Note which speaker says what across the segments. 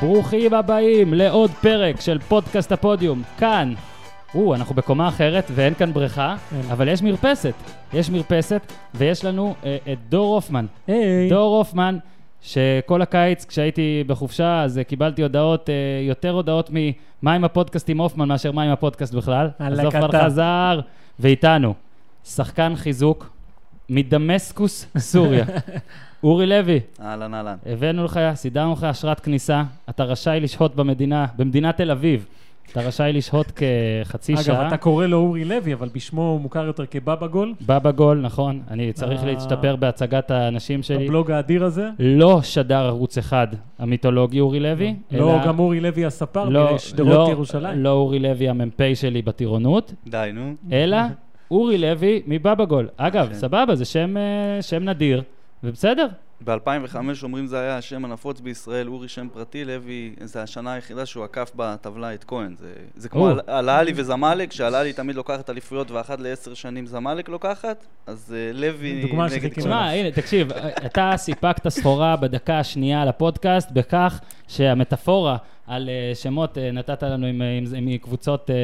Speaker 1: ברוכים הבאים לעוד פרק של פודקאסט הפודיום, כאן. או, אנחנו בקומה אחרת ואין כאן בריכה,
Speaker 2: אין.
Speaker 1: אבל יש מרפסת. יש מרפסת, ויש לנו אה, את דור הופמן.
Speaker 2: היי.
Speaker 1: דור הופמן, שכל הקיץ כשהייתי בחופשה, אז אה, קיבלתי הודעות, אה, יותר הודעות ממה עם הפודקאסט עם הופמן מאשר מה עם הפודקאסט בכלל.
Speaker 2: על
Speaker 1: אז הופמן
Speaker 2: הקטע.
Speaker 1: חזר, ואיתנו, שחקן חיזוק מדמשקוס, סוריה. אורי לוי,
Speaker 3: אהלן, אהלן.
Speaker 1: הבאנו לך, סידרנו לך אשרת כניסה, אתה רשאי לשהות במדינה, במדינת תל אביב. אתה רשאי לשהות כחצי
Speaker 2: אגב,
Speaker 1: שעה.
Speaker 2: אתה קורא לו אורי לוי, אבל בשמו הוא מוכר יותר כבבא גול,
Speaker 1: בבא גול, נכון? אני צריך
Speaker 2: אה.
Speaker 1: להשתפר בהצגת האנשים שלי.
Speaker 2: הבלוג האדיר הזה.
Speaker 1: לא שדר ערוץ אחד המיתולוגי אורי לוי,
Speaker 2: לא גם אורי לוי הספר
Speaker 1: לא-
Speaker 2: משדרות
Speaker 1: לא-
Speaker 2: ירושלים.
Speaker 1: לא אורי לוי המ"פ שלי בטירונות,
Speaker 3: די, נו.
Speaker 1: אלא אורי לוי מבבא גול. אגב,
Speaker 3: כן.
Speaker 1: סבבה, זה שם, אה, שם נדיר, ובסדר.
Speaker 3: ב-2005 אומרים זה היה השם הנפוץ בישראל, אורי שם פרטי, לוי, זה השנה היחידה שהוא עקף בטבלה את כהן. זה, זה כמו
Speaker 1: או.
Speaker 3: על, על אלי וזמלק, שעל אלי תמיד לוקחת אליפויות ואחת לעשר שנים זמלק לוקחת, אז uh, לוי
Speaker 2: דוגמה
Speaker 3: נגד
Speaker 2: שחיכינו
Speaker 3: כהן.
Speaker 1: תשמע, הנה, תקשיב, אתה סיפקת סחורה בדקה השנייה לפודקאסט בכך שהמטאפורה על אה, שמות אה, נתת לנו עם- עם עם קבוצות... אה,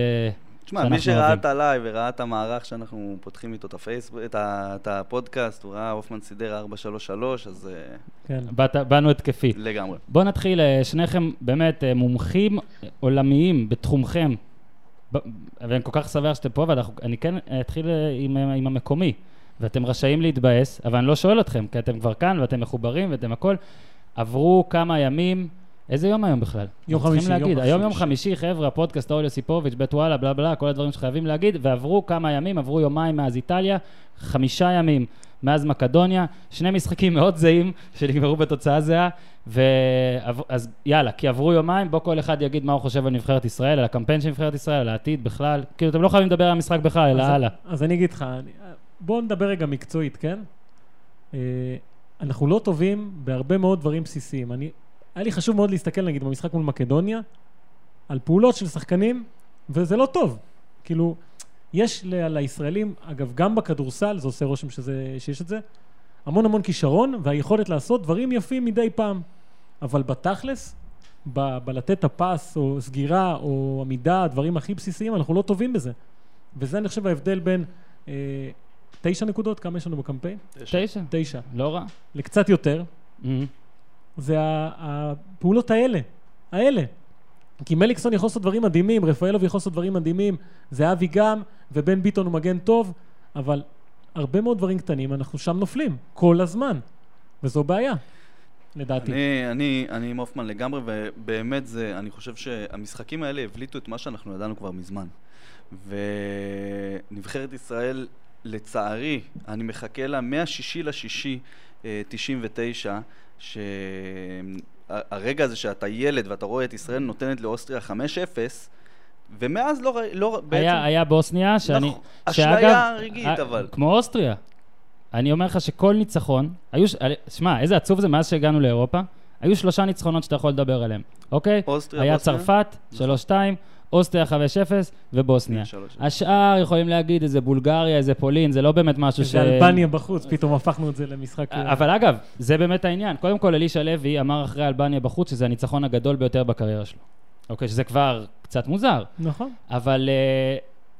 Speaker 3: תשמע,
Speaker 1: שאנחנו
Speaker 3: מי שראה
Speaker 1: אוהבים.
Speaker 3: את הלייב וראה את המערך שאנחנו פותחים איתו את, הפייס, את, ה, את הפודקאסט, הוא ראה הופמן סידר 433, אז uh,
Speaker 2: כן.
Speaker 1: באת- באנו התקפי.
Speaker 3: לגמרי.
Speaker 1: בואו נתחיל, אה, שניכם באמת אה, מומחים אה, עולמיים בתחומכם. ב- ואני כל כך שמח שאתם פה, ואני כן אתחיל אה, עם, אה, עם המקומי. ואתם רשאים להתבאס, אבל אני לא שואל אתכם, כי אתם כבר כאן ואתם מחוברים ואתם הכל. עברו כמה ימים, איזה יום היום בכלל?
Speaker 2: יום
Speaker 1: אנחנו צריכים
Speaker 2: חמישי, יום
Speaker 1: להגיד, היום יום חמישי,
Speaker 2: חמישי.
Speaker 1: חבר'ה, פודקאסט אוליו סיפוביץ', בית וואלה, בלה בלה, כל הדברים שחייבים להגיד, ועברו כמה ימים, עברו יומיים מאז איטליה, חמישה ימים מאז מקדוניה, שני משחקים מאוד זהים שנגמרו בתוצאה זהה, ועב- אז יאללה, כי עברו יומיים, בוא כל אחד יגיד מה הוא חושב על נבחרת ישראל, על הקמפיין של נבחרת ישראל, על העתיד בכלל, כאילו אתם לא חייבים לדבר על המשחק בכלל, אלא
Speaker 2: אז-
Speaker 1: הלאה.
Speaker 2: אז אני אגיד לך, אני- בואו נדבר רגע מקצועית, כן? אה, אנחנו לא טובים בהרבה מאוד דברים בסיסיים. אני- היה לי חשוב מאוד להסתכל, נגיד, במשחק מול מקדוניה, על פעולות של שחקנים, וזה לא טוב. כאילו, יש ל- לישראלים, אגב, גם בכדורסל, זה עושה רושם שזה, שיש את זה, המון המון כישרון והיכולת לעשות דברים יפים מדי פעם. אבל בתכלס, ב- בלתת את הפס, או סגירה, או עמידה, הדברים הכי בסיסיים, אנחנו לא טובים בזה. וזה, אני חושב, ההבדל בין אה, תשע נקודות, כמה יש לנו בקמפיין?
Speaker 1: תשע?
Speaker 2: תשע.
Speaker 1: לא רע.
Speaker 2: לקצת יותר,
Speaker 1: אה.
Speaker 2: זה ה- הפעולות האלה, האלה. כי מליקסון יכול לעשות דברים מדהימים, רפאלוב יכול לעשות דברים מדהימים, זהבי גם, ובן ביטון הוא מגן טוב, אבל הרבה מאוד דברים קטנים, אנחנו שם נופלים, כל הזמן. וזו בעיה, לדעתי.
Speaker 3: אני, אני, אני עם הופמן לגמרי, ובאמת זה, אני חושב שהמשחקים האלה הבליטו את מה שאנחנו ידענו כבר מזמן. ונבחרת ישראל, לצערי, אני מחכה לה מהשישי לשישי, אה, 99, שהרגע הזה שאתה ילד ואתה רואה את ישראל נותנת לאוסטריה 5-0, ומאז לא, ראי- לא בעצם...
Speaker 1: היה, היה בוסניה, שאני...
Speaker 3: נכון, אשליה
Speaker 1: שאגב,
Speaker 3: רגעית,
Speaker 1: ה-
Speaker 3: אבל.
Speaker 1: כמו אוסטריה. אני אומר לך שכל ניצחון, היו... ש- אה, שמע, איזה עצוב זה מאז שהגענו לאירופה. היו שלושה ניצחונות שאתה יכול לדבר עליהם, אוקיי?
Speaker 3: אוסטריה,
Speaker 1: היה
Speaker 3: בוסניה? נכון.
Speaker 1: צרפת, 3-2, אוסטריה 5-0 ובוסניה.
Speaker 3: 3-0.
Speaker 1: השאר יכולים להגיד איזה בולגריה, איזה פולין, זה לא באמת משהו ש...
Speaker 2: זה אלבניה בחוץ, פתאום הפכנו את זה למשחק... אה,
Speaker 1: אבל אגב, זה באמת העניין. קודם כל, אלישע לוי אמר אחרי אלבניה בחוץ שזה הניצחון הגדול ביותר בקריירה שלו. אוקיי, שזה כבר קצת מוזר.
Speaker 2: נכון.
Speaker 1: אבל אה,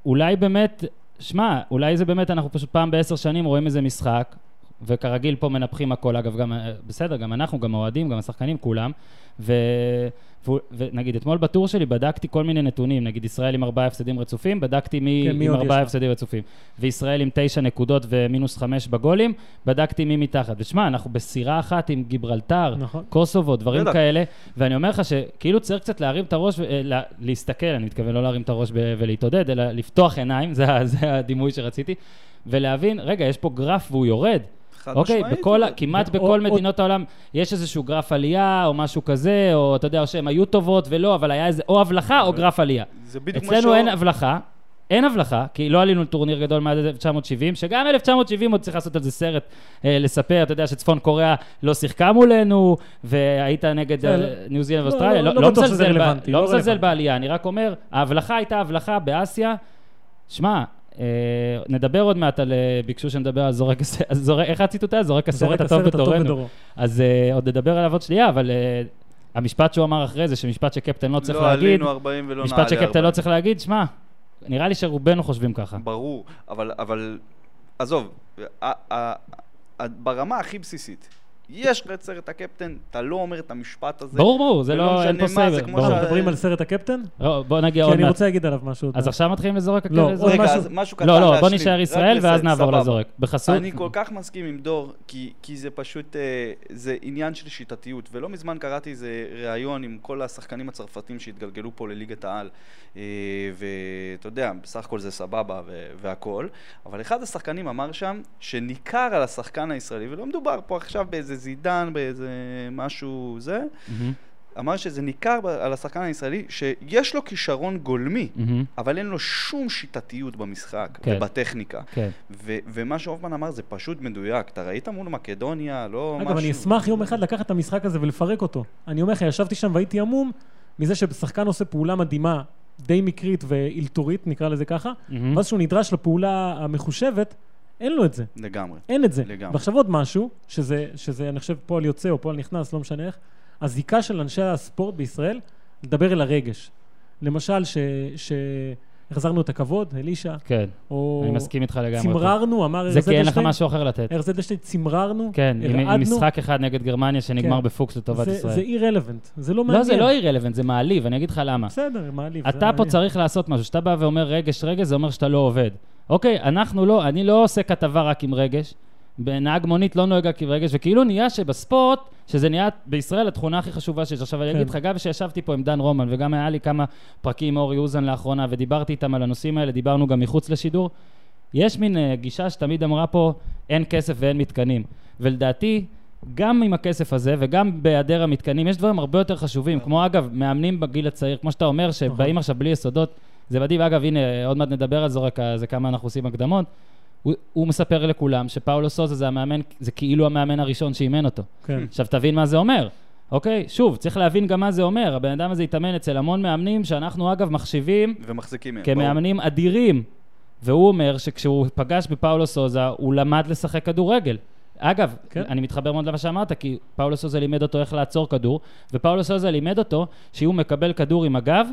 Speaker 1: אולי באמת, שמע, אולי זה באמת, אנחנו פשוט פעם בעשר שנים רואים איזה משחק, וכרגיל פה מנפחים הכל, אגב, גם, אה, בסדר, גם אנחנו, גם האוהדים, גם השחקנים, כולם, ו... ו- ונגיד, אתמול בטור שלי בדקתי כל מיני נתונים, נגיד ישראל עם ארבעה הפסדים רצופים, בדקתי מי
Speaker 2: כן, מי
Speaker 1: עם
Speaker 2: עוד יש
Speaker 1: ארבעה
Speaker 2: לה?
Speaker 1: הפסדים רצופים, וישראל עם תשע נקודות ומינוס חמש בגולים, בדקתי מי מתחת. ושמע, אנחנו בסירה אחת עם גיברלטר,
Speaker 2: נכון.
Speaker 1: קוסובו, דברים
Speaker 3: בטח.
Speaker 1: כאלה, ואני אומר לך שכאילו צריך קצת להרים את הראש, ו- אה, לה- להסתכל, אני מתכוון לא להרים את הראש ב- ולהתעודד, אלא לפתוח עיניים, זה ה- זה הדימוי שרציתי, ולהבין, רגע, יש פה גרף והוא יורד.
Speaker 3: חד
Speaker 1: אוקיי,
Speaker 3: משמעית, לא.
Speaker 1: בכל, ה-
Speaker 3: אבל-
Speaker 1: כמעט
Speaker 2: או-
Speaker 1: בכל
Speaker 2: או-
Speaker 1: מדינות העולם יש איזשהו גרף עלייה או משהו כזה, או אתה יודע, או שהן היו טובות ולא, אבל היה איזה או הבלחה או גרף עלייה.
Speaker 3: זה בדיוק מה
Speaker 1: אצלנו
Speaker 3: שהוא-
Speaker 1: אין הבלחה, אין הבלחה, כי לא עלינו לטורניר גדול מאז 1970, שגם 1970 עוד צריך לעשות על זה סרט, אה, לספר, אתה יודע שצפון קוריאה לא שיחקה מולנו, והיית נגד
Speaker 2: כן,
Speaker 1: אה,
Speaker 2: לא-
Speaker 1: ניו זילנד
Speaker 2: לא-
Speaker 1: ואוסטרליה,
Speaker 2: לא-
Speaker 1: לא
Speaker 2: לא
Speaker 1: לא
Speaker 2: בטוח שזה
Speaker 1: מזלזל ב-
Speaker 2: רלוונטי,
Speaker 1: לא
Speaker 2: לא
Speaker 1: מזלזל
Speaker 2: רלוונטי.
Speaker 1: בעלייה, אני רק אומר, ההבלחה הייתה הבלחה באסיה, שמע, אה, נדבר עוד מעט על, אה, ביקשו שנדבר על זורק, הס- על זורק- איך הציטוט היה? זורק הסרט
Speaker 2: זורק
Speaker 1: הטוב
Speaker 2: הסרט הטוב
Speaker 1: בתורנו.
Speaker 2: בדורו.
Speaker 1: אז אה, עוד נדבר עליו עוד שנייה, אבל אה, המשפט שהוא אמר אחרי זה, שמשפט שקפטן לא צריך
Speaker 3: לא
Speaker 1: להגיד,
Speaker 3: עלינו 40 ולא נעלה 40.
Speaker 1: משפט שקפטן לא צריך להגיד, שמע, נראה לי שרובנו חושבים ככה.
Speaker 3: ברור, אבל, אבל עזוב, ה- ה- ה- ברמה הכי בסיסית, יש לך את סרט הקפטן, אתה לא אומר את המשפט הזה.
Speaker 1: ברור, ברור, זה לא, אין
Speaker 3: משנה
Speaker 1: פה
Speaker 3: מה, זה
Speaker 1: סייבר.
Speaker 3: כמו
Speaker 1: ברור.
Speaker 2: אנחנו
Speaker 3: שה-
Speaker 2: מדברים על סרט הקפטן?
Speaker 1: לא, בוא נגיע
Speaker 2: כי
Speaker 1: עוד
Speaker 2: אני
Speaker 1: מעט.
Speaker 2: רוצה להגיד עליו משהו. עוד
Speaker 1: אז
Speaker 2: מעט.
Speaker 1: עכשיו מתחילים לזורק
Speaker 2: לא,
Speaker 1: הקרן?
Speaker 2: עוד
Speaker 3: רגע,
Speaker 2: משהו-
Speaker 3: אז משהו קטן
Speaker 1: לא, לא, בוא
Speaker 3: להשלים,
Speaker 1: נשאר
Speaker 3: רק
Speaker 1: ישראל
Speaker 3: לסיים,
Speaker 1: ואז נעבור
Speaker 3: סבבה.
Speaker 1: לזורק. בחסות.
Speaker 3: אני כל כך מסכים עם דור, כי, כי זה פשוט, אה, זה עניין של שיטתיות. ולא מזמן קראתי איזה ריאיון עם כל השחקנים הצרפתים שהתגלגלו פה לליגת העל. אה, ואתה יודע, בסך הכל זה סבבה ו- והכול. אבל אחד השחקנים אמר שם שניכר על השחקן הישראלי, ולא מדובר פה עכשיו באיזה זידן, באיזה משהו זה,
Speaker 1: מהמם,
Speaker 3: אמר שזה ניכר ב- על השחקן הישראלי שיש לו כישרון גולמי.
Speaker 1: מהמם,
Speaker 3: אבל אין לו שום שיטתיות במשחק
Speaker 1: כן.
Speaker 3: ובטכניקה.
Speaker 1: כן.
Speaker 3: ו- ומה שהופמן אמר זה פשוט מדויק. אתה ראית מול מקדוניה, לא משהו...
Speaker 2: אגב, אני אשמח יום אחד לקחת את המשחק הזה ולפרק אותו. אני אומר לך, ישבתי שם והייתי המום מזה ששחקן עושה פעולה מדהימה, די מקרית ואילתורית, נקרא לזה ככה,
Speaker 1: מהמם.
Speaker 2: ואז כשהוא נדרש לפעולה המחושבת, אין לו את זה.
Speaker 3: לגמרי.
Speaker 2: אין את זה.
Speaker 3: לגמרי.
Speaker 2: ועכשיו עוד משהו, שזה, שזה אני חושב פועל יוצא או פועל נכנס, לא משנה איך, הזיקה של אנשי הספורט בישראל לדבר אל הרגש. למשל, ש... ש... החזרנו את הכבוד, אלישע,
Speaker 1: כן,
Speaker 2: או...
Speaker 1: אני מסכים איתך לגמרי.
Speaker 2: צמררנו, אמר
Speaker 1: זה
Speaker 2: ארז
Speaker 1: כי אין לך
Speaker 2: אדלשטיין,
Speaker 1: משהו אחר לתת.
Speaker 2: ארז אדלשטיין, צמררנו,
Speaker 1: כן, עם- עם
Speaker 2: הרעדנו.
Speaker 1: משחק אחד נגד גרמניה שנגמר
Speaker 2: כן.
Speaker 1: בפוקס לטובת
Speaker 2: זה- זה
Speaker 1: ישראל.
Speaker 2: אירלוונט, זה לא מעניין.
Speaker 1: לא, זה לא אירלוונט, זה מעליב, אני אגיד לך למה.
Speaker 2: בסדר, מעליב. זה
Speaker 1: אתה פה
Speaker 2: מעניין.
Speaker 1: צריך לעשות משהו. כשאתה בא ואומר רגש, רגש, זה אומר שאתה לא עובד. אוקיי, אנחנו לא, אני לא עושה כתבה רק עם רגש. נהג מונית לא נוהג רק עם רגש, וכאילו נהיה שבספורט, שזה נהיה בישראל התכונה הכי חשובה שיש. עכשיו, אני
Speaker 2: כן.
Speaker 1: אגיד לך, גם כשישבתי פה עם דן רומן, וגם היה לי כמה פרקים עם אורי אוזן לאחרונה, ודיברתי איתם על הנושאים האלה, דיברנו גם מחוץ לשידור, יש מין אה, גישה שתמיד אמרה פה, אין כסף ואין מתקנים. ולדעתי, גם עם הכסף הזה וגם בהיעדר המתקנים, יש דברים הרבה יותר חשובים, כמו אגב, מאמנים בגיל הצעיר, כמו שאתה אומר, שבאים עכשיו בלי יסודות, זה מדהים. אגב, הנה, עוד מעט נדבר על זורק, זה כמה אנחנו עושים הקדמות. הוא, הוא מספר לכולם שפאולו סוזה זה המאמן, זה כאילו המאמן הראשון שאימן אותו.
Speaker 2: כן.
Speaker 1: עכשיו תבין מה זה אומר, אוקיי? שוב, צריך להבין גם מה זה אומר. הבן אדם הזה התאמן אצל המון מאמנים שאנחנו אגב מחשיבים
Speaker 3: ומחזיקים מהם.
Speaker 1: כמאמנים אדירים. והוא אומר שכשהוא פגש בפאולו סוזה, הוא למד לשחק כדורגל. אגב, כן.
Speaker 2: כן.
Speaker 1: אני מתחבר מאוד למה שאמרת, כי פאולו סוזה לימד אותו איך לעצור כדור, ופאולו סוזה לימד אותו שאם הוא מקבל כדור עם הגב,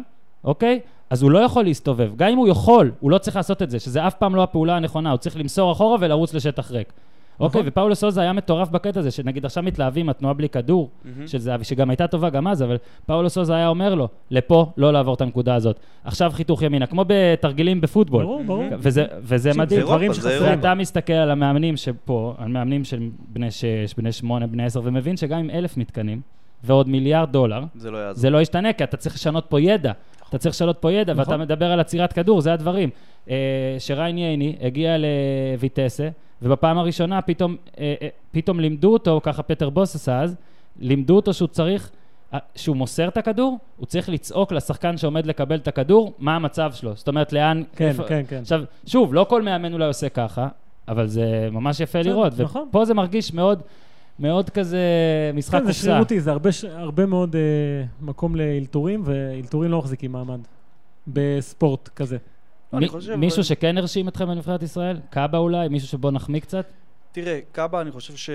Speaker 1: אוקיי? אז הוא לא יכול להסתובב. גם אם הוא יכול, הוא לא צריך לעשות את זה, שזה אף פעם לא הפעולה הנכונה, הוא צריך למסור אחורה ולרוץ לשטח ריק. אוקיי,
Speaker 2: נכון.
Speaker 1: ופאולו סוזה היה מטורף בקטע הזה, שנגיד עכשיו מתלהבים מהתנועה בלי כדור,
Speaker 2: Mm-hmm.
Speaker 3: מהמם.
Speaker 1: של זהבי, שגם הייתה טובה גם אז, אבל פאולו סוזה היה אומר לו, לפה, לא לעבור את הנקודה הזאת. עכשיו חיתוך ימינה, כמו בתרגילים בפוטבול.
Speaker 2: ברור, ברור.
Speaker 1: כן, וזה, וזה
Speaker 2: תקשיב,
Speaker 1: מדהים.
Speaker 2: זה דברים
Speaker 3: אירופה, זה
Speaker 2: שחסרים.
Speaker 1: ואתה מסתכל על המאמנים שפה, על מאמנים של בני שש, בני שמונה, בני עשר, ומבין שגם עם אלף מתקנים, ועוד מיליארד דולר,
Speaker 3: זה לא יעזור.
Speaker 1: זה לא ישתנה, כי אתה צריך לשנות פה ידע. אתה צריך לשנות פה ידע, ואתה
Speaker 2: נכון.
Speaker 1: מדבר על עצירת כדור, זה הדברים. אה, שריין ייני הגיע לויטסה, ובפעם הראשונה פתאום, אה, אה, פתאום לימדו אותו, ככה פטר בוס עשה אז, לימדו אותו שהוא צריך, אה, שהוא מוסר את הכדור, הוא צריך לצעוק לשחקן שעומד לקבל את הכדור, מה המצב שלו. זאת אומרת, לאן...
Speaker 2: כן,
Speaker 1: איפה-
Speaker 2: כן, כן.
Speaker 1: עכשיו, שוב, לא כל מאמן אולי עושה ככה, אבל זה ממש יפה
Speaker 2: בסדר,
Speaker 1: לראות.
Speaker 2: נכון.
Speaker 1: ופה זה מרגיש מאוד, מאוד כזה משחק
Speaker 2: כן, זה
Speaker 1: קופסה.
Speaker 2: שרירותי, זה הרבה ש- הרבה מאוד אה, מקום לאלתורים, ואלתורים לא מחזיקים מעמד בספורט כזה.
Speaker 3: לא, אני חושב,
Speaker 1: מישהו
Speaker 3: אבל-
Speaker 1: שכן הרשים אתכם בנבחרת ישראל? קאבה אולי? מישהו שבו נחמיא קצת?
Speaker 3: תראה, קאבה, אני חושב ש...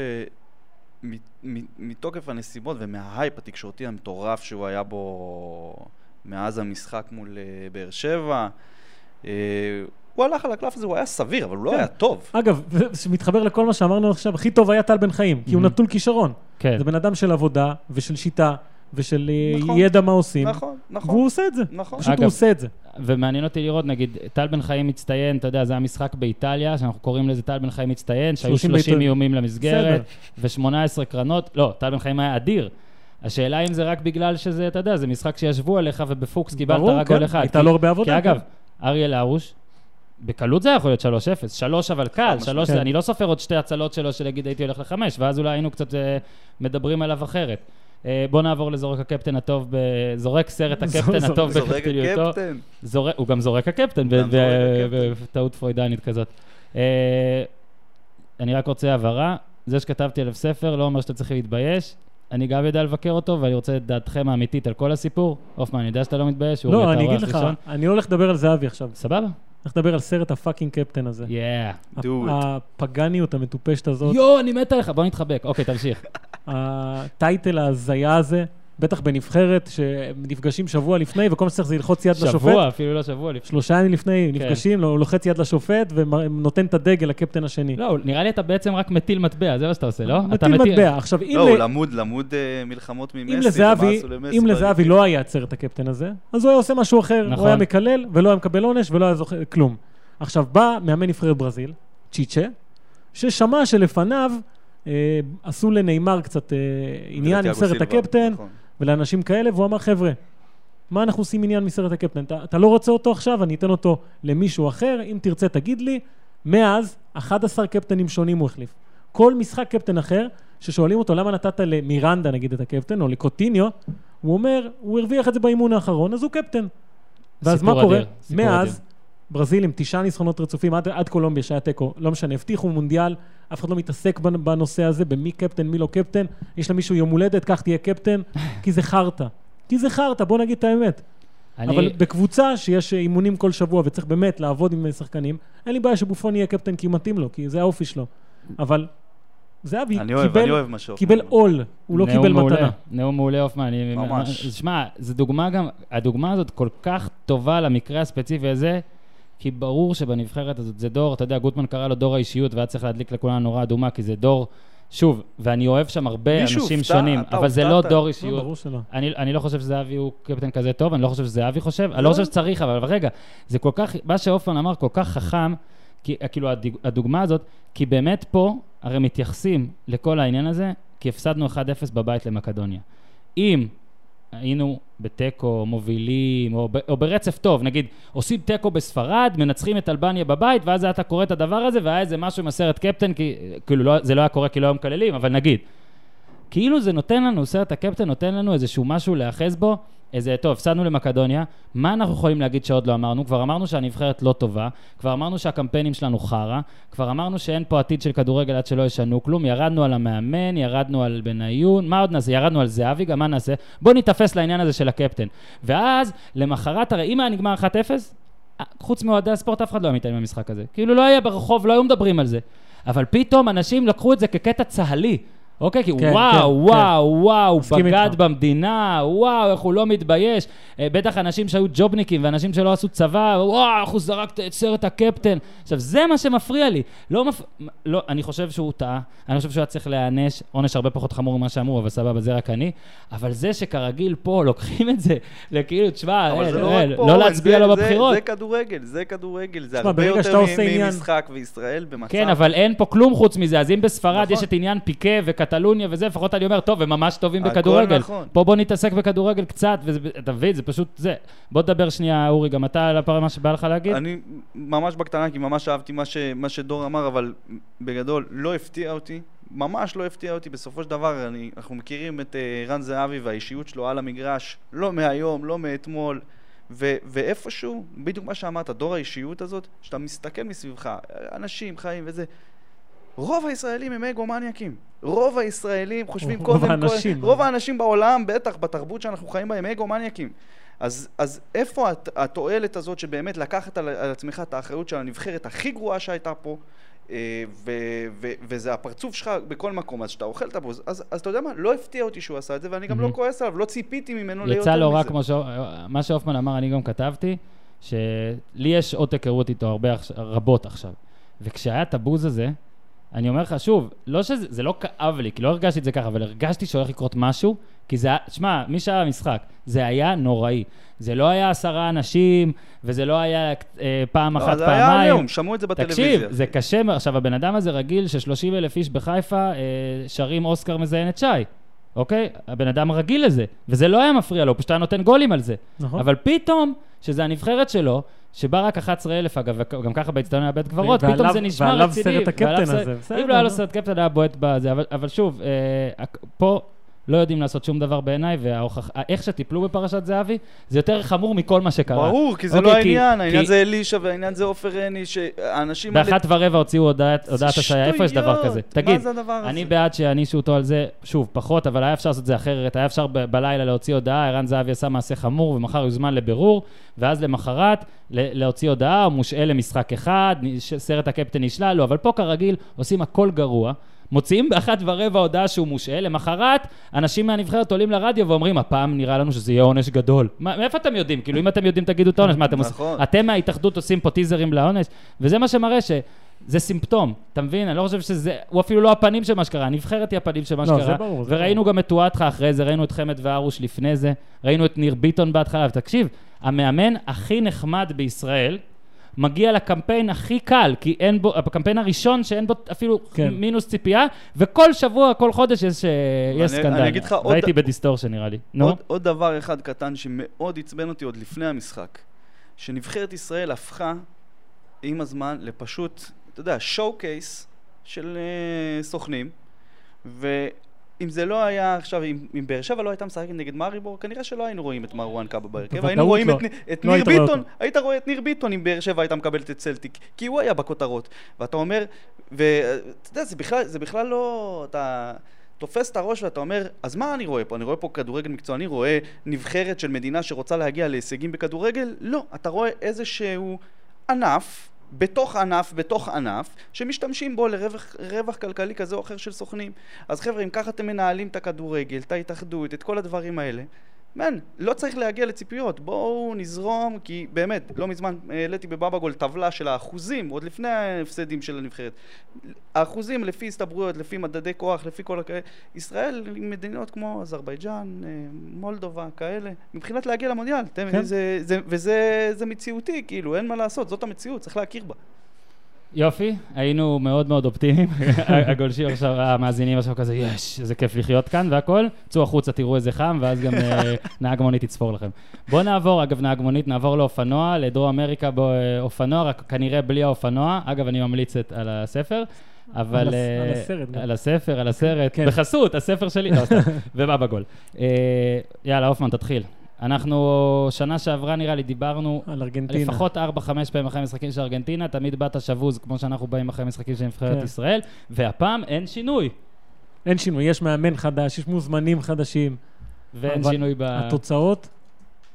Speaker 3: מ- מ- מתוקף הנסיבות ומההייפ התקשורתי המטורף שהוא היה בו מאז המשחק מול אה, באר שבע, אה, הוא הלך על הקלף הזה, הוא היה סביר, אבל הוא לא
Speaker 2: כן.
Speaker 3: היה טוב.
Speaker 2: אגב, שמתחבר לכל מה שאמרנו עכשיו, הכי טוב היה טל בן חיים, כי הוא
Speaker 1: מהמם.
Speaker 2: נטול כישרון.
Speaker 1: כן.
Speaker 2: זה בן אדם של עבודה, ושל שיטה, ושל אה,
Speaker 3: נכון.
Speaker 2: ידע מה עושים,
Speaker 3: נכון, נכון,
Speaker 2: והוא עושה את זה.
Speaker 3: נכון.
Speaker 2: פשוט
Speaker 1: אגב,
Speaker 2: הוא עושה את זה.
Speaker 1: ומעניין אותי לראות, נגיד, טל בן חיים מצטיין, אתה יודע, זה היה משחק באיטליה, שאנחנו קוראים לזה טל בן חיים מצטיין, שהיו
Speaker 2: 30
Speaker 1: 30
Speaker 2: בעיטות.
Speaker 1: איומים למסגרת,
Speaker 2: בסדר.
Speaker 1: ו-18 קרנות. לא, טל בן חיים היה אדיר. השאלה אם זה רק בגלל שזה, אתה יודע, זה משחק שישבו עליך ובפוקס קיבלת
Speaker 2: ברור,
Speaker 1: רק
Speaker 2: כן.
Speaker 1: גול אחד.
Speaker 2: הייתה
Speaker 1: כי-
Speaker 2: לו הרבה עבודה,
Speaker 1: כי אגב,
Speaker 2: כן.
Speaker 1: אריאל הרוש, בקלות זה היה יכול להיות 3-0. 3 אבל קל,
Speaker 3: משמעית.
Speaker 1: 3
Speaker 2: כן.
Speaker 1: זה, אני לא סופר עוד שתי הצלות שלו שנגיד הייתי הולך לחמש, ואז אולי היינו קצת אה, מדברים עליו אחרת. אה, בוא נעבור לזורק הקפטן הטוב, ב- זורק סרט
Speaker 2: זורק-
Speaker 1: הקפטן הטוב
Speaker 3: זורק
Speaker 1: בקפטניותו.
Speaker 3: הקפטן.
Speaker 1: זורק, הוא גם זורק הקפטן, ב-
Speaker 3: גם זורק
Speaker 1: ב-
Speaker 3: הקפטן.
Speaker 1: בטעות פרוידנית כזאת. אה, אני רק רוצה הבהרה, זה שכתבתי עליו ספר לא אומר שאתם צריכים להתבייש. אני גם יודע לבקר אותו, ואני רוצה את דעתכם האמיתית על כל הסיפור. הופמן, אני יודע שאתה לא מתבייש, הוא
Speaker 2: לא,
Speaker 1: אתה
Speaker 2: אני אגיד
Speaker 1: אורח
Speaker 2: לך,
Speaker 1: ראשון.
Speaker 2: אני הולך לדבר על זהבי עכשיו.
Speaker 1: סבבה?
Speaker 2: הולך לדבר על סרט הפאקינג קפטן הזה.
Speaker 1: יאה.
Speaker 3: Do it.
Speaker 2: הפגניות המטופשת הזאת,
Speaker 1: יואו, אני מת עליך, בוא נתחבק. אוקיי, תמשיך.
Speaker 2: הטייטל ההזיה הזה, בטח בנבחרת, שנפגשים שבוע לפני, וכל מה שצריך זה ללחוץ יד לשופט.
Speaker 1: שבוע, כן. אפילו לא שבוע לפני.
Speaker 2: שלושה ימים לפני, נפגשים, הוא לוחץ יד לשופט ונותן את הדגל לקפטן השני.
Speaker 1: לא, נראה לי אתה בעצם רק מטיל מטבע, זה מה שאתה עושה, לא? אתה
Speaker 2: מטיל מטבע. עכשיו, אם
Speaker 3: לא,
Speaker 2: ל-
Speaker 3: הוא למוד, למוד אה, מלחמות
Speaker 2: אם
Speaker 3: ממסי,
Speaker 2: לזהבי, אם
Speaker 3: לא
Speaker 2: לזהבי
Speaker 3: יודע.
Speaker 2: לא היה עוצר את הקפטן הזה, אז הוא היה עושה משהו אחר. הוא
Speaker 1: נכון.
Speaker 2: היה מקלל, ולא היה מקבל עונש, ולא היה זוכר כלום. עכשיו, בא מאמן נבחרת ברזיל, צ'יצ'ה, ששמע שלפניו אה, עשו לנאמר קצת אה, עניין עם
Speaker 3: ולתיאגו
Speaker 2: סרט
Speaker 3: סילבה,
Speaker 2: הקפטן,
Speaker 3: נכון.
Speaker 2: ולאנשים כאלה, והוא אמר, חבר'ה, מה אנחנו עושים עניין מסרט הקפטן? אתה, אתה לא רוצה אותו עכשיו, אני אתן אותו למישהו אחר, אם תרצה תגיד לי. מאז, 11 קפטנים שונים הוא החליף. כל משחק קפטן אחר, ששואלים אותו למה נתת למירנדה נגיד את הקפטן, או לקוטיניו, הוא אומר, הוא הרוויח את זה באימון האחרון, אז הוא קפטן. ואז
Speaker 1: סיפור
Speaker 2: מה קורה?
Speaker 1: אדיר, סיפור
Speaker 2: מאז,
Speaker 1: אדיר.
Speaker 2: ברזיל עם תשעה ניצחונות רצופים, עד, עד קולומביה שהיה תיקו, לא משנה, הבטיחו מונדיאל, אף אחד לא מתעסק בנ- בנושא הזה, במי קפטן, מי לא קפטן, יש למישהו יום הולדת, כך תהיה קפטן, כי זה חרטא. כי זה חרטא, בוא נגיד את האמת.
Speaker 1: אני-
Speaker 2: אבל בקבוצה שיש אימונים כל שבוע וצריך באמת לעבוד עם אה, שחקנים, אין לי בעיה שבופון יהיה קפטן כי מתאים לו, כי זה האופי שלו. אבל זהבי
Speaker 3: אני אוהב,
Speaker 2: קיבל-
Speaker 3: אני אוהב מה שאופן
Speaker 2: קיבל
Speaker 3: אומר.
Speaker 2: עול, הוא לא
Speaker 1: נאום
Speaker 2: קיבל
Speaker 1: מעולה,
Speaker 2: מתנה.
Speaker 1: נאום מעולה, הופמן. אני-
Speaker 3: ממש.
Speaker 1: אז שמע, זו דוגמה גם, הדוגמה הזאת כל כך טובה למקרה הספציפי הזה, כי ברור שבנבחרת הזאת זה דור, אתה יודע, גוטמן קרא לו דור האישיות, והיה צריך להדליק לכולנו נורה אדומה, כי זה דור, שוב, ואני אוהב שם הרבה
Speaker 3: מישהו
Speaker 1: אנשים
Speaker 3: הופתע?
Speaker 1: שונים,
Speaker 3: אתה
Speaker 1: אבל זה לא
Speaker 3: הופתעת?
Speaker 1: דור
Speaker 2: לא,
Speaker 1: אישיות.
Speaker 2: ברור שלא.
Speaker 1: אני, אני לא חושב שזהבי הוא קפטן כזה טוב, אני לא חושב שזהבי חושב, אני לא חושב שצריך, אבל אבל רגע, זה כל כך, מה שהופמן אמר כל כך חכם, כי, כאילו הדיג, הדוגמה הזאת, כי באמת פה, הרי מתייחסים לכל העניין הזה, כי הפסדנו 1-0 בבית למקדוניה. אם היינו בתיקו, מובילים, או, ב, או ברצף טוב, נגיד, עושים תיקו בספרד, מנצחים את אלבניה בבית, ואז אתה קורא את הדבר הזה, והיה איזה משהו עם הסרט קפטן, כי, כאילו, לא, זה לא היה קורה כי לא היו מקללים, אבל נגיד. כאילו זה נותן לנו, סרט הקפטן נותן לנו איזשהו משהו להיאחז בו, איזה, טוב, הפסדנו למקדוניה, מה אנחנו יכולים להגיד שעוד לא אמרנו? כבר אמרנו שהנבחרת לא טובה, כבר אמרנו שהקמפיינים שלנו חרא, כבר אמרנו שאין פה עתיד של כדורגל עד שלא ישנו כלום, ירדנו על המאמן, ירדנו על בניון, מה עוד נעשה? ירדנו על זהבי, גם מה נעשה? בוא ניתפס לעניין הזה של הקפטן. ואז, למחרת, הרי אם היה נגמר 1-0, חוץ מאוהדי הספורט אף אחד לא היה מתעניין במשחק הזה. כאילו לא היה ברחוב, לא היו מדברים על זה. אבל פתאום אנשים לקחו את זה כקטע צהלי. אוקיי, כי
Speaker 2: כן,
Speaker 1: וואו,
Speaker 2: כן,
Speaker 1: וואו, וואו,
Speaker 2: מסכים
Speaker 1: בגד
Speaker 2: איתך.
Speaker 1: במדינה, וואו, איך הוא לא מתבייש. אה, בטח אנשים שהיו ג'ובניקים ואנשים שלא עשו צבא, וואו, איך הוא זרק את סרט הקפטן. עכשיו, זה מה שמפריע לי. לא מפ... לא, אני חושב שהוא טעה, אני חושב שהוא היה צריך להיענש, עונש הרבה פחות חמור ממה שאמרו, אבל סבבה, זה רק אני. אבל זה שכרגיל פה לוקחים את זה, לכאילו, תשמע,
Speaker 3: אבל
Speaker 1: אה,
Speaker 3: זה לא
Speaker 1: אה,
Speaker 3: רק פה,
Speaker 1: לא
Speaker 3: אורן,
Speaker 1: להצביע
Speaker 3: זה-
Speaker 1: לו
Speaker 3: זה-
Speaker 1: בבחירות.
Speaker 3: זה כדורגל, זה כדורגל, זה
Speaker 2: תשמע,
Speaker 3: הרבה
Speaker 2: ברגע
Speaker 3: יותר
Speaker 2: שאתה עושה
Speaker 3: מ-
Speaker 2: עניין-
Speaker 3: ממשחק, וישראל במצב...
Speaker 1: כן, אבל אין פה כלום חוץ מזה, אז אם בספרד
Speaker 3: נכון.
Speaker 1: יש את עניין פיקה וקטלוניה וזה, לפחות אני אומר, טוב, הם ממש טובים
Speaker 3: הכל
Speaker 1: בכדורגל.
Speaker 3: נכון.
Speaker 1: פה בוא נתעסק בכדורגל קצת, וזה- אתה מבין, זה פשוט זה. בוא תדבר שנייה, אורי, גם אתה על הפעם מה שבא לך להגיד?
Speaker 3: אני ממש בקטנה, כי ממש אהבתי מה, ש, מה שדור אמר, אבל בגדול לא הפתיע אותי, ממש לא הפתיע אותי. בסופו של דבר, אני, אנחנו מכירים את אה, רן זהבי והאישיות שלו על המגרש, לא מהיום, לא מאתמול. ו- ואיפשהו, בדיוק מה שאמרת, דור האישיות הזאת, שאתה מסתכל מסביבך, אנשים חיים וזה, רוב הישראלים הם אגומניאקים. רוב הישראלים חושבים
Speaker 2: רוב
Speaker 3: קודם כל...
Speaker 2: האנשים.
Speaker 3: רוב האנשים בעולם, בטח בתרבות שאנחנו חיים בה, הם אגומניאקים. אז, אז איפה הת, התועלת הזאת שבאמת לקחת על, על עצמך את האחריות של הנבחרת הכי גרועה שהייתה פה, אה, ו, ו, וזה הפרצוף שלך בכל מקום, אז שאתה אוכל את הבוז, אז, אז אתה יודע מה, לא הפתיע אותי שהוא עשה את זה, ואני גם לא
Speaker 1: מהמם.
Speaker 3: כועס עליו, לא ציפיתי ממנו ליותר מזה.
Speaker 1: יצא לו רע כמו ש... מה שהופמן אמר, אני גם כתבתי, שלי יש עוד היכרות איתו הרבה עכש- רבות עכשיו. וכשהיה את הבוז הזה, אני אומר לך שוב, לא שזה זה לא כאב לי, כי לא הרגשתי את זה ככה, אבל הרגשתי שהולך לקרות משהו, כי זה היה, שמע, מי שהיה במשחק, זה היה נוראי. זה לא היה עשרה אנשים, וזה לא היה אה, פעם
Speaker 3: לא,
Speaker 1: אחת,
Speaker 3: זה
Speaker 1: פעמיים.
Speaker 3: היה עליהום, שמעו את זה בטלוויזיה.
Speaker 1: תקשיב, זה קשה, מאוד. עכשיו הבן אדם הזה רגיל ש-30 אלף איש בחיפה אה, שרים אוסקר מזיין את שי, אוקיי? הבן אדם רגיל לזה, וזה לא היה מפריע לו, הוא פשוט היה נותן גולים על זה.
Speaker 2: נכון.
Speaker 1: אבל פתאום, שזה הנבחרת שלו, שבה רק 11 אלף, אגב, וגם ככה באצטדיון היה בית קברות,
Speaker 2: ועליו-
Speaker 1: פתאום זה נשמע
Speaker 2: ועליו
Speaker 1: רציני.
Speaker 2: סרט הקפטן
Speaker 1: ועליו
Speaker 2: הזה,
Speaker 1: סרט-
Speaker 2: בסדר,
Speaker 1: אם לא היה לו
Speaker 2: נו.
Speaker 1: סרט קפטן היה בועט בזה, אבל- אבל שוב, אה, הק- פה... לא יודעים לעשות שום דבר בעיניי, ואיך שטיפלו בפרשת זהבי, זה יותר חמור מכל מה שקרה.
Speaker 3: ברור, כי זה
Speaker 1: אוקיי,
Speaker 3: לא העניין, העניין
Speaker 1: כי-
Speaker 3: זה אלישע והעניין זה עופר עיני, שהאנשים האלה...
Speaker 1: באחת ורבע הוציאו הודעת
Speaker 3: זה
Speaker 1: הודעת השעיה, איפה יש דבר כזה?
Speaker 3: שטויות, מה
Speaker 1: תגיד,
Speaker 3: זה הדבר הזה?
Speaker 1: אני בעד שיענישו אותו על זה, שוב, פחות, אבל היה אפשר לעשות את זה אחרת, היה אפשר ב- בלילה להוציא הודעה, ערן זהבי עשה מעשה חמור, ומחר יוזמן לבירור, ואז למחרת ל- להוציא הודעה, הוא מושעה למשחק אחד, נ- ש- סרט הקפטן נשלל לו, אבל פה כרגיל עושים הכל גרוע. מוציאים באחת ורבע הודעה שהוא מושעה, למחרת אנשים מהנבחרת עולים לרדיו ואומרים, הפעם נראה לנו שזה יהיה עונש גדול. מה- מאיפה אתם יודעים? כאילו, אם אתם יודעים, תגידו את העונש. מה אתם עושים?
Speaker 3: נכון.
Speaker 1: אתם מההתאחדות עושים פה טיזרים לעונש? וזה מה שמראה ש... זה סימפטום, אתה מבין? אני לא חושב שזה... הוא אפילו לא הפנים של מה שקרה, הנבחרת היא הפנים של מה
Speaker 2: לא, זה
Speaker 1: שקרה.
Speaker 2: ברור, זה
Speaker 1: וראינו גם את טואטחה אחרי זה, ראינו את חמד והרוש לפני זה, ראינו את ניר ביטון בהתחלה. ותקשיב, המאמן הכי נחמד בישראל מגיע לקמפיין הכי קל, כי אין בו... הקמפיין הראשון שאין בו אפילו
Speaker 2: כן.
Speaker 1: מינוס ציפייה, וכל שבוע, כל חודש יש, יש
Speaker 3: אני
Speaker 1: סקנדל.
Speaker 3: אגיד לך עוד-
Speaker 1: ראיתי בדיסטורשן נראה לי. נו,
Speaker 3: עוד, עוד דבר אחד קטן שמאוד עצבן אותי עוד לפני המשחק, שנבחרת ישראל הפכה עם הזמן לפשוט, אתה יודע, שואו קייס של אה, סוכנים, ואם זה לא היה עכשיו, אם, אם באר שבע לא הייתה משחקת נגד מאריבור, כנראה שלא היינו רואים את מרואן קאבה בהרכב,
Speaker 2: בוודאות
Speaker 3: היינו רואים
Speaker 2: לא.
Speaker 3: את, נ- את
Speaker 2: לא
Speaker 3: ניר
Speaker 2: היית רואה
Speaker 3: ביטון,
Speaker 2: אותו.
Speaker 3: היית רואה את ניר ביטון אם באר שבע הייתה מקבלת את סלטיק, כי הוא היה בכותרות, ואתה אומר, ואתה יודע, זה בכלל, זה בכלל לא... אתה... תופס את הראש ואתה אומר, אז מה אני רואה פה? אני רואה פה כדורגל מקצועני, רואה נבחרת של מדינה שרוצה להגיע להישגים בכדורגל? לא. אתה רואה איזשהו ענף, בתוך ענף, בתוך ענף, שמשתמשים בו לרווח רווח כלכלי כזה או אחר של סוכנים. אז חבר'ה, אם ככה אתם מנהלים את הכדורגל, את ההתאחדות, את כל הדברים האלה, מן, לא צריך להגיע לציפיות, בואו נזרום, כי באמת, לא מזמן העליתי בבבגול טבלה של האחוזים, עוד לפני ההפסדים של הנבחרת. האחוזים לפי הסתברויות, לפי מדדי כוח, לפי כל הכאלה. ישראל עם מדינות כמו אזרבייג'אן, אה, מולדובה, כאלה, מבחינת להגיע למונדיאל. אתם-
Speaker 2: כן.
Speaker 3: זה- זה- וזה זה מציאותי, כאילו, אין מה לעשות, זאת המציאות, צריך להכיר בה.
Speaker 1: יופי, היינו מאוד מאוד אופטימיים. הגולשים עכשיו, המאזינים עכשיו כזה, יש, איזה כיף לחיות כאן והכל. צאו החוצה, תראו איזה חם, ואז גם אה, נהג מונית יצפור לכם. בואו נעבור, אגב, נהג מונית, נעבור לאופנוע, לדרום אמריקה באופנוע, רק כנראה בלי האופנוע. אגב, אני ממליץ את- על הספר. אבל...
Speaker 2: על הס-
Speaker 1: אה,
Speaker 2: על הסרט גם.
Speaker 1: על הספר, על הסרט.
Speaker 2: כן.
Speaker 1: בחסות, הספר שלי. לא, סתם. ובבא גול. אה, יאללה, הופמן, תתחיל. אנחנו, שנה שעברה נראה לי, דיברנו
Speaker 2: על ארגנטינה.
Speaker 1: לפחות 4-5 פעמים אחרי משחקים של ארגנטינה, תמיד באת שבוז, כמו שאנחנו באים אחרי משחקים של נבחרת
Speaker 2: כן.
Speaker 1: ישראל, והפעם אין שינוי.
Speaker 2: אין שינוי, יש מאמן חדש, יש מוזמנים חדשים.
Speaker 1: ואין
Speaker 2: אבל
Speaker 1: שינוי ב...
Speaker 2: התוצאות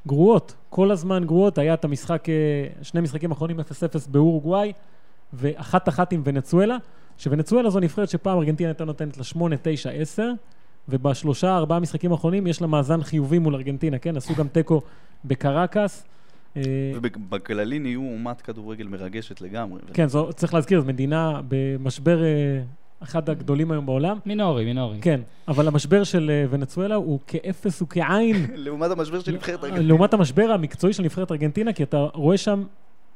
Speaker 2: גרועות, כל הזמן גרועות. היה את המשחק, אה, שני משחקים אחרונים 0-0 באורוגוואי, ואחת אחת עם ונצואלה, שוונצואלה זו נבחרת שפעם ארגנטינה הייתה נותנת לה 8, 9, 10, ובשלושה, ארבעה משחקים האחרונים יש לה מאזן חיובי מול ארגנטינה, כן? עשו גם תיקו בקרקס. אה,
Speaker 3: ובכללי נהיו אומת כדורגל מרגשת לגמרי.
Speaker 2: כן, זו, צריך להזכיר, זו מדינה במשבר אה, אחד הגדולים היום בעולם.
Speaker 1: מינורי, מינורי.
Speaker 2: כן, אבל המשבר של אה, ונצואלה הוא כאפס וכעין
Speaker 3: לעומת המשבר של נבחרת רגל.
Speaker 2: לעומת המשבר המקצועי של נבחרת ארגנטינה, כי אתה רואה שם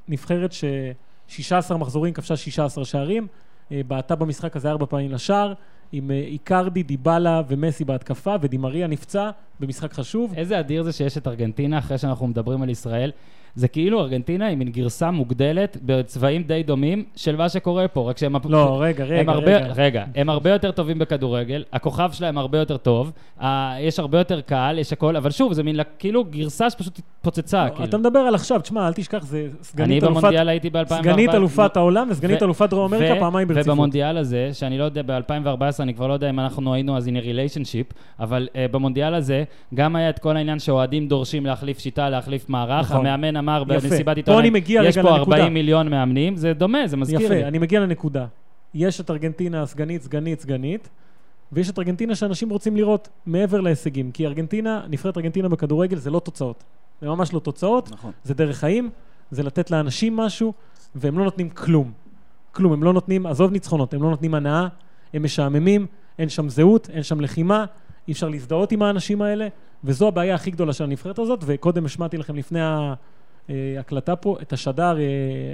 Speaker 2: נבחרת ש-16 מחזורים כבשה 16 שערים, אה, בעטה במשחק הזה ארבע פעמים לשער, עם אה, איקרדי, דיבלה ומסי בהתקפה, ודימריה נפצע במשחק חשוב.
Speaker 1: איזה אדיר זה שיש את ארגנטינה אחרי שאנחנו מדברים על ישראל. זה כאילו ארגנטינה היא מין גרסה מוגדלת בצבעים די דומים של מה שקורה פה, רק שהם...
Speaker 2: לא, רגע,
Speaker 1: הם
Speaker 2: רגע,
Speaker 1: הרבה,
Speaker 2: רגע.
Speaker 1: רגע, הם הרבה יותר טובים בכדורגל, הכוכב שלהם הרבה יותר טוב, ה- יש הרבה יותר קהל, יש הכל, אבל שוב, זה מין לק- כאילו גרסה שפשוט התפוצצה,
Speaker 2: לא,
Speaker 1: כאילו.
Speaker 2: אתה מדבר על עכשיו, תשמע, אל תשכח, זה
Speaker 1: אני
Speaker 2: סגנית אלופת...
Speaker 1: במונדיאל הייתי ב-2004.
Speaker 2: סגנית אלופת העולם וסגנית
Speaker 1: ו-
Speaker 2: אלופת דרום אמריקה
Speaker 1: ו-
Speaker 2: פעמיים ברציפות.
Speaker 1: ובמונדיאל הזה, שאני לא יודע, ב-2014, אני כבר לא יודע אם אנחנו היינו אז in a relationship, אבל uh, במונדיאל הזה, גם היה את כל העניין שאוהדים דורשים להחליף שיטה, להחליף מערך.
Speaker 2: נכון.
Speaker 1: המאמן אמר
Speaker 2: יפה.
Speaker 1: במסיבת
Speaker 2: פה
Speaker 1: עיתונאים,
Speaker 2: אני מגיע
Speaker 1: יש
Speaker 2: רגע
Speaker 1: פה
Speaker 2: לנקודה."
Speaker 1: 40 מיליון מאמנים, זה דומה, זה מזכיר
Speaker 2: יפה,
Speaker 1: לי.
Speaker 2: אני מגיע לנקודה. יש את ארגנטינה סגנית, סגנית, סגנית, ויש את ארגנטינה שאנשים רוצים לראות מעבר להישגים. כי ארגנטינה, נבחרת ארגנטינה בכדורגל זה לא תוצאות. זה ממש לא תוצאות,
Speaker 3: נכון.
Speaker 2: זה דרך חיים, זה לתת לאנשים משהו, והם לא נותנים כלום. כלום, הם לא נותנים, עזוב ניצחונות, הם לא נותנים הנאה, הם משעממים, אין שם זהות, אין שם לחימה, אי אפשר להזדהות עם האנשים האלה, וזו הבעיה הכי גדולה של הנבחרת הזאת, וקודם השמעתי לכם לפני ההקלטה פה, את השדר, אה,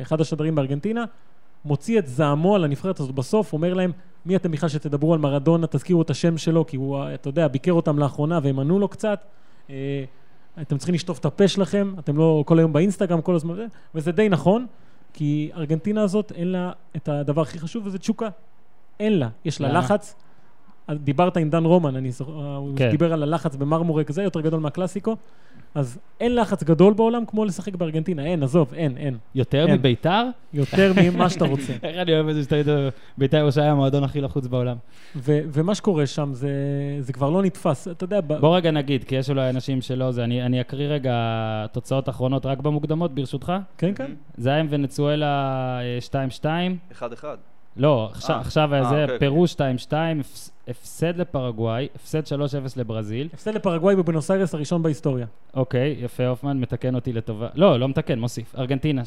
Speaker 2: אחד השדרים בארגנטינה, מוציא את זעמו על הנבחרת הזאת בסוף, אומר להם, מי אתם בכלל שתדברו על מרדונה, תזכירו את השם שלו, כי הוא, אה, אתה יודע, ביקר אותם לאחרונה והם ענו לו קצת. אה, אתם צריכים לשטוף את הפה שלכם, אתם לא כל היום באינסטגרם כל הזמן, וזה- וזה די נכון, כי ארגנטינה הזאת אין לה את הדבר הכי חשוב, וזה תשוקה. אין לה. יש לה
Speaker 1: למה?
Speaker 2: לחץ. אז דיברת עם דן רומן, אני זוכר, הוא
Speaker 1: כן.
Speaker 2: דיבר על הלחץ במרמורק, זה יותר גדול מהקלאסיקו. אז אין לחץ גדול בעולם כמו לשחק בארגנטינה, אין, עזוב, אין, אין.
Speaker 1: יותר
Speaker 2: אין.
Speaker 1: מביתר?
Speaker 2: יותר ממה שאתה רוצה.
Speaker 1: איך אני אוהב את זה שאתה יודע, ביתר ירושלים המועדון הכי לחוץ בעולם.
Speaker 2: ו- ומה שקורה שם זה, זה כבר לא נתפס, אתה יודע, ב-
Speaker 1: בוא רגע נגיד, כי יש אולי אנשים שלא זה, אני אני אקריא רגע תוצאות אחרונות רק במוקדמות, ברשותך.
Speaker 2: כן, כן.
Speaker 1: זה היה עם ונצואלה אה, 2-2.
Speaker 3: אחד אחד.
Speaker 1: לא, עכשיו-
Speaker 3: אה,
Speaker 1: עכשיו היה
Speaker 3: אה,
Speaker 1: זה
Speaker 3: אוקיי,
Speaker 1: פירוש 2-2, הפס- הפסד לפרגוואי, הפסד 3-0 לברזיל.
Speaker 2: הפסד לפרגוואי בבונוס איירס הראשון בהיסטוריה.
Speaker 1: אוקיי, יפה הופמן, מתקן אותי לטובה. לא, לא מתקן, מוסיף. ארגנטינה,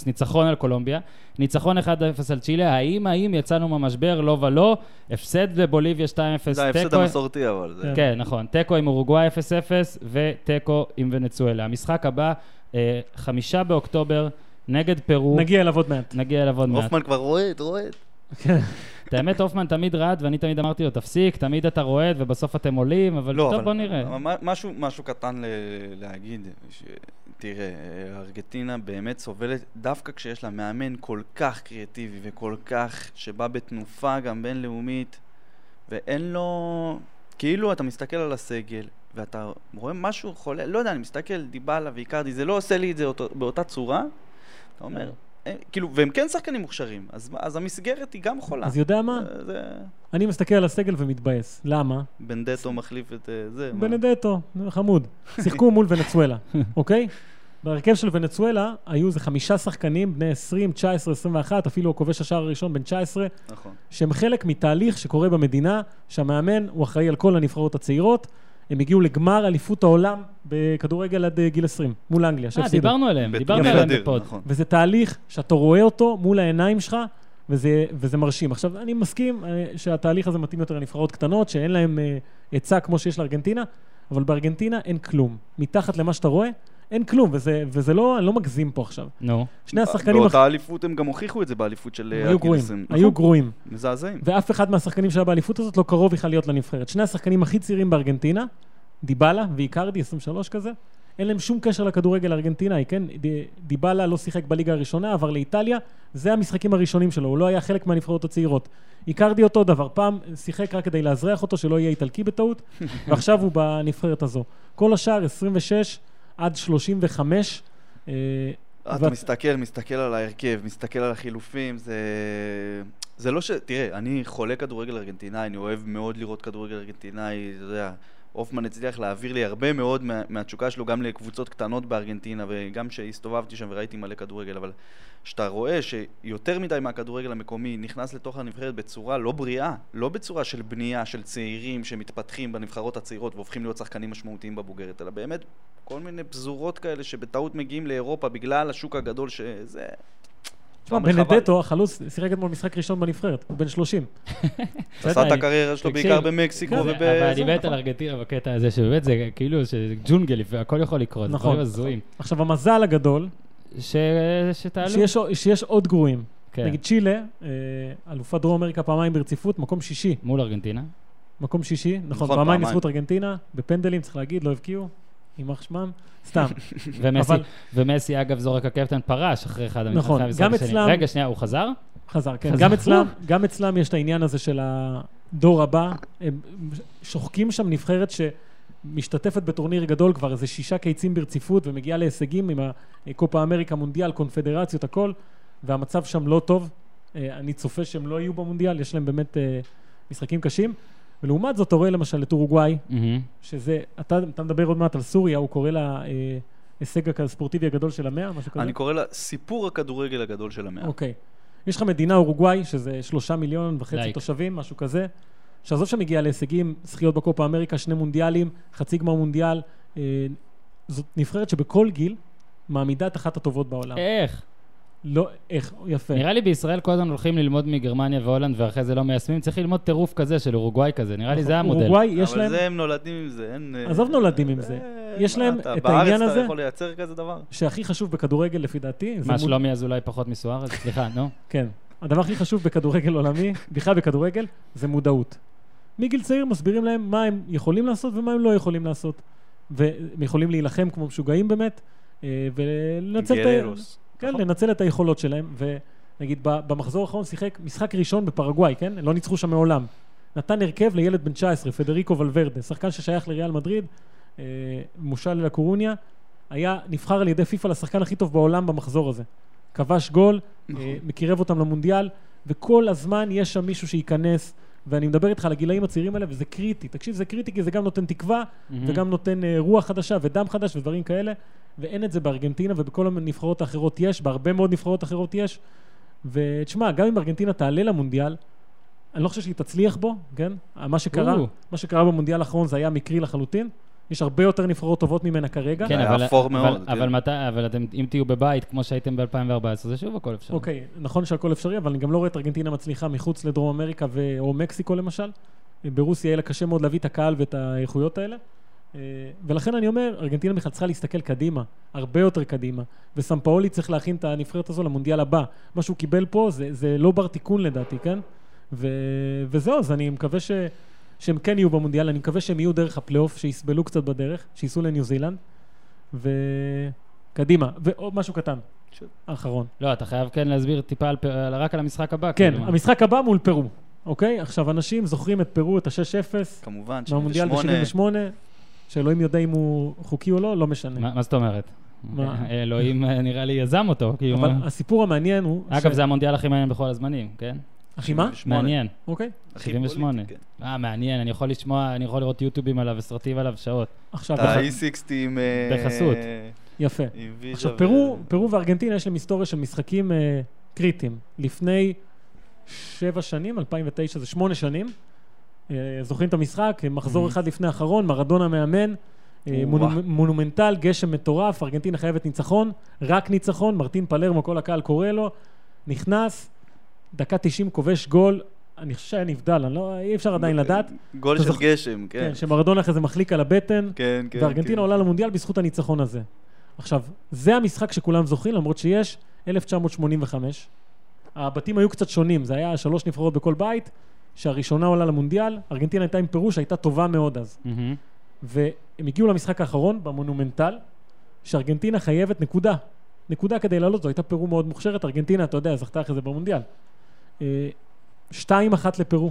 Speaker 1: 3-0 ניצחון על קולומביה, ניצחון 1-0 על צ'ילה, האם האם יצאנו מהמשבר, לא ולא, הפסד לבוליביה 2-0,
Speaker 3: זה ההפסד
Speaker 1: תיקו-
Speaker 3: המסורתי, אבל זה...
Speaker 1: כן, נכון. תיקו עם אורוגוואי 0-0 ותיקו עם ונצואלה. המשחק הבא, אה, חמישה באוקטובר, נגד פרו.
Speaker 2: נגיע אליו עוד מעט.
Speaker 1: נגיע אליו עוד מעט.
Speaker 3: הופמן כבר רועד, רועד.
Speaker 1: את האמת, הופמן תמיד רעד, ואני תמיד אמרתי לו, תפסיק, תמיד אתה רועד, ובסוף אתם עולים, אבל
Speaker 3: לא,
Speaker 1: טוב,
Speaker 3: אבל
Speaker 1: בוא נראה.
Speaker 3: מ- משהו, משהו קטן ל- להגיד, ש... תראה, ארגנטינה באמת סובלת, דווקא כשיש לה מאמן כל כך קריאטיבי וכל כך, שבא בתנופה גם בינלאומית, ואין לו... כאילו, אתה מסתכל על הסגל, ואתה רואה משהו חולה, לא יודע, אני מסתכל, דיבלה ואיקרדי, זה לא עושה לי את זה אותו, באותה צורה, אתה אומר, "אה, כאילו, והם כן שחקנים מוכשרים, אז, מה- אז המסגרת היא גם חולה.
Speaker 2: אז יודע מה?
Speaker 3: אה, זה...
Speaker 2: אני מסתכל על הסגל ומתבאס. למה?
Speaker 3: בנדטו מחליף את אה, זה. מה?
Speaker 2: בנדטו, חמוד. שיחקו מול ונצואלה, אוקיי? בהרכב של ונצואלה היו איזה חמישה שחקנים בני 20, 19, 21, אפילו כובש השער הראשון בן 19,
Speaker 3: נכון.
Speaker 2: שהם חלק מתהליך שקורה במדינה, שהמאמן הוא אחראי על כל הנבחרות הצעירות. הם הגיעו לגמר אליפות העולם בכדורגל עד אה, גיל 20, מול אנגליה,
Speaker 1: אה,
Speaker 2: שהפסידו.
Speaker 1: דיברנו עליהם, דיברנו
Speaker 3: בטורניר
Speaker 1: עליהם
Speaker 3: אדיר,
Speaker 1: בפוד.
Speaker 3: נכון.
Speaker 2: וזה תהליך שאתה רואה אותו מול העיניים שלך, וזה, וזה מרשים. עכשיו, אני מסכים אה, שהתהליך הזה מתאים יותר לנבחרות קטנות, שאין להן אה, היצע כמו שיש לארגנטינה, אבל בארגנטינה אין כלום. מתחת למה שאתה רואה, אין כלום, וזה, וזה לא, אני לא מגזים פה עכשיו.
Speaker 1: נו,
Speaker 2: שני השחקנים
Speaker 3: אה, באותה אליפות הם גם הוכיחו את זה באליפות של
Speaker 2: היו
Speaker 3: עד גיל
Speaker 2: גרועים,
Speaker 3: 20.
Speaker 2: היו
Speaker 3: נכון.
Speaker 2: גרועים.
Speaker 3: מזעזעים.
Speaker 2: ואף אחד מהשחקנים שהיה באליפות הזאת לא קרוב בכלל להיות לנבחרת. שני השחקנים הכי צעירים בארגנטינה, דיבאלה ואיקרדי, 23 כזה, אין להם שום קשר לכדורגל הארגנטינאי, כן? ד- דיבאלה לא שיחק בליגה הראשונה, עבר לאיטליה, זה המשחקים הראשונים שלו, הוא לא היה חלק מהנבחרות הצעירות. איקרדי אותו דבר, פעם שיחק רק כדי לאזרח אותו, שלא יהיה איטלקי בטעות, ועכשיו הוא בנבחרת הזו. כל השאר, 26 עד 35, אה,
Speaker 3: אתה
Speaker 2: ואת-
Speaker 3: מסתכל, מסתכל על ההרכב, מסתכל על החילופים, זה... זה לא ש... תראה, אני חולה כדורגל ארגנטינאי, אני אוהב מאוד לראות כדורגל ארגנטינאי, אתה יודע, הופמן הצליח להעביר לי הרבה מאוד מה, מהתשוקה שלו גם לקבוצות קטנות בארגנטינה, וגם שהסתובבתי שם וראיתי מלא כדורגל, אבל כשאתה רואה שיותר מדי מהכדורגל המקומי נכנס לתוך הנבחרת בצורה לא בריאה, לא בצורה של בנייה של צעירים שמתפתחים בנבחרות הצעירות והופכים להיות שחקנים משמעותיים בבוגרת, אלא באמת כל מיני פזורות כאלה שבטעות מגיעים לאירופה בגלל השוק הגדול שזה...
Speaker 2: תשמע,
Speaker 3: אומר, חבל.
Speaker 2: לא, בנדטו, החלוץ, שיחק אתמול משחק ראשון בנבחרת, הוא בן 30.
Speaker 3: עשה את הקריירה שלו
Speaker 1: תקשיב,
Speaker 3: בעיקר במקסיקו
Speaker 2: כן,
Speaker 3: וב...
Speaker 1: אבל אני
Speaker 3: זה,
Speaker 1: מת
Speaker 3: נכון.
Speaker 1: על ארגנטינה בקטע הזה, שבאמת זה כאילו שזה ג'ונגל, והכל יכול לקרות,
Speaker 2: נכון.
Speaker 1: דברים הזויים.
Speaker 2: עכשיו, המזל הגדול,
Speaker 1: ש- שתעלו.
Speaker 2: שיש, שיש עוד גרועים.
Speaker 1: כן.
Speaker 2: נגיד צ'ילה, אה, אלופת דרום אמריקה פעמיים ברציפות, מקום שישי.
Speaker 1: מול ארגנטינה.
Speaker 2: מקום שישי, נכון,
Speaker 3: נכון,
Speaker 2: פעמיים
Speaker 3: פעמיים.
Speaker 2: בזכות ארגנטינה, בפנדלים, צריך להגיד, לא הבקיעו, יימח שמם, סתם.
Speaker 1: ומסי,
Speaker 2: אבל-
Speaker 1: ומסי, אגב, זורק הקפטן פרש אחרי אחד המשחקים.
Speaker 2: נכון,
Speaker 1: המשחק
Speaker 2: גם
Speaker 1: השני.
Speaker 2: אצלם-
Speaker 1: רגע, שנייה, הוא חזר?
Speaker 2: חזר, כן.
Speaker 1: חזר.
Speaker 2: גם אצלם, גם אצלם יש את העניין הזה של הדור הבא. הם שוחקים שם נבחרת שמשתתפת בטורניר גדול כבר איזה שישה קיצים ברציפות ומגיעה להישגים עם הקופה אמריקה, מונדיאל, קונפדרציות, הכל, והמצב שם לא טוב. אה, אני צופה שהם לא יהיו במונדיאל, יש להם באמת אה, משחקים קשים. ולעומת זאת, אתה רואה למשל את אורוגוואי,
Speaker 1: מהמם.
Speaker 2: שזה, אתה, אתה מדבר עוד מעט על סוריה, הוא קורא לה אה, הישג הספורטיבי הגדול של המאה, משהו כזה.
Speaker 3: אני קורא לה סיפור הכדורגל הגדול של המאה.
Speaker 2: אוקיי. יש לך מדינה, אורוגוואי, שזה שלושה מיליון וחצי
Speaker 1: לייק.
Speaker 2: תושבים, משהו כזה, שעזוב שמגיעה להישגים, זכיות בקופה אמריקה, שני מונדיאלים, חצי גמר מונדיאל. אה, זאת נבחרת שבכל גיל מעמידה את אחת הטובות בעולם.
Speaker 1: איך?
Speaker 2: לא, איך, יפה.
Speaker 1: נראה לי בישראל כל הזמן הולכים ללמוד מגרמניה והולנד ואחרי זה לא מיישמים, צריך ללמוד טירוף כזה של אורוגוואי כזה, נראה לי זה המודל.
Speaker 2: נכון. אורוגוואי, יש
Speaker 3: אבל
Speaker 2: להם...
Speaker 3: זה הם נולדים עם זה, אין... אה,
Speaker 2: עזוב נולדים עם
Speaker 3: אה,
Speaker 2: זה.
Speaker 3: אה,
Speaker 2: יש
Speaker 3: מה,
Speaker 2: להם
Speaker 3: אתה-
Speaker 2: את העניין
Speaker 3: בארץ
Speaker 2: הזה.
Speaker 3: אתה יכול לייצר כזה דבר?
Speaker 2: שהכי חשוב בכדורגל לפי דעתי, זה
Speaker 1: מה,
Speaker 2: מול-
Speaker 1: שלומי אזולאי פחות מסוארז? סליחה, נו.
Speaker 2: כן. הדבר הכי חשוב בכדורגל עולמי, בכלל בכדורגל, זה מודעות. מגיל צעיר מסבירים להם מה הם יכולים לעשות ומה הם לא יכולים לעשות. והם יכולים להילחם כמו משוגעים באמת, אה, ולנצל את, ה...
Speaker 3: גררוס.
Speaker 2: כן,
Speaker 3: נכון.
Speaker 2: לנצל את היכולות שלהם. ונגיד, ב- במחזור האחרון שיחק משחק ראשון בפרגוואי, כן? לא ניצחו שם מעולם. נתן הרכב לילד בן 19, פדריקו ולוורדה, שחקן ששייך לריאל מדריד, אה, מושל לקורוניה, היה נבחר על ידי פיפ"א לשחקן הכי טוב בעולם במחזור הזה. כבש גול, אה, מקרב אותם למונדיאל, וכל הזמן יש שם מישהו שייכנס, ואני מדבר איתך על הגילאים הצעירים האלה, וזה קריטי. תקשיב, זה קריטי כי זה גם נותן תקווה, וגם נותן אה, רוח חדשה ודם חדש ודברים כאלה, ואין את זה בארגנטינה ובכל הנבחרות האחרות יש, בהרבה מאוד נבחרות אחרות יש, ותשמע, גם אם ארגנטינה תעלה למונדיאל, אני לא חושב שהיא תצליח בו, כן? מה שקרה,
Speaker 1: או.
Speaker 2: מה שקרה במונדיאל האחרון זה היה מקרי לחלוטין. יש הרבה יותר נבחרות טובות ממנה כרגע.
Speaker 1: כן,
Speaker 3: היה
Speaker 1: אבל,
Speaker 3: אפור
Speaker 1: אבל,
Speaker 3: מאוד,
Speaker 1: אבל,
Speaker 3: כן.
Speaker 1: אבל, מתי, אבל אתם, אם תהיו בבית, כמו שהייתם ב-2014, זה שוב הכל אפשר.
Speaker 2: אוקיי, נכון שהכל אפשרי, אבל אני גם לא רואה את ארגנטינה מצליחה מחוץ לדרום אמריקה ו... או מקסיקו למשל. ברוסיה יהיה לה קשה מאוד להביא את הקהל ואת האיכויות האלה. אה, ולכן אני אומר, ארגנטינה בכלל צריכה להסתכל קדימה, הרבה יותר קדימה. וסמפאולי צריך להכין את הנבחרת הזו למונדיאל הבא. מה שהוא קיבל פה זה, זה לא בר תיקון לדעתי, כן? ו... וזהו, אז אני מקווה ש... שהם כן יהיו במונדיאל, אני מקווה שהם יהיו דרך הפלייאוף, שיסבלו קצת בדרך, שייסעו לניו זילנד. וקדימה, ועוד משהו קטן,
Speaker 3: ש-
Speaker 2: האחרון.
Speaker 1: לא, אתה חייב כן להסביר טיפה על, פ- על, רק על המשחק הבא.
Speaker 2: כן,
Speaker 1: כאילו.
Speaker 2: המשחק הבא מול פרו, אוקיי? עכשיו, אנשים זוכרים את פרו, את ה-6-0,
Speaker 3: כמובן,
Speaker 2: מהמונדיאל
Speaker 3: 78,
Speaker 2: ב-78, שאלוהים יודע אם הוא חוקי או לא, לא משנה.
Speaker 1: מה, מה זאת אומרת?
Speaker 2: מה?
Speaker 1: אלוהים אה, נראה לי יזם אותו, כאילו.
Speaker 2: אבל
Speaker 1: מה-
Speaker 2: הסיפור המעניין הוא...
Speaker 1: אגב, זה המונדיאל הכי מעניין בכל הזמנים, כן?
Speaker 2: אחי, מה?
Speaker 3: שמונה.
Speaker 1: מעניין.
Speaker 2: אוקיי.
Speaker 3: הכי
Speaker 1: 78.
Speaker 3: פוליטי, כן.
Speaker 1: אה, מעניין, אני יכול לשמוע, אני יכול לראות יוטיובים עליו וסרטים עליו שעות.
Speaker 2: עכשיו,
Speaker 3: את ה-E60 עם... אה,
Speaker 1: בחסות.
Speaker 2: יפה.
Speaker 3: עם ויז'ה
Speaker 2: עכשיו,
Speaker 3: ו-
Speaker 2: פרו, פרו וארגנטינה יש להם היסטוריה של משחקים אה, קריטיים. לפני שבע שנים, 2009 זה שמונה שנים, אה, זוכרים את המשחק? אה, מחזור אחד לפני האחרון, מרדונה מאמן, אה, מונו-
Speaker 3: Mhm. וואו.
Speaker 2: מונומנטל, גשם מטורף, ארגנטינה חייבת ניצחון, רק ניצחון, מרטין פלרמו, כל הקהל קורא לו, נכנס, דקה 90 כובש גול, אני חושב שהיה נבדל, אני לא, אי אפשר עדיין לדעת,
Speaker 3: גול
Speaker 2: אתה
Speaker 3: של
Speaker 2: זוכ-
Speaker 3: גשם, כן.
Speaker 2: כן, שמרדונה אחרי זה מחליק על הבטן.
Speaker 3: כן, כן.
Speaker 2: וארגנטינה
Speaker 3: כן.
Speaker 2: עולה למונדיאל בזכות הניצחון הזה. עכשיו, זה המשחק שכולם זוכרים, למרות שיש 1985. הבתים היו קצת שונים, זה היה שלוש נבחרות בכל בית, שהראשונה עולה למונדיאל, ארגנטינה הייתה עם פירוש, הייתה טובה מאוד אז.
Speaker 1: מהמם.
Speaker 2: והם הגיעו למשחק האחרון, במונומנטל, שארגנטינה חייבת נקודה. נקודה כדי לעלות, זו הייתה פרו מאוד מוכשרת, ארגנטינה, אתה יודע, זכתה אחרי זה במונדיאל. אה, 2-1 לפרו.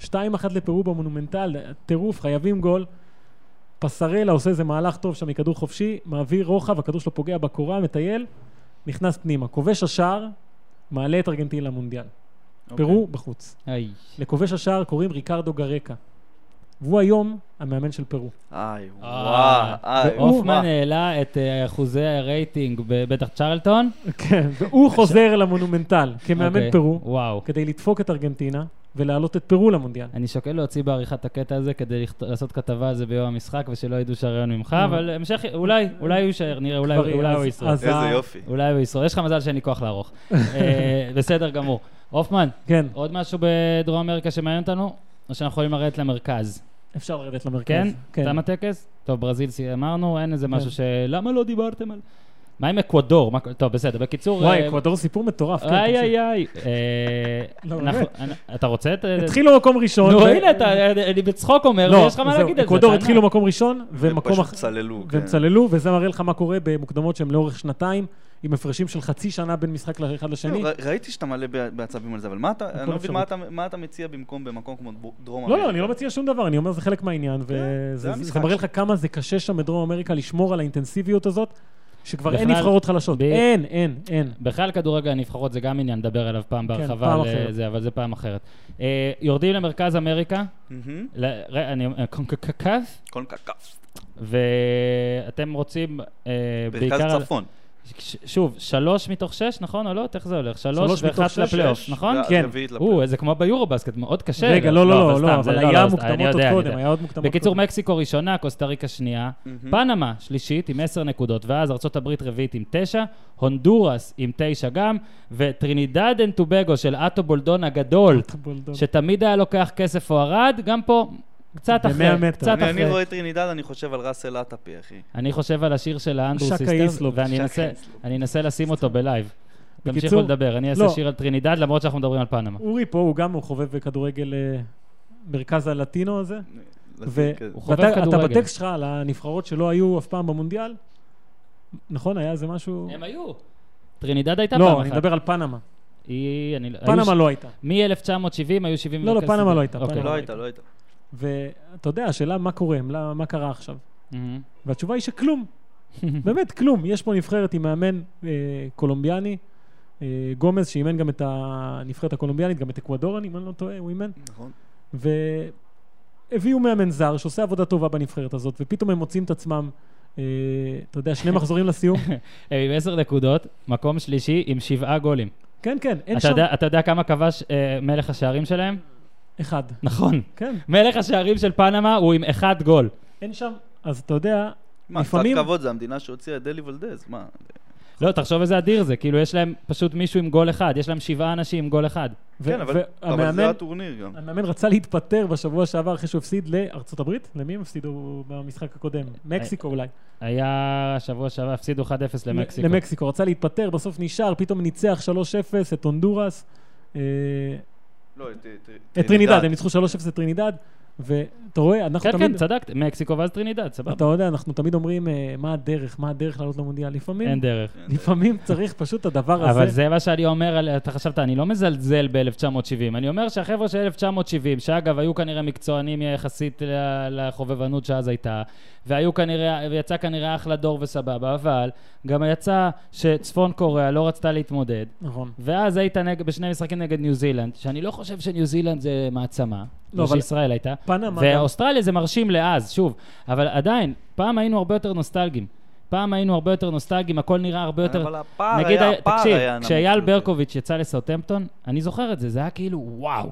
Speaker 2: 2-1 לפרו במונומנטל, טירוף, חייבים גול. פסרלה עושה איזה מהלך טוב שם מכדור חופשי, מעביר רוחב, הכדור שלו פוגע בקורה, מטייל, נכנס פנימה. כובש השער, מעלה את ארגנטינה למונדיאל.
Speaker 3: אוקיי.
Speaker 2: פרו בחוץ.
Speaker 1: איי.
Speaker 2: לכובש השער קוראים ריקרדו גרקה. והוא היום המאמן של פרו.
Speaker 3: איי,
Speaker 1: אה,
Speaker 3: וואו. איי,
Speaker 1: הופמן
Speaker 3: וואו.
Speaker 1: העלה את אה, אחוזי הרייטינג בבטח צ'רלטון.
Speaker 2: כן, והוא חוזר למונומנטל כמאמן
Speaker 1: אוקיי.
Speaker 2: פרו,
Speaker 1: וואו.
Speaker 2: כדי לדפוק את ארגנטינה ולהעלות את פרו למונדיאל.
Speaker 1: אני שוקל להוציא בעריכת את הקטע הזה כדי לכת... לעשות כתבה על זה ביום המשחק ושלא ידעו שהרעיון ממך,
Speaker 2: אה.
Speaker 1: אבל המשך, אולי, אולי הוא יישאר, נראה, אולי,
Speaker 2: כבר-
Speaker 1: אולי
Speaker 2: אז-
Speaker 1: הוא ישרוד.
Speaker 2: אז-
Speaker 3: איזה יופי.
Speaker 1: אולי הוא ישרוד. יש לך מזל שאין לי כוח לערוך. אה, בסדר גמור. הופמן,
Speaker 2: כן,
Speaker 1: עוד משהו בדרום אמריקה שמעניין אותנו? או שאנחנו יכולים לרדת למרכז?
Speaker 2: אפשר לרדת למרכז.
Speaker 1: כן? תם הטקס? טוב, ברזיל סי- אמרנו, אין
Speaker 2: כן.
Speaker 1: איזה משהו ש... למה לא דיברתם על... מה עם אקוודור? מה- טוב, בסדר. בקיצור...
Speaker 2: וואי,
Speaker 1: אה,
Speaker 2: אקוודור סיפור מטורף. כן,
Speaker 1: איי
Speaker 2: תמשיך.
Speaker 1: איי איי. אה,
Speaker 2: לא,
Speaker 1: אנחנו-
Speaker 2: באמת.
Speaker 1: אנ- אתה רוצה? את-
Speaker 2: התחילו מקום ראשון.
Speaker 1: נו,
Speaker 2: ו-
Speaker 1: הנה, אתה אני בצחוק אומר,
Speaker 2: לא,
Speaker 1: ויש לך מה
Speaker 2: זהו,
Speaker 1: להגיד על זה.
Speaker 2: אקוודור
Speaker 1: תענה.
Speaker 2: התחילו מקום ראשון, ומקום
Speaker 3: פשוט
Speaker 2: אחר...
Speaker 3: צללו, כן.
Speaker 2: והם צללו, וזה מראה לך מה קורה במוקדמות שהן לאורך שנתיים, עם הפרשים של חצי שנה בין משחק לאחד לשני.
Speaker 3: לא, ר- ראיתי שאתה מלא ב- בעצבים על זה, אבל מה אתה, אני לא מבין מה אתה- מה אתה מציע במקום במקום כמו ב- דרום
Speaker 2: לא, לא, אני לא מציע שום דבר, אני אומר, זה חלק מהעניין,
Speaker 3: זה
Speaker 2: וזה
Speaker 3: המשחק.
Speaker 2: זה מראה לך כמה זה קשה שם בדרום אמריקה לשמור על האינטנסיביות הזאת, שכבר אין
Speaker 1: בכלל-
Speaker 2: נבחרות חלשות.
Speaker 1: ב-
Speaker 2: אין, אין, אין.
Speaker 1: בכלל כדורגל הנבחרות זה גם עניין, נדבר עליו פעם בהרחבה,
Speaker 2: כן, פעם
Speaker 1: על,
Speaker 2: אחרת.
Speaker 1: אה, זה, אבל זה פעם אחרת. אה, יורדים למרכז אמריקה,
Speaker 3: מהמם.
Speaker 1: ל- ר- אני אה, אומר, קונקקף,
Speaker 3: כל קקף.
Speaker 1: ואתם רוצים אה,
Speaker 3: מרכז
Speaker 1: בעיקר... על-
Speaker 3: צפון.
Speaker 1: ש- שוב, שלוש מתוך שש, נכון או לא? איך זה הולך?
Speaker 2: שלוש
Speaker 1: שלוש
Speaker 2: מתוך
Speaker 1: ואחת
Speaker 2: שש,
Speaker 1: לפלייאוף,
Speaker 3: שש,
Speaker 1: נכון?
Speaker 3: ואז
Speaker 2: כן.
Speaker 3: רביעית לפלייאוף.
Speaker 1: או, זה כמו ביורובסקט, מאוד קשה.
Speaker 2: רגע, לא, לא, לא, לא,
Speaker 1: סתם, זה-
Speaker 2: אבל היה
Speaker 1: אז- אני
Speaker 2: מוקדמות עוד
Speaker 1: יודע, אני
Speaker 2: קודם,
Speaker 1: יודע.
Speaker 2: היה עוד מוקדמות קודם.
Speaker 1: בקיצור, מקסיקו ראשונה, קוסטה ריקה שנייה,
Speaker 3: מהמם.
Speaker 1: פנמה שלישית עם עשר נקודות, ואז ארה"ב רביעית עם תשע, הונדורס עם תשע גם, וטרינידד אנד טובגו של אטו בולדון הגדול,
Speaker 2: בולדון.
Speaker 1: שתמיד היה לוקח כסף או ערד, גם פה קצת אחרי,
Speaker 2: במאה מטר.
Speaker 1: קצת
Speaker 3: אני- אני
Speaker 1: אחרי.
Speaker 3: רואה את טרינידד, אני חושב על ראסל עטאפי, אחי.
Speaker 1: אני חושב על השיר של האנדרו
Speaker 2: שקה
Speaker 1: סיסטרס,
Speaker 2: איסלוב.
Speaker 1: ואני
Speaker 3: שקה
Speaker 1: אנסה-
Speaker 3: איסלוב.
Speaker 1: אני אנסה לשים אותו בלייב. תמשיכו
Speaker 2: בקיצור,
Speaker 1: לדבר, אני
Speaker 2: לא.
Speaker 1: אעשה שיר על טרינידד, למרות שאנחנו מדברים על פנמה.
Speaker 2: אורי פה, הוא גם הוא חובב כדורגל אה, מרכז הלטינו הזה. ו-
Speaker 3: לשים כזה.
Speaker 1: הוא חובב
Speaker 2: ואתה אתה
Speaker 1: כדורגל.
Speaker 2: בטקסט שלך על הנבחרות שלא היו אף פעם במונדיאל, נכון, היה איזה משהו...
Speaker 1: הם היו. טרינידד הייתה פעם אחת.
Speaker 2: לא, אני מדבר על פנמה.
Speaker 1: היא- אני לא- היו ש-
Speaker 2: פנמה לא הייתה.
Speaker 1: מ-1970 היו 70...
Speaker 2: לא, לא,
Speaker 1: וכאלה
Speaker 2: פנמה
Speaker 1: סיבות.
Speaker 2: לא הייתה,
Speaker 1: אוקיי.
Speaker 2: פנמה
Speaker 3: לא הייתה, לא הייתה.
Speaker 2: ואתה יודע, השאלה מה קורה, מה מה קרה עכשיו?
Speaker 1: מהמם.
Speaker 2: והתשובה היא שכלום. באמת, כלום. יש פה נבחרת עם מאמן אה, קולומביאני, אה, גומז, שאימן גם את הנבחרת הקולומביאנית, גם את אקוודורן, אם אני לא טועה, הוא אימן.
Speaker 3: נכון.
Speaker 2: והביאו מאמן זר שעושה עבודה טובה בנבחרת הזאת, ופתאום הם מוצאים את עצמם, אה, אתה יודע, שני מחזורים לסיום.
Speaker 1: אה, הם עם עשר נקודות, מקום שלישי עם שבעה גולים.
Speaker 2: כן, כן, אין
Speaker 1: אתה
Speaker 2: שם
Speaker 1: יודע- אתה יודע כמה כבש אה, מלך השערים שלהם?
Speaker 2: אחד.
Speaker 1: נכון.
Speaker 2: כן,
Speaker 1: מלך השערים של פנמה הוא עם אחד גול.
Speaker 2: אין שם, אז אתה יודע,
Speaker 3: מה, קצת
Speaker 2: לפעמים-
Speaker 3: כבוד, זה המדינה שהוציאה את דלי ולדז, מה?
Speaker 1: לא, תחשוב איזה אדיר זה, כאילו יש להם פשוט מישהו עם גול אחד, יש להם שבעה אנשים עם גול אחד.
Speaker 2: ו-
Speaker 3: כן, אבל אבל
Speaker 2: והמאמן
Speaker 3: זה הטורניר גם.
Speaker 2: המאמן רצה להתפטר בשבוע שעבר אחרי שהוא הפסיד לארצות הברית? למי הם הפסידו במשחק הקודם?
Speaker 1: אה,
Speaker 2: מקסיקו אולי.
Speaker 1: היה שבוע שעבר, הפסידו 1-0 למקסיקו.
Speaker 2: למקסיקו. רצה להתפטר, בסוף נשאר, פתאום ניצח 3-0 את הונדורס. אה,
Speaker 3: לא, את-
Speaker 2: את טרינידד, הם ניצחו 3-0 את טרינידד. ואתה רואה, אנחנו
Speaker 1: כן,
Speaker 2: תמיד...
Speaker 1: כן, צדקת, מקסיקו ואז טרינידד,
Speaker 2: אתה
Speaker 1: סבבה.
Speaker 2: יודע, אנחנו תמיד אומרים, אה, מה הדרך, מה הדרך לעלות למונדיאל?
Speaker 1: אין
Speaker 2: לפעמים,
Speaker 1: דרך.
Speaker 3: כן,
Speaker 2: לפעמים צריך פשוט את הדבר
Speaker 1: אבל
Speaker 2: הזה.
Speaker 1: זה מה שאני אומר, על- אתה חשבת, אני לא מזלזל ב-1970, אני אומר שהחבר'ה של 1970, שאגב, היו כנראה מקצוענים יחסית ל- לחובבנות שאז הייתה, והיו כנראה, ויצא כנראה אחלה דור וסבבה, אבל גם יצא שצפון קוריאה לא רצתה להתמודד,
Speaker 2: נכון.
Speaker 1: ואז היית נג... בשני משחקים נגד ניו זילנד, שאני לא חושב שניו זילנד זה מעצמה,
Speaker 2: לא,
Speaker 1: לא,
Speaker 2: אבל- לא,
Speaker 1: אבל... שישראל הייתה,
Speaker 2: פנמה גם-
Speaker 1: ואוסטרליה זה מרשים לאז, שוב, אבל עדיין, פעם היינו הרבה יותר נוסטלגיים. פעם היינו הרבה יותר נוסטלגיים, הכל נראה הרבה יותר...
Speaker 3: אבל הפער
Speaker 1: נגיד, אה,
Speaker 3: היה, הפער
Speaker 1: תקשיב,
Speaker 3: היה נמוך
Speaker 1: כשאייל
Speaker 3: יותר.
Speaker 1: ברקוביץ' יצא לסאוטמפטון, אני זוכר את זה, זה היה כאילו, וואו,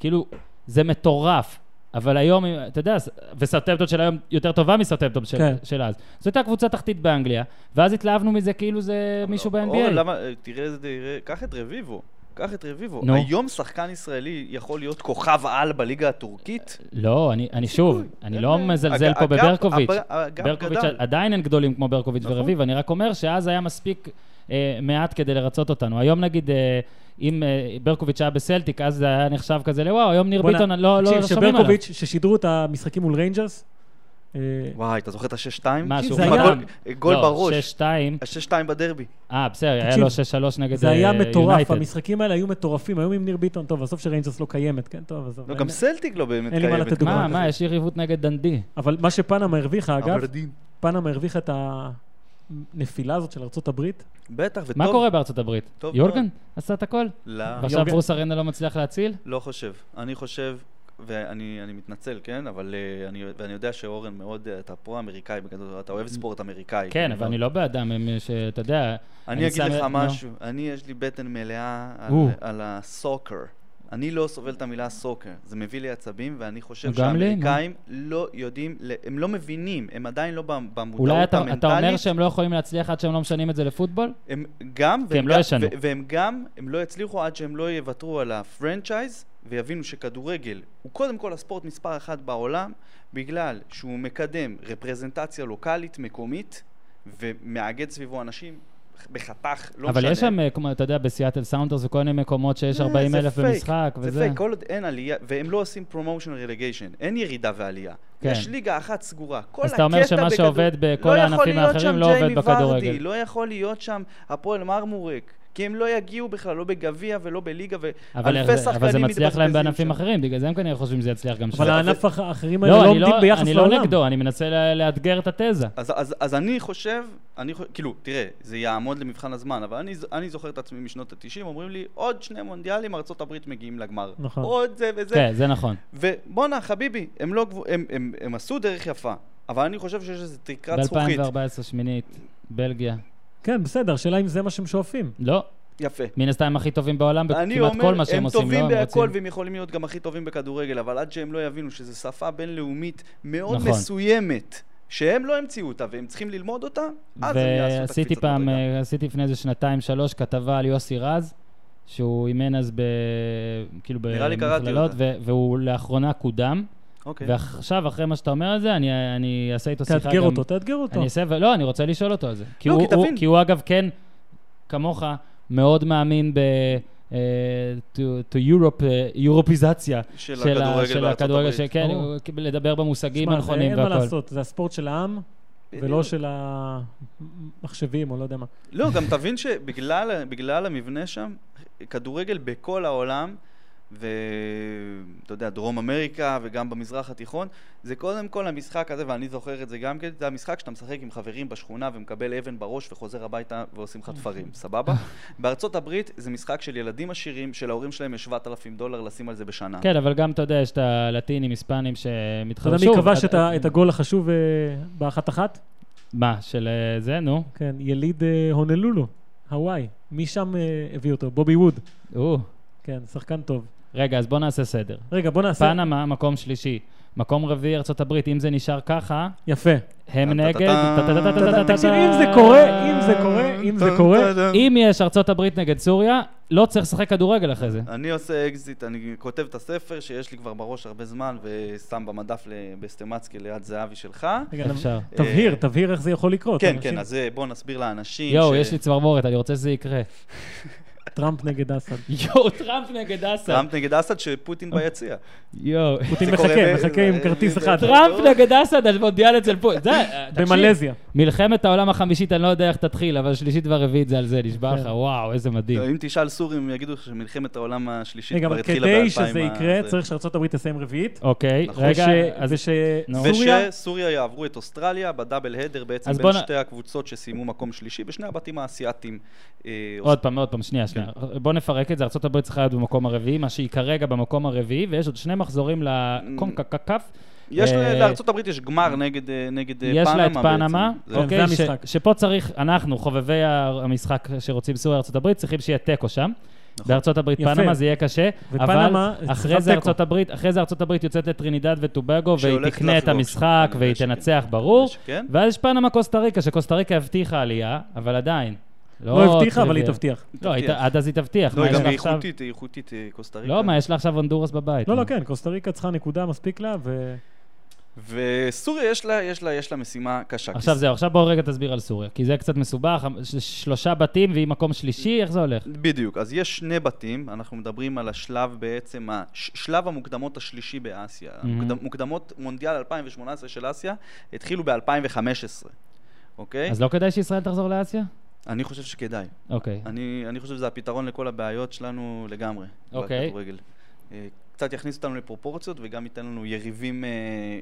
Speaker 1: כאילו, זה מטורף. אבל היום, אם- אתה יודע, ס- וסאוטמפטון של היום יותר טובה מסאוטמפטון של,
Speaker 2: כן.
Speaker 1: של אז. זו הייתה קבוצה תחתית באנגליה, ואז התלהבנו מזה כאילו זה מישהו
Speaker 3: אבל
Speaker 1: ב-NBA.
Speaker 3: לא, אורן, למה, אה, תראה איזה, תראה- קח את רביבו. קח את רביבו.
Speaker 1: נו.
Speaker 3: היום שחקן ישראלי יכול להיות כוכב על בליגה הטורקית?
Speaker 1: לא, אני, אני שוב, אני לא מזלזל
Speaker 3: הג-
Speaker 1: פה
Speaker 3: הגב-
Speaker 1: בברקוביץ'.
Speaker 3: הב- הגב
Speaker 1: ברקוביץ' אה,
Speaker 3: גדל.
Speaker 1: עדיין אין גדולים כמו ברקוביץ'
Speaker 3: נכון.
Speaker 1: ורביב, אני רק אומר שאז היה מספיק אה, מעט כדי לרצות אותנו. היום נגיד, אה, אם אה, ברקוביץ' היה בסלטיק, אז זה היה נחשב כזה לוואו, היום ניר
Speaker 2: בוא'נה,
Speaker 1: ביטון, לא לא
Speaker 2: תקשיב,
Speaker 1: שומעים עליו.
Speaker 2: שברקוביץ', ששידרו את המשחקים מול ריינג'רס, אה,
Speaker 3: וואי, אתה זוכר את השש-שתיים?
Speaker 1: מה,
Speaker 2: תקשיב,
Speaker 1: שהוא
Speaker 2: זה
Speaker 1: חתם?
Speaker 2: היה-
Speaker 3: הגול- אה, גול בראש.
Speaker 1: לא, 6-2.
Speaker 3: השש-שתיים בדרבי. לא,
Speaker 1: אה, בסדר, היה
Speaker 2: תקשיב,
Speaker 1: לו 6-3 נגד
Speaker 2: זה היה
Speaker 1: אה,
Speaker 2: מטורף,
Speaker 1: יונייטד.
Speaker 2: המשחקים האלה היו מטורפים, היום עם ניר ביטון, טוב, עזוב שריינג'רס לא קיימת, כן, טוב, עזוב.
Speaker 3: לא,
Speaker 2: אין-
Speaker 3: גם סלטיק לא באמת
Speaker 2: אין לי מה לתת
Speaker 3: קיימת.
Speaker 2: דוגמה.
Speaker 1: מה, מה, יש יריבות נגד דנדי.
Speaker 2: אבל מה שפנמה הרוויחה, אגב,
Speaker 3: הוורדים.
Speaker 2: פנמה הרוויחה את הנפילה הזאת של ארצות הברית,
Speaker 3: בטח, וטוב.
Speaker 1: מה קורה בארצות הברית?
Speaker 3: טוב
Speaker 1: יורגן
Speaker 3: מאוד.
Speaker 1: עשה את הכל?
Speaker 3: לא,
Speaker 1: ועכשיו
Speaker 2: אה, יורגן-
Speaker 1: ברוס ארנה לא מצליח להציל?
Speaker 3: לא חושב. אני חושב, ואני אני מתנצל, כן? אבל אה, אני- ואני יודע שאורן מאוד, אה, אתה פרו-אמריקאי בגדול, אתה אוהב ספורט אמריקאי.
Speaker 1: כן, אבל
Speaker 3: מאוד.
Speaker 1: אני לא באדם, הם, אה, שאתה יודע...
Speaker 3: אני אגיד
Speaker 1: שם-
Speaker 3: לך
Speaker 1: נו.
Speaker 3: משהו, אני יש לי בטן מלאה על-
Speaker 1: או.
Speaker 3: על הסוקר. אני לא סובל את המילה סוקר, זה מביא לי עצבים, ואני חושב
Speaker 1: גם לי,
Speaker 3: שהאמריקאים לא יודעים, ל- הם לא מבינים, הם עדיין לא במ-
Speaker 1: אולי
Speaker 3: במודעות
Speaker 1: אתה, אתה אומר
Speaker 3: המנטלית.
Speaker 1: שהם לא יכולים להצליח עד שהם לא משנים את זה לפוטבול?
Speaker 3: הם גם,
Speaker 1: כי הם
Speaker 3: והם
Speaker 1: לא
Speaker 3: גם-
Speaker 1: ישנו.
Speaker 3: ו- והם גם, הם לא יצליחו עד שהם לא יוותרו על הפרנצ'ייז, ויבינו שכדורגל הוא קודם כל הספורט מספר אחת בעולם, בגלל שהוא מקדם רפרזנטציה לוקאלית, מקומית, ומאגד סביבו אנשים בחתך, לא
Speaker 1: אבל
Speaker 3: משנה.
Speaker 1: יש שם, אה, כמו, אתה יודע, בסיאטל סאונדרס וכל מיני מקומות שיש
Speaker 3: אה,
Speaker 1: 40
Speaker 3: זה
Speaker 1: אלף
Speaker 3: פייק,
Speaker 1: במשחק
Speaker 3: זה
Speaker 1: וזה.
Speaker 3: פייק, כל עוד אין עלייה, והם לא עושים פרומושן רלגיישן, אין ירידה ועלייה.
Speaker 1: כן.
Speaker 3: יש ליגה אחת סגורה. כל
Speaker 1: אז אתה אומר
Speaker 3: הקטע
Speaker 1: שמה
Speaker 3: בכדור-
Speaker 1: שעובד בכל
Speaker 3: לא יכול
Speaker 1: הענפים
Speaker 3: להיות
Speaker 1: האחרים
Speaker 3: שם
Speaker 1: לא עובד
Speaker 3: ג'יימי
Speaker 1: בכדורגל.
Speaker 3: ורדי, לא יכול להיות שם הפועל מרמורק, כי הם לא יגיעו בכלל, לא בגביע ולא בליגה,
Speaker 1: אבל,
Speaker 3: ואלפי
Speaker 1: איך זה-
Speaker 3: שחקנים
Speaker 1: אבל זה מצליח להם
Speaker 3: מתבזבזים
Speaker 1: בענפים
Speaker 3: שם.
Speaker 1: אחרים, בגלל זה הם כנראה חושבים שזה יצליח גם שם.
Speaker 2: אבל
Speaker 3: אבל-
Speaker 2: הענף האח- האחרים האלה
Speaker 1: לא,
Speaker 2: לא
Speaker 1: אני
Speaker 2: עומדים
Speaker 1: לא,
Speaker 2: ביחס
Speaker 1: אני לא
Speaker 2: לעולם.
Speaker 1: נגדו, אני מנסה לה- לאתגר את התזה.
Speaker 3: אז, אז, אז אני חושב, אני חושב, כאילו, תראה, זה יעמוד למבחן הזמן, אבל אני, ז- אני זוכר את עצמי משנות ה-90, אומרים לי, עוד שני מונדיאלים, ארה"ב מגיעים לגמר.
Speaker 2: נכון.
Speaker 3: עוד זה וזה.
Speaker 1: כן, זה נכון.
Speaker 3: ובואנה, חביבי, הם, לא, גבו- הם, הם, הם עשו דרך יפה, אבל אני חושב שיש איזו תקרת זכוכית.
Speaker 1: ב-2014 שמינית, בלגיה.
Speaker 2: כן, בסדר, השאלה אם זה מה שהם שואפים.
Speaker 1: לא,
Speaker 3: יפה.
Speaker 1: מן הסתם הם הכי טובים בעולם
Speaker 3: אני
Speaker 1: בכמעט
Speaker 3: אומר,
Speaker 1: כל מה שהם
Speaker 3: הם
Speaker 1: עושים, לא
Speaker 3: טובים
Speaker 1: הם
Speaker 3: בהכל
Speaker 1: רוצים.
Speaker 3: והם יכולים להיות גם הכי טובים בכדורגל, אבל עד שהם לא יבינו שזו שפה בינלאומית מאוד
Speaker 1: נכון.
Speaker 3: מסוימת, שהם לא המציאו אותה והם צריכים ללמוד אותה, אז הם יעשו את
Speaker 1: ועשיתי
Speaker 3: הקפיצות
Speaker 1: פעם,
Speaker 3: מדרגה.
Speaker 1: אה, עשיתי לפני איזה שנתיים, שלוש, כתבה על יוסי רז, שהוא אימן אז ב... כאילו
Speaker 3: נראה לי קראתי
Speaker 1: במכללות,
Speaker 3: אותה.
Speaker 1: ו- והוא לאחרונה קודם.
Speaker 3: אוקיי.
Speaker 1: ועכשיו, אחרי מה שאתה אומר על זה, אני, אני אעשה איתו שיחה גם...
Speaker 2: כן. תאתגר אותו, תאתגר אותו.
Speaker 1: אני אעשה, ו- לא, אני רוצה לשאול אותו על זה. כי,
Speaker 3: לא,
Speaker 1: הוא,
Speaker 3: כי
Speaker 1: הוא,
Speaker 3: תבין.
Speaker 1: כי הוא אגב כן, כמוך, מאוד מאמין ב... אה, to, to Europe, אה, אירופיזציה
Speaker 3: של
Speaker 1: ה-
Speaker 3: הכדורגל
Speaker 1: של
Speaker 3: בארצות
Speaker 1: הכדורגל,
Speaker 3: הברית.
Speaker 1: שכן,
Speaker 2: ברור.
Speaker 1: הוא- כאילו, לדבר במושגים
Speaker 2: תשמע, זה
Speaker 1: הנכונים
Speaker 2: אין מה
Speaker 1: והכל.
Speaker 2: לעשות, זה הספורט של העם, ולא
Speaker 1: כן.
Speaker 3: בדיוק.
Speaker 2: של המחשבים, או לא יודע מה.
Speaker 3: לא, גם תבין שבגלל בגלל המבנה שם, כדורגל בכל העולם, ואתה יודע, דרום אמריקה וגם במזרח התיכון, זה קודם כל המשחק הזה, ואני זוכר את זה גם כן, זה המשחק שאתה משחק עם חברים בשכונה ומקבל אבן בראש וחוזר הביתה ועושים לך תפרים, סבבה? בארצות הברית זה משחק של ילדים עשירים, שלהורים שלהם יש 7,000 דולר לשים על זה בשנה.
Speaker 1: כן, אבל גם, אתה יודע, יש את הלטינים, היספנים אה,
Speaker 2: אתה
Speaker 1: שמתחרשו.
Speaker 2: יודע מי כבש את ה- את הגול החשוב אה, באחת-אחת?
Speaker 1: מה, של אה, זה, נו.
Speaker 2: כן, יליד אה, הונלולו. הוואי, מי שם אה, הביא אותו? בובי ווד.
Speaker 1: או,
Speaker 2: כן, שחקן טוב.
Speaker 1: רגע, אז בוא נעשה סדר.
Speaker 2: רגע, בוא נעשה...
Speaker 1: פנמה, מקום שלישי. מקום רביעי, ארה"ב, אם זה נשאר ככה,
Speaker 2: יפה.
Speaker 1: הם
Speaker 3: טה-טה-טה.
Speaker 1: נגד... טה-טה-טה-טה-טה-טה.
Speaker 2: תקשיב, אם זה קורה, אם זה קורה, כן, אם זה קורה,
Speaker 1: אם יש ארה"ב נגד סוריה, לא צריך לשחק כדורגל אחרי זה.
Speaker 3: אני עושה אקזיט, אני כותב את הספר שיש לי כבר בראש הרבה זמן ושם במדף ל- בסטמצקי ליד זאבי שלך.
Speaker 2: רגע, נב-
Speaker 1: אפשר.
Speaker 2: תבהיר,
Speaker 3: אה,
Speaker 2: תבהיר איך זה יכול לקרות.
Speaker 3: כן,
Speaker 2: אוקיי, אנשים-
Speaker 3: כן, אז אה, בוא נסביר לאנשים.
Speaker 1: יואו,
Speaker 3: ש-
Speaker 1: יש לי צמרמורת, אני רוצה שזה יקרה.
Speaker 2: טראמפ נגד אסד.
Speaker 1: יואו, טראמפ נגד אסד.
Speaker 3: טראמפ נגד אסד שפוטין
Speaker 1: אוקיי,
Speaker 3: ביציע.
Speaker 1: יואו.
Speaker 2: פוטין
Speaker 3: זה קורה
Speaker 2: מחכה,
Speaker 3: ב-
Speaker 2: מחכה עם
Speaker 3: זה-
Speaker 2: כרטיס
Speaker 3: זה-
Speaker 2: אחד.
Speaker 1: טראמפ נגד אסד על מונדיאל אצל פו... זה, אה, תקשיב,
Speaker 2: במלזיה.
Speaker 1: מלחמת העולם החמישית, אני לא יודע איך תתחיל, אבל שלישית והרביעית זה על זה, נשבע
Speaker 2: כן.
Speaker 1: לך, וואו, איזה מדהים.
Speaker 3: אם תשאל סורים, יגידו לך שמלחמת העולם השלישית
Speaker 2: רגע,
Speaker 3: כבר
Speaker 2: אבל
Speaker 3: התחילה ב-2000.
Speaker 2: כדי שזה יקרה, צריך שארה"ב תסיים רביעית.
Speaker 1: אוקיי,
Speaker 3: נכון.
Speaker 1: רגע, אז
Speaker 2: וש-
Speaker 1: נו.
Speaker 2: ושסוריה...
Speaker 3: ושסוריה יעברו את אוסטרליה בדאבל הדר בעצם
Speaker 1: אז
Speaker 3: בין
Speaker 1: בוא נ-
Speaker 3: שתי הקבוצות שסיימו מקום שלישי בשני הבתים האסייתיים. אה,
Speaker 1: עוד פעם, עוד פעם, שנייה, שנייה.
Speaker 3: כן.
Speaker 1: בוא נפרק את זה, ארה"ב צריכה להיות במקום הרביעי, מה שהיא כרגע במקום הרביעי, ויש עוד שני מחזורים לקונקקף.
Speaker 3: Mm. יש
Speaker 1: אה,
Speaker 3: ל- לארצות הברית יש גמר נגד אה, נגד, אה,
Speaker 1: יש
Speaker 3: פנמה
Speaker 1: לה את
Speaker 3: בעצם.
Speaker 1: פנמה,
Speaker 2: כן,
Speaker 3: זה-
Speaker 2: זה
Speaker 1: אוקיי, ש-
Speaker 2: המשחק.
Speaker 1: שפה צריך, אנחנו, חובבי ה- המשחק שרוצים סוריה ארה"ב, צריכים שיהיה תיקו שם.
Speaker 3: נכון.
Speaker 1: בארצות הברית,
Speaker 2: יפה.
Speaker 1: פנמה זה יהיה קשה, אבל
Speaker 2: ופנמה צריכה
Speaker 1: אחרי זה
Speaker 2: תיקו.
Speaker 1: ארצות הברית, אחרי זה ארצות הברית יוצאת לטרינידד וטובגו, והיא
Speaker 3: שהולך
Speaker 1: תקנה את
Speaker 3: לחגוג
Speaker 1: המשחק,
Speaker 3: שם,
Speaker 1: והיא
Speaker 3: כנראה
Speaker 1: תנצח,
Speaker 3: שכן,
Speaker 1: ברור,
Speaker 3: כנראה שכן.
Speaker 1: ואז יש פנמה קוסטה ריקה, שקוסטה ריקה הבטיחה עלייה, אבל עדיין.
Speaker 2: לא הבטיחה, אבל היא
Speaker 1: טריוויאלי.
Speaker 2: תבטיח.
Speaker 1: לא, היא ת- עד אז היא תבטיח.
Speaker 3: לא,
Speaker 1: מה
Speaker 3: היא
Speaker 1: יש
Speaker 3: גם
Speaker 1: לה עכשיו?
Speaker 3: איכותית, היא איכותית אה, קוסטה ריקה.
Speaker 1: לא, מה, יש לה עכשיו הונדורס בבית.
Speaker 2: לא, לא, כן, קוסטה ריקה צריכה נקודה, מספיק לה, ו...
Speaker 3: וסוריה יש לה, יש לה, יש לה משימה קשה.
Speaker 1: עכשיו
Speaker 3: כי-
Speaker 1: זהו, עכשיו בואו רגע תסביר על סוריה, כי זה קצת מסובך, ש- שלושה בתים והיא מקום שלישי, איך זה הולך?
Speaker 3: בדיוק, אז יש שני בתים, אנחנו מדברים על השלב בעצם, הש- שלב המוקדמות השלישי באסיה.
Speaker 1: Mhm.
Speaker 3: המוקד- מוקדמות מונדיאל 2018 של אסיה התחילו ב-2015, אוקיי?
Speaker 1: אז לא כדאי שישראל תחזור לאסיה?
Speaker 3: אני חושב שכדאי.
Speaker 1: אוקיי.
Speaker 3: אני, אני חושב שזה הפתרון לכל הבעיות שלנו לגמרי.
Speaker 1: אוקיי.
Speaker 3: בכדורגל. אה, קצת יכניס אותנו לפרופורציות וגם ייתן לנו יריבים אה,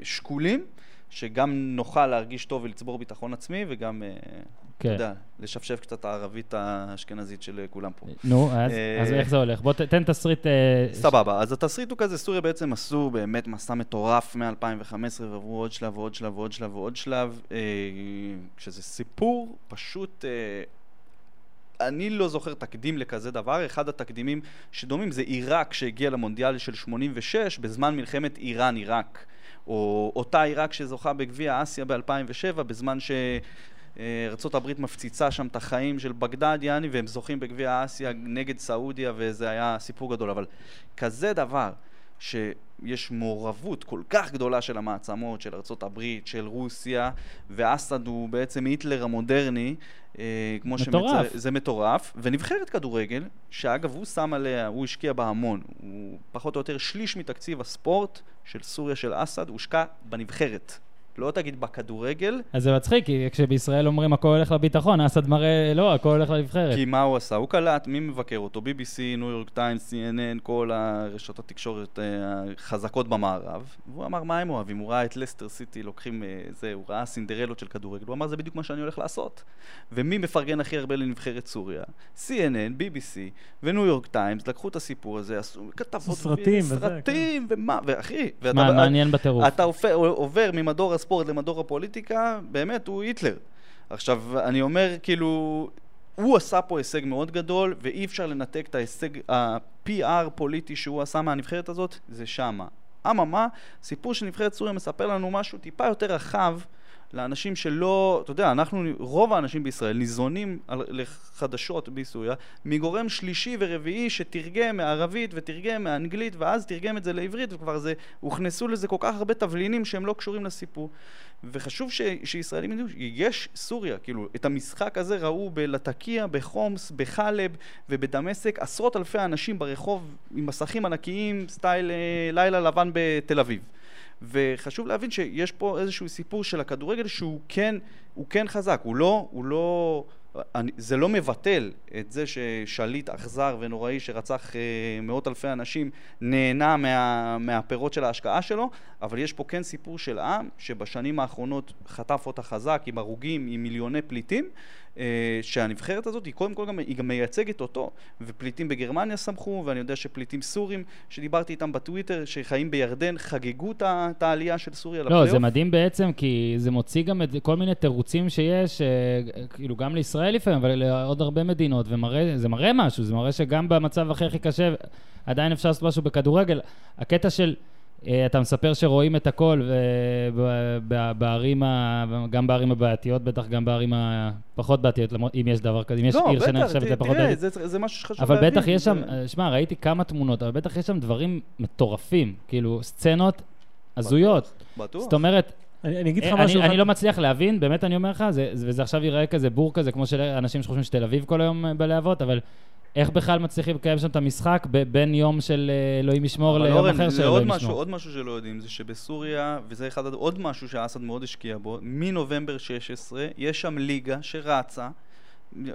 Speaker 3: שקולים, שגם נוכל להרגיש טוב ולצבור ביטחון עצמי, וגם, אה, אתה
Speaker 1: כן.
Speaker 3: יודע, לשפשף קצת הערבית האשכנזית של אה, כולם פה.
Speaker 1: נו, אז-
Speaker 3: אה,
Speaker 1: אז איך זה הולך? בוא ת- תן תסריט... אה, ש-
Speaker 3: סבבה, אז התסריט הוא כזה, סוריה בעצם עשו באמת מסע מטורף מ-2015 ועברו עוד שלב ועוד שלב ועוד שלב ועוד שלב, אה, שזה סיפור פשוט... אה, אני לא זוכר תקדים לכזה דבר, אחד התקדימים שדומים זה עיראק שהגיע למונדיאל של 86 בזמן מלחמת איראן-עיראק, או אותה עיראק שזוכה בגביע אסיה ב-2007 בזמן ש... אה, ארצות הברית מפציצה שם את החיים של בגדד, יעני, והם זוכים בגביע אסיה נגד סעודיה, וזה היה סיפור גדול. אבל כזה דבר, שיש מעורבות כל כך גדולה של המעצמות, של ארצות הברית, של רוסיה, ואסד הוא בעצם היטלר המודרני, אה, כמו
Speaker 1: מטורף.
Speaker 3: שמצ... זה מטורף. ונבחרת כדורגל, שאגב, הוא שם עליה, הוא השקיע בה המון. הוא פחות או יותר שליש מתקציב הספורט של סוריה של אסד הושקע בנבחרת. לא תגיד בכדורגל,
Speaker 1: אז זה מצחיק, כי כשבישראל אומרים הכל הולך לביטחון, אסד מראה, לא, הכל הולך לנבחרת.
Speaker 3: כי מה הוא עשה? הוא קלט, מי מבקר אותו? BBC, ניו יורק טיימס, CNN, כל הרשתות התקשורת אה, החזקות במערב. והוא אמר, מה הם אוהבים? הוא ראה את לסטר סיטי לוקחים אה, זה, הוא ראה סינדרלות של כדורגל, הוא אמר, זה בדיוק מה שאני הולך לעשות. ומי מפרגן הכי הרבה לנבחרת סוריה? CNN, BBC וניו יורק טיימס לקחו את הסיפור הזה, עשו
Speaker 2: עשו
Speaker 3: כתבות,
Speaker 2: סרטים וזה, כן.
Speaker 3: סרטים, ומה, ואחי, ואתה-
Speaker 1: מה, מעניין בטירוף.
Speaker 3: אתה עופר- עובר ממדור הספורט למדור הפוליטיקה, באמת, הוא היטלר. עכשיו, אני אומר, כאילו, הוא עשה פה הישג מאוד גדול, ואי אפשר לנתק את ההישג, ה-PR פוליטי שהוא עשה מהנבחרת הזאת, זה שמה. אממה, סיפור של נבחרת סוריה מספר לנו משהו טיפה יותר רחב לאנשים שלא, אתה יודע, אנחנו, רוב האנשים בישראל ניזונים על, לחדשות בסוריה מגורם שלישי ורביעי שתרגם מערבית ותרגם מאנגלית ואז תרגם את זה לעברית וכבר זה, הוכנסו לזה כל כך הרבה תבלינים שהם לא קשורים לסיפור. וחשוב ש, שישראלים ידעו, יש סוריה, כאילו, את המשחק הזה ראו בלטקיה, בחומס, בחלב ובדמשק, עשרות אלפי אנשים ברחוב עם מסכים ענקיים, סטייל אה, לילה לבן בתל אביב. וחשוב להבין שיש פה איזשהו סיפור של הכדורגל שהוא כן, הוא כן חזק, הוא לא, הוא לא, אני, זה לא מבטל את זה ששליט אכזר ונוראי שרצח אה, מאות אלפי אנשים נהנה מה, מהפירות של ההשקעה שלו, אבל יש פה כן סיפור של עם שבשנים האחרונות חטף אותה חזק עם הרוגים, עם מיליוני פליטים, אה, שהנבחרת הזאת היא קודם כל גם, היא גם מייצגת אותו, ופליטים בגרמניה שמחו, ואני יודע שפליטים סורים שדיברתי איתם בטוויטר, שחיים בירדן, חגגו את ה- את העלייה של סוריה
Speaker 1: לא,
Speaker 3: לפלייאוף.
Speaker 1: זה מדהים בעצם, כי זה מוציא גם את כל מיני תירוצים שיש, אה, כאילו, גם לישראל, לישראל לפעמים, אבל לעוד הרבה מדינות, וזה מראה משהו, זה מראה שגם במצב הכי הכי קשה, עדיין אפשר לעשות משהו בכדורגל. הקטע של, אה, אתה מספר שרואים את הכל, ו- ב- ב- בערים, ה- גם בערים הבעייתיות, בטח גם בערים הפחות בעייתיות, למרות- אם יש דבר כזה, אם יש
Speaker 3: לא,
Speaker 1: עיר
Speaker 3: בטח,
Speaker 1: שנחשבת
Speaker 3: ת-
Speaker 1: לפחות
Speaker 3: תראה,
Speaker 1: בעייתית.
Speaker 3: זה, זה משהו שחשוב
Speaker 1: אבל
Speaker 3: להבין.
Speaker 1: בטח יש שם, אה,
Speaker 3: זה-
Speaker 1: שמע, ראיתי כמה תמונות, אבל בטח יש שם דברים מטורפים, כאילו, סצנות הזויות.
Speaker 3: נכון, בטוח.
Speaker 1: זאת אומרת,
Speaker 2: אני אני אגיד לך
Speaker 1: אה,
Speaker 2: משהו
Speaker 1: אני,
Speaker 2: אחד.
Speaker 1: אני לא מצליח להבין, באמת אני אומר לך, זה, זה, וזה עכשיו ייראה כזה בור כזה, כמו של אנשים שחושבים שתל אביב כל היום אה, בלהבות, אבל איך בכלל מצליחים לקיים שם את המשחק ב- בין יום של אה, אלוהים ישמור
Speaker 3: אבל
Speaker 1: ליום
Speaker 3: אורן,
Speaker 1: אחר
Speaker 3: זה
Speaker 1: של
Speaker 3: עוד
Speaker 1: אלוהים
Speaker 3: משהו,
Speaker 1: ישמור?
Speaker 3: עוד משהו שלא יודעים, זה שבסוריה, וזה אחד, הד- עוד משהו שאסד מאוד השקיע בו, מנובמבר 16, יש שם ליגה שרצה,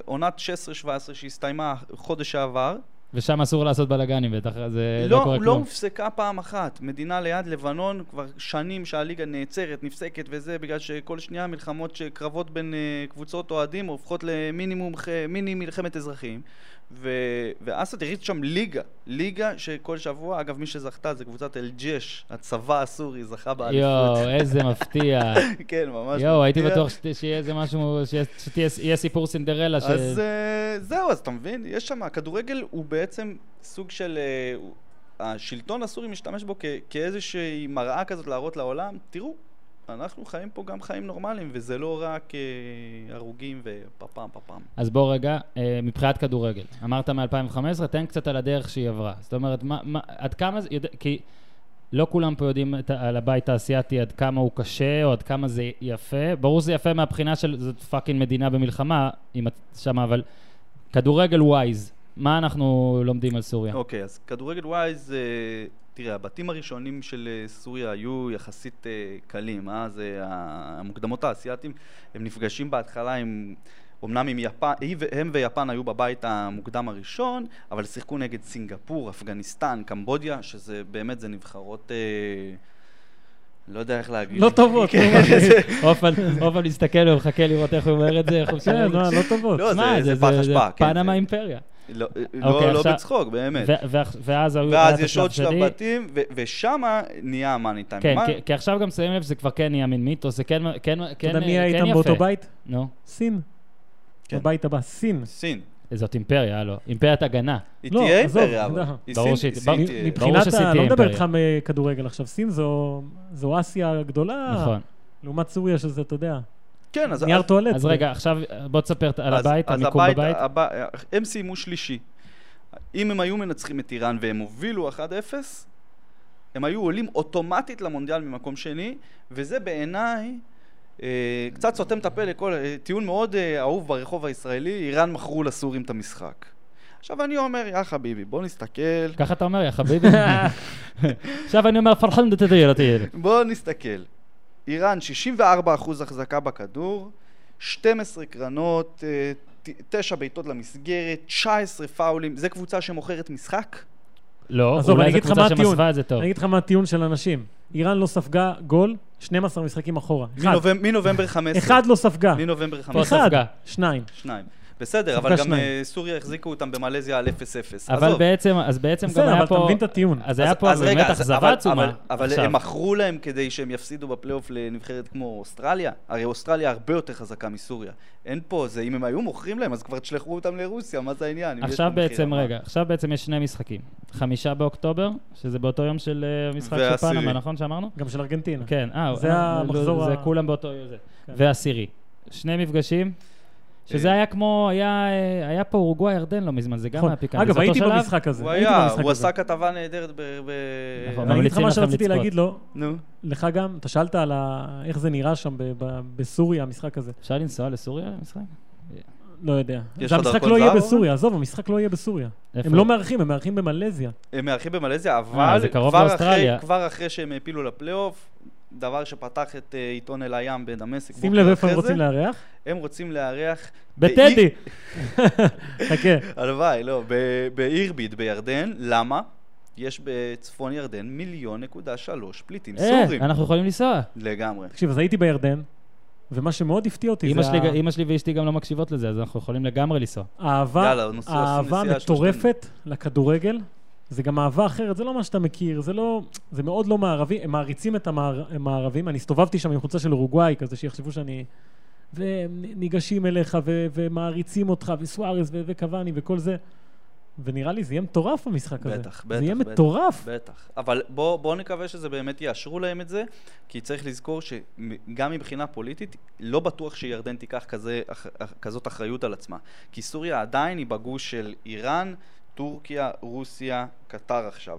Speaker 3: עונת 16-17 שהסתיימה חודש שעבר,
Speaker 1: ושם אסור לעשות בלאגנים בטח, זה לא,
Speaker 3: לא,
Speaker 1: קורה
Speaker 3: לא
Speaker 1: כלום.
Speaker 3: הופסקה פעם אחת. מדינה ליד לבנון, כבר שנים שהליגה נעצרת, נפסקת וזה, בגלל שכל שנייה מלחמות, ש- קרבות בין אה, קבוצות אוהדים הופכות למינימום, ח- מיני מלחמת אזרחים. ו- ואסד הריץ שם ליגה, ליגה שכל שבוע, אגב מי שזכתה זה קבוצת אל-ג'ש, הצבא הסורי זכה באליפות.
Speaker 1: יואו, איזה מפתיע.
Speaker 3: כן, ממש.
Speaker 1: יואו, הייתי
Speaker 3: מפתיע.
Speaker 1: בטוח שת- שיהיה איזה משהו, שיהיה- שתהיה יהיה סיפור סינדרלה. ש-
Speaker 3: אז אה, זהו, אז אתה מבין? יש שם, הכדורגל הוא בעצם סוג של... אה, הוא- השלטון הסורי משתמש בו כ- כאיזושהי מראה כזאת להראות לעולם, תראו, אנחנו חיים פה גם חיים נורמליים, וזה לא רק אה, הרוגים ופפם פפם.
Speaker 1: אז בוא רגע, אה, מבחינת כדורגל. אמרת מ-2015, תן קצת על הדרך שהיא עברה. זאת אומרת, מה, מה, עד כמה זה... יודע, כי לא כולם פה יודעים את, ה- על הבית האסייתי, עד כמה הוא קשה, או עד כמה זה יפה. ברור שזה יפה מהבחינה של זאת פאקינג מדינה במלחמה, אם את שמה, אבל כדורגל ווייז, מה אנחנו לומדים על סוריה?
Speaker 3: אוקיי, אז כדורגל ווייז, אה, תראה, הבתים הראשונים של אה, סוריה היו יחסית אה, קלים, אה? זה ה- המוקדמות האסייתים, הם נפגשים בהתחלה עם... אמנם עם יפן, היא ו- הם ויפן היו בבית המוקדם הראשון, אבל שיחקו נגד סינגפור, אפגניסטן, קמבודיה, שזה באמת, זה נבחרות, אה, לא יודע איך להגיד.
Speaker 2: לא טובות,
Speaker 3: כן,
Speaker 2: לא
Speaker 3: זה-
Speaker 1: אופן, אופן מסתכל ומחכה לראות איך הוא אומר את זה, איך הוא
Speaker 2: כן,
Speaker 1: משנה את זה.
Speaker 2: לא לא טובות.
Speaker 3: לא,
Speaker 1: שמע,
Speaker 3: זה- זה פח אשפה, כן, זה-
Speaker 1: פנמה אימפריה.
Speaker 3: לא,
Speaker 1: אוקיי,
Speaker 3: לא, לא
Speaker 1: עכשיו-
Speaker 3: בצחוק, באמת.
Speaker 1: ו- ו- ואז היו- היה את
Speaker 3: ואז יש
Speaker 1: השלב
Speaker 3: עוד שלב
Speaker 1: שני.
Speaker 3: בתים, ו- ושמה נהיה המאני טיים.
Speaker 1: כן,
Speaker 3: מה-
Speaker 1: כי, כי עכשיו גם שמים לב שזה כבר כן נהיה מין מיתוס, זה כן, כן, כן,
Speaker 2: אתה
Speaker 1: כן
Speaker 2: יודע מי היה
Speaker 1: יפה.
Speaker 2: איתם באותו בית?
Speaker 1: נו,
Speaker 2: סין.
Speaker 3: כן.
Speaker 2: בבית הבא, סין.
Speaker 3: סין.
Speaker 1: זאת אימפריה, הלו. אימפריית הגנה.
Speaker 3: היא
Speaker 2: לא,
Speaker 3: תהיה
Speaker 2: עזוב,
Speaker 3: אימפריה, אבל.
Speaker 2: לא.
Speaker 3: היא
Speaker 1: ברור
Speaker 3: סין-
Speaker 1: שהיא-
Speaker 3: היא
Speaker 1: ברור-
Speaker 3: סין תהיה.
Speaker 1: ברור
Speaker 2: מבחינת,
Speaker 1: שסין
Speaker 2: ה-
Speaker 1: תהיה
Speaker 2: לא מדבר איתך
Speaker 1: אימפריה.
Speaker 2: מכדורגל עכשיו, סין זו, זו אסיה הגדולה,
Speaker 1: נכון.
Speaker 2: לעומת סוריה שזה, אתה יודע,
Speaker 3: כן, אז...
Speaker 2: נייר
Speaker 3: אז-
Speaker 2: טואלט.
Speaker 1: אז רגע, עכשיו אה, בוא תספר על
Speaker 3: אז-
Speaker 1: הבית,
Speaker 3: אז
Speaker 1: המיקום
Speaker 3: הבית-
Speaker 1: בבית.
Speaker 3: הבית- הם סיימו שלישי. אם הם היו מנצחים את איראן והם הובילו 1-0, הם היו עולים אוטומטית למונדיאל ממקום שני, וזה בעיניי... אה, קצת סותם את הפה לכל... אה, טיעון מאוד אה, אהוב ברחוב הישראלי, איראן מכרו לסורים את המשחק. עכשיו אני אומר, יא חביבי, בוא נסתכל
Speaker 1: ככה אתה אומר, יא חביבי. עכשיו אני אומר, פרחן דתדיר, דתדיר.
Speaker 3: בואו נסתכל. איראן, 64% החזקה בכדור, 12 קרנות, 9 בעיטות למסגרת, 19 פאולים. זו קבוצה שמוכרת משחק?
Speaker 1: לא,
Speaker 2: עזוב, אני
Speaker 1: אולי זו
Speaker 2: אגיד לך
Speaker 1: קבוצה
Speaker 2: מה הטיעון.
Speaker 1: שמסווה את זה טוב.
Speaker 2: אני אגיד לך מה הטיעון של אנשים. איראן לא ספגה גול 12 משחקים אחורה. אחד.
Speaker 3: מנובמב- מנובמבר 15.
Speaker 2: אחד לא ספגה.
Speaker 3: מנובמבר
Speaker 1: פה
Speaker 3: 15.
Speaker 2: אחד.
Speaker 1: ספגה.
Speaker 2: שניים.
Speaker 3: שניים. בסדר,
Speaker 2: ספגה
Speaker 3: אבל גם
Speaker 2: שניים.
Speaker 3: אה, סוריה החזיקו אותם במלזיה על 0-0.
Speaker 1: אבל
Speaker 3: עזוב.
Speaker 1: בעצם, אז בעצם גם
Speaker 2: בסדר,
Speaker 1: היה פה...
Speaker 2: אבל אתה מבין את הטיעון.
Speaker 1: אז
Speaker 3: אז-
Speaker 1: היה פה
Speaker 3: אז רגע,
Speaker 1: באמת
Speaker 3: אז-
Speaker 1: אכזבה
Speaker 3: אבל-
Speaker 1: עצומה.
Speaker 3: אבל- אבל
Speaker 1: עכשיו.
Speaker 3: הם מכרו להם כדי שהם יפסידו בפלייאוף לנבחרת כמו אוסטרליה. הרי אוסטרליה הרבה יותר חזקה מסוריה. אין פה, זה אם הם היו מוכרים להם, אז כבר תשלחו אותם לרוסיה, מה זה העניין? אם יש
Speaker 1: עכשיו
Speaker 3: פה מחיר
Speaker 1: בעצם,
Speaker 3: רמה.
Speaker 1: רגע, עכשיו בעצם יש שני משחקים. חמישה באוקטובר, שזה באותו יום של אה, המשחק של
Speaker 3: והעשירי.
Speaker 1: פנמה, נכון שאמרנו?
Speaker 2: גם של ארגנטינה.
Speaker 1: כן, אה,
Speaker 2: זה
Speaker 1: אה,
Speaker 2: המחזור
Speaker 1: לא, זה
Speaker 2: ה-
Speaker 1: כולם באותו... זה.
Speaker 2: כן.
Speaker 1: ועשירי. שני מפגשים, שזה
Speaker 3: אה,
Speaker 1: היה כמו, היה אה, היה פה אורוגוואי ירדן לא מזמן, זה גם
Speaker 2: נכון.
Speaker 1: היה פיקנטי.
Speaker 2: אגב,
Speaker 1: זה אותו
Speaker 2: הייתי
Speaker 1: שלב?
Speaker 2: במשחק הזה.
Speaker 3: הוא
Speaker 2: הייתי
Speaker 3: היה,
Speaker 2: במשחק
Speaker 3: הוא
Speaker 2: הזה.
Speaker 3: עשה כתבה נהדרת ב... ב-
Speaker 1: נכון,
Speaker 2: ואני אגיד לך
Speaker 1: ממליצים
Speaker 2: מה
Speaker 1: לכם
Speaker 2: שרציתי
Speaker 1: לצפות.
Speaker 2: להגיד לו,
Speaker 3: נו.
Speaker 2: לך גם, אתה שאלת על ה- איך זה נראה שם ב- ב- בסוריה, המשחק הזה.
Speaker 1: אפשר לנסוע לסוריה למשחק?
Speaker 2: לא יודע.
Speaker 3: יש
Speaker 2: זה
Speaker 3: לך
Speaker 2: המשחק
Speaker 3: דרכון
Speaker 2: לא יהיה
Speaker 3: זר,
Speaker 2: בסוריה, עזוב, המשחק לא יהיה בסוריה.
Speaker 1: איפה?
Speaker 2: הם לא מארחים, הם מארחים במלזיה.
Speaker 3: הם מארחים במלזיה, אבל
Speaker 1: אה, זה קרוב
Speaker 3: כבר
Speaker 1: לאוסטרליה.
Speaker 3: אחרי- כבר אחרי שהם העפילו לפלייאוף, דבר שפתח את אה, עיתון אל הים בדמשק.
Speaker 2: שים
Speaker 3: בוקר
Speaker 2: לב איפה
Speaker 3: אחרי
Speaker 2: הם רוצים
Speaker 3: זה,
Speaker 2: לארח.
Speaker 3: הם רוצים לארח...
Speaker 1: בטדי!
Speaker 2: חכה.
Speaker 3: הלוואי, לא, ב- באירביד בירדן, למה? יש בצפון ירדן מיליון נקודה שלוש פליטים
Speaker 1: אה,
Speaker 3: סורים.
Speaker 1: אנחנו יכולים לנסוע.
Speaker 3: לגמרי.
Speaker 2: תקשיב, אז הייתי בירדן, ומה שמאוד הפתיע אותי
Speaker 1: אמא
Speaker 2: זה כן.
Speaker 1: שלי- אמא שלי ואשתי גם לא מקשיבות לזה, אז אנחנו יכולים לגמרי לנסוע.
Speaker 2: האהבה,
Speaker 3: יאללה, נוסע-
Speaker 2: האהבה
Speaker 3: נסיעה
Speaker 2: המטורפת לכדורגל. זה גם אהבה אחרת, זה לא מה שאתה מכיר, זה לא... זה מאוד לא מערבי, הם מעריצים את המער- המערבים. אני הסתובבתי שם עם חולצה של אורוגוואי, כזה שיחשבו שאני והם ניגשים אליך ו- ומעריצים אותך, וסוארז ו- וקוואני וכל זה. ונראה לי זה יהיה מטורף המשחק הזה.
Speaker 3: בטח,
Speaker 2: זה
Speaker 3: בטח,
Speaker 2: יהיה
Speaker 3: בטח.
Speaker 2: מטורף.
Speaker 3: בטח. אבל בואו בוא נקווה שזה באמת יאשרו להם את זה, כי צריך לזכור שגם מבחינה פוליטית, לא בטוח שירדן תיקח כזה, אח, אח, כזאת אחריות על עצמה. כי סוריה עדיין היא בגוש של איראן, טורקיה, רוסיה, קטר עכשיו.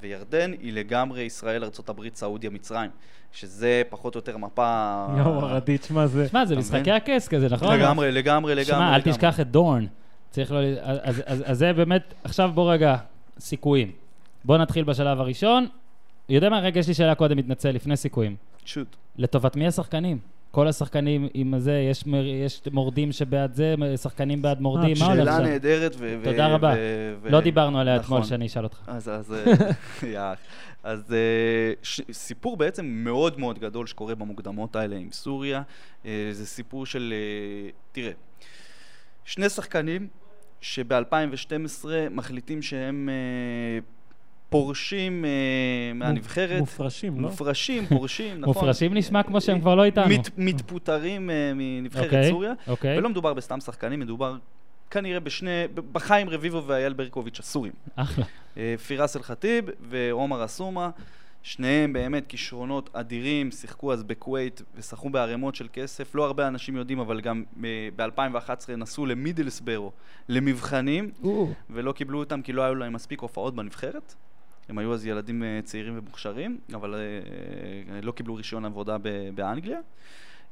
Speaker 3: וירדן היא לגמרי ישראל, ארה"ב, סעודיה, מצרים. שזה פחות או יותר מפה...
Speaker 2: יואו, הרדיץ', מה זה?
Speaker 1: שמע, זה
Speaker 3: אתה
Speaker 1: משחקי
Speaker 3: מבין?
Speaker 1: הכס כזה, נכון?
Speaker 3: לגמרי, לגמרי, לגמרי.
Speaker 1: שמע, אל
Speaker 3: לגמרי.
Speaker 1: תשכח את דורן. צריך לא... ל- אז, אז, אז, אז זה באמת, עכשיו בוא רגע, סיכויים. בוא נתחיל בשלב הראשון. יודע מה, רגע, יש לי שאלה קודם, מתנצל, לפני סיכויים.
Speaker 3: שוט.
Speaker 1: לטובת מי השחקנים? כל השחקנים עם זה, יש, מ- יש מורדים שבעד זה, שחקנים בעד מורדים, מה הולך
Speaker 3: אה, שאלה
Speaker 1: שם?
Speaker 3: נהדרת ו... ו-
Speaker 1: תודה רבה.
Speaker 3: ו- ו-
Speaker 1: לא דיברנו עליה
Speaker 3: נכון.
Speaker 1: אתמול, שאני אשאל אותך.
Speaker 3: אז, אז, אה, יאח. אז אה, ש- סיפור בעצם מאוד מאוד גדול שקורה במוקדמות האלה עם סוריה. אה, זה סיפור של, אה, תראה, שני שחקנים שב-2012 מחליטים שהם אה, פורשים אה, מהנבחרת.
Speaker 2: מופרשים, לא?
Speaker 3: מופרשים, פורשים, נכון.
Speaker 1: מופרשים נשמע כמו שהם כבר לא איתנו.
Speaker 3: מת, מתפוטרים אה, מנבחרת
Speaker 1: אוקיי,
Speaker 3: סוריה.
Speaker 1: אוקיי.
Speaker 3: ולא מדובר בסתם שחקנים, מדובר כנראה בשני, ב- בחיים רביבו ואייל ברקוביץ' הסורים.
Speaker 1: אחלה.
Speaker 3: אה, פירס אל-חטיב ועומר אסומה, שניהם באמת כישרונות אדירים, שיחקו אז בכווית ושחקו בערימות של כסף. לא הרבה אנשים יודעים, אבל גם אה, ב-2011 נסעו למידלסברו למבחנים, ולא קיבלו אותם כי לא היו להם מספיק הופעות בנבחרת. הם היו אז ילדים אה, צעירים ומוכשרים, אבל אה, אה, לא קיבלו רישיון עבודה ב- באנגליה.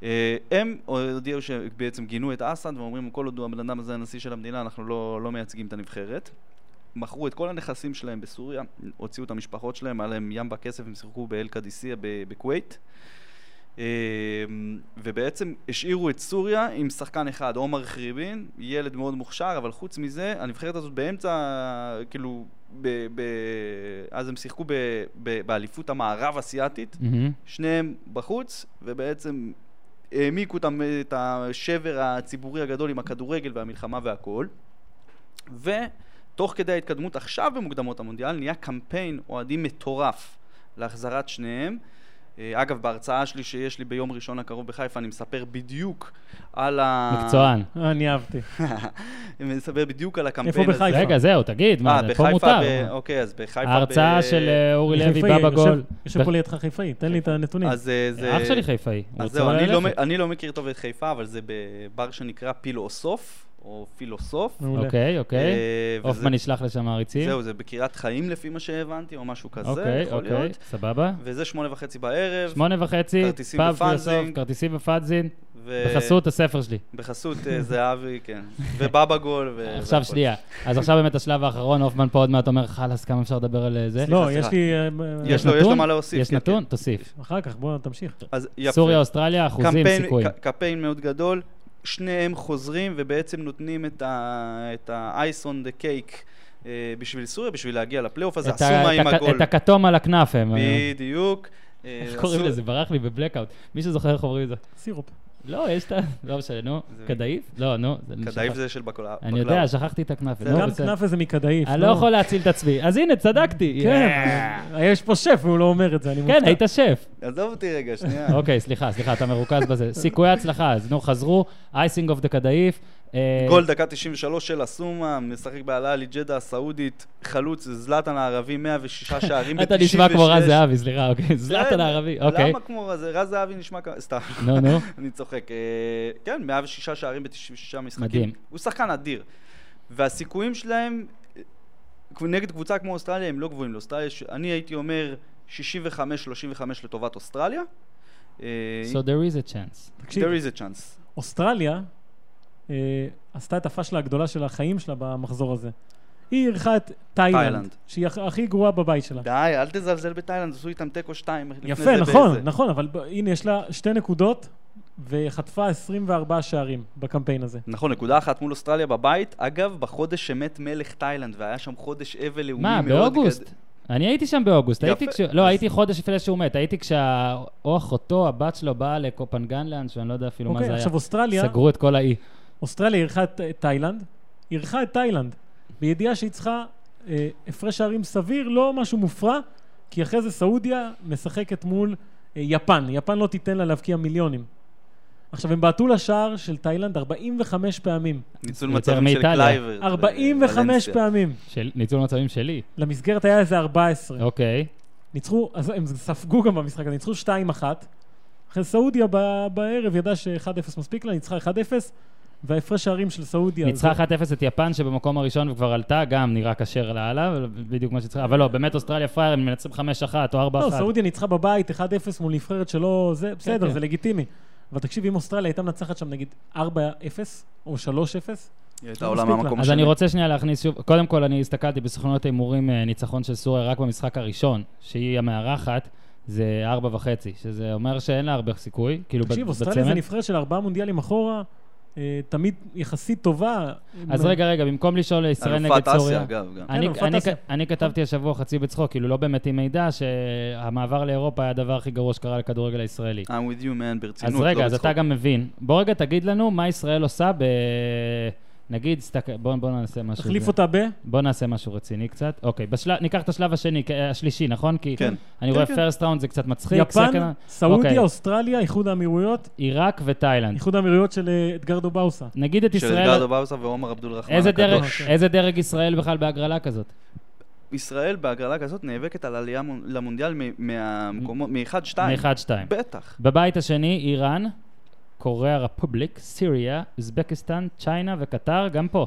Speaker 3: אה, הם הודיעו שבעצם גינו את אסד ואומרים כל עוד הוא הבן אדם הזה הנשיא של המדינה אנחנו לא, לא מייצגים את הנבחרת. מכרו את כל הנכסים שלהם בסוריה, הוציאו את המשפחות שלהם, היה להם ים בכסף, הם שיחקו באל-קדיסיה ב- בכווית. אה, ובעצם השאירו את סוריה עם שחקן אחד, עומר חריבין, ילד מאוד מוכשר, אבל חוץ מזה, הנבחרת הזאת באמצע, כאילו, ב- ב- אז הם שיחקו ב- ב- באליפות המערב אסיאתית,
Speaker 1: מהמם.
Speaker 3: שניהם בחוץ, ובעצם העמיקו את המ- את השבר הציבורי הגדול עם הכדורגל והמלחמה והכול. ותוך כדי ההתקדמות עכשיו במוקדמות המונדיאל נהיה קמפיין אוהדים מטורף להחזרת שניהם. אה, אגב, בהרצאה שלי שיש לי ביום ראשון הקרוב בחיפה, אני מספר בדיוק על ה...
Speaker 1: מקצוען.
Speaker 2: אה, אני אהבתי.
Speaker 3: אני מספר בדיוק על הקמפיין הזה.
Speaker 2: איפה בחיפה?
Speaker 1: רגע, זהו, תגיד, מה,
Speaker 3: אה,
Speaker 1: זה פה
Speaker 3: בחיפה,
Speaker 1: מותר.
Speaker 3: ב... אוקיי, אז בחיפה...
Speaker 1: ההרצאה
Speaker 3: ב...
Speaker 1: של אה, אורי לוי
Speaker 2: חיפאי,
Speaker 1: בא בגול.
Speaker 2: יושב- יושב פה לידך חיפאי, תן לי את הנתונים.
Speaker 3: אז אה, זה...
Speaker 1: אח שלי חיפאי. הוא
Speaker 3: אז
Speaker 1: רוצה
Speaker 3: זהו,
Speaker 1: אולי
Speaker 3: אני לא,
Speaker 1: ללכת.
Speaker 3: מ- אני לא מכיר טוב את חיפה, אבל זה בבר שנקרא פילוסוף, או פילוסוף.
Speaker 2: מעולה.
Speaker 1: אוקיי, אוקיי.
Speaker 3: אה, וזה-
Speaker 1: הופמן ישלח לשם מעריצים.
Speaker 3: זהו, זה בקריית חיים לפי מה שהבנתי, או משהו כזה,
Speaker 1: אוקיי,
Speaker 3: יכול
Speaker 1: אוקיי,
Speaker 3: להיות.
Speaker 1: סבבה.
Speaker 3: וזה שמונה וחצי בערב,
Speaker 1: שמונה וחצי,
Speaker 3: כרטיסים
Speaker 1: פאב
Speaker 3: בפאנזינג. אה,
Speaker 1: פילוסוף, כרטיסים בפאנזין,
Speaker 3: ו-
Speaker 1: בחסות הספר שלי.
Speaker 3: בחסות אה, זהבי, כן, ובבא גול. ו-
Speaker 1: עכשיו
Speaker 3: והכל.
Speaker 1: שנייה. אז עכשיו באמת השלב האחרון, הופמן פה עוד מעט אומר, חלאס, כמה אפשר לדבר על אה, זה.
Speaker 2: לא,
Speaker 3: סליחה,
Speaker 2: יש
Speaker 3: סליחה.
Speaker 2: לי... אה,
Speaker 3: יש לו,
Speaker 1: נתון?
Speaker 3: יש לו מה להוסיף.
Speaker 1: יש
Speaker 3: כן,
Speaker 1: נתון?
Speaker 3: כן.
Speaker 1: תוסיף.
Speaker 2: אחר כך, בוא תמשיך.
Speaker 3: אז יפה.
Speaker 1: סוריה, אוסטרליה, אחוזים,
Speaker 3: קמפיין-
Speaker 1: סיכויים.
Speaker 3: ק- קמפיין מאוד גדול, שניהם חוזרים ובעצם נותנים את ה-ice on the cake אה, בשביל סוריה, בשביל להגיע לפלייאוף הזה,
Speaker 1: את ה-
Speaker 3: הסומה עם
Speaker 1: את הכ-
Speaker 3: הגול.
Speaker 1: את הכתום על הכנף הם. אה,
Speaker 3: בדיוק. אה,
Speaker 1: איך קוראים
Speaker 3: עשו-
Speaker 1: לזה? ברח לי בבלקאוט. מישהו זוכר איך אומרים את זה?
Speaker 2: סירופ.
Speaker 1: לא, יש את ה... לא משנה, נו.
Speaker 3: זה-
Speaker 1: קדאיף? לא, נו. זה-
Speaker 3: כדאי
Speaker 1: שכח-
Speaker 3: זה של בקולאו.
Speaker 1: אני יודע, שכחתי את הכנף.
Speaker 3: זה
Speaker 1: נו,
Speaker 2: גם
Speaker 1: לא, בסדר.
Speaker 2: כנף איזה מכדאי.
Speaker 1: אני לא יכול להציל את עצמי. אז הנה, צדקתי.
Speaker 2: כן, אבל יש פה שף והוא לא אומר את זה, אני מופתע.
Speaker 1: כן, היית שף.
Speaker 3: עזוב אותי רגע, שנייה.
Speaker 1: אוקיי, סליחה, סליחה, אתה מרוכז בזה. סיכויי הצלחה, אז נו, חזרו, אייסינג אוף דה קדאיף. אה,
Speaker 3: גול דקה 93 של אסומה, משחק בהעלאה לג'דה הסעודית, חלוץ זלאטן הערבי, 106 שערים ב-96.
Speaker 1: אתה נשמע כמו רז זהבי, סליחה, אוקיי. זלאטן הערבי, אוקיי.
Speaker 3: למה כמו רז רז זהבי נשמע כ... סתם,
Speaker 1: נו, נו.
Speaker 3: אני צוחק. אה, כן, 106 שערים ב-96 משחקים.
Speaker 1: מדהים.
Speaker 3: הוא שחקן אדיר. והסיכויים שלהם אה, נגד קבוצה כמו אוסטרליה הם לא גבוהים לאוסטרליה. יש- אני הייתי אומר 65-35 לטובת אוסטרליה. אה,
Speaker 1: So there is a chance.
Speaker 2: תקשיב,
Speaker 3: there is a chance.
Speaker 2: אוסטרליה אה, עשתה את הפשלה הגדולה של החיים שלה במחזור הזה. היא אירחה את תאילנד,
Speaker 3: תאילנד.
Speaker 2: שהיא הכ- הכי גרועה בבית שלה.
Speaker 3: די, אל תזלזל בתאילנד, עשו איתם תיקו 2.
Speaker 2: יפה, נכון, נכון, אבל ב- הנה, יש לה שתי נקודות, וחטפה 24 שערים בקמפיין הזה.
Speaker 3: נכון, נקודה אחת מול אוסטרליה בבית. אגב, בחודש שמת מלך תאילנד, והיה שם חודש אבל לאומי
Speaker 1: מה,
Speaker 3: מאוד...
Speaker 1: באוגוסט?
Speaker 3: גד-
Speaker 1: אני הייתי שם באוגוסט,
Speaker 3: יפה.
Speaker 1: הייתי כש... לא,
Speaker 3: אז-
Speaker 1: הייתי חודש לפני שהוא מת, הייתי כשה... או אחותו, הבת שלו באה לקופנגן לאנשהו, אני לא יודע אפילו מה
Speaker 2: אוקיי,
Speaker 1: זה היה.
Speaker 2: עכשיו אוסטרליה,
Speaker 1: סגרו את כל האי.
Speaker 2: אוסטרליה אירחה את את תאילנד, אירחה את תאילנד, בידיעה שהיא צריכה אה, הפרש שערים סביר, לא משהו מופרע, כי אחרי זה סעודיה משחקת מול אה, יפן. יפן לא תיתן לה להבקיע מיליונים. עכשיו, הם בעטו לשער של תאילנד 45 פעמים.
Speaker 3: ניצול
Speaker 1: יותר
Speaker 3: מצבים של
Speaker 1: מאיטליה.
Speaker 3: קלייבר.
Speaker 2: 45
Speaker 3: ווולנסיה.
Speaker 2: פעמים.
Speaker 1: של ניצול מצבים שלי.
Speaker 2: למסגרת היה איזה 14.
Speaker 1: אוקיי.
Speaker 2: ניצחו, אז הם ספגו גם במשחק הזה, ניצחו 2-1. אחרי סעודיה ב- בערב ידעה ש-1-0 מספיק לה, ניצחה 1-0, וההפרש שערים של סעודיה...
Speaker 1: ניצחה
Speaker 2: זה-
Speaker 1: 1-0 את יפן שבמקום הראשון וכבר עלתה, גם נראה כשר לאללה, אבל בדיוק מה שצריך. אבל לא, באמת אוסטרליה פראייר, הם מנצחים 5-1 או 4-1.
Speaker 2: לא, סעודיה ניצחה בבית 1-0 מול נבחרת שלא... זה בסדר,
Speaker 1: כן.
Speaker 2: זה לגיטימי. אבל תקשיב, אם אוסטרליה הייתה מנצחת שם נגיד 4-0 או 3-0,
Speaker 3: היא הייתה עולה
Speaker 2: מספיק לה.
Speaker 3: מהמקום
Speaker 1: אז
Speaker 3: השני.
Speaker 1: אני רוצה שנייה להכניס שוב, קודם כל אני הסתכלתי בסוכנות ההימורים אה, ניצחון של סוריה רק במשחק הראשון, שהיא המארחת, זה ארבע וחצי, שזה אומר שאין לה הרבה סיכוי, כאילו
Speaker 2: תקשיב,
Speaker 1: ב-
Speaker 2: אוסטרליה זה
Speaker 1: בצמד.
Speaker 2: נבחרת של ארבעה מונדיאלים אחורה, אה, תמיד יחסית טובה.
Speaker 1: אז רגע, רגע, במקום לשאול ישראל
Speaker 3: אלופת
Speaker 1: נגד
Speaker 3: אסיה,
Speaker 1: סוריה, אה.
Speaker 3: אגב, גם.
Speaker 1: אני-
Speaker 2: כן, אלופת
Speaker 1: אני-
Speaker 2: אסיה.
Speaker 1: אני כתבתי השבוע חצי בצחוק, כאילו לא באמת עם מידע, שהמעבר לאירופה היה הדבר הכי גרוע שקרה לכדורגל הישראלי.
Speaker 3: I'm with you, man, ברצינות,
Speaker 1: אז
Speaker 3: אה, לא
Speaker 1: רגע, אז
Speaker 3: בצחוק.
Speaker 1: אתה גם מבין. בוא רגע תגיד לנו מה ישראל עושה ב... נגיד, סתק- בוא בוא נעשה משהו.
Speaker 2: תחליף
Speaker 1: זה.
Speaker 2: אותה ב...
Speaker 1: בוא נעשה משהו רציני קצת. אוקיי, בשל... ניקח את השלב השני, כ- השלישי, נכון? כי
Speaker 3: כן.
Speaker 1: אני
Speaker 3: כן,
Speaker 1: רואה
Speaker 3: כן.
Speaker 1: פרסט ראונד זה קצת מצחיק.
Speaker 2: יפן,
Speaker 1: second- אוקיי.
Speaker 2: סעודיה, אוסטרליה, איחוד האמירויות,
Speaker 1: עיראק ותאילנד.
Speaker 2: איחוד האמירויות של אה, אדגרדו באוסה.
Speaker 1: נגיד את
Speaker 3: של
Speaker 1: ישראל...
Speaker 3: אדגרדו באוסה ועומר עבדול רחמן
Speaker 1: איזה אוקיי. דרג,
Speaker 2: אוקיי.
Speaker 3: הקדוש.
Speaker 1: איזה דרג ישראל בכלל בהגרלה כזאת?
Speaker 3: ישראל בהגרלה כזאת נאבקת על עלייה מונ- למונדיאל מ- מהמקומות, מ-1-2.
Speaker 1: מ-1-2.
Speaker 3: בטח.
Speaker 1: בבית השני, איראן, קוריאה רפובליק, סיריה, אוזבקיסטן, צ'יינה וקטר, גם פה.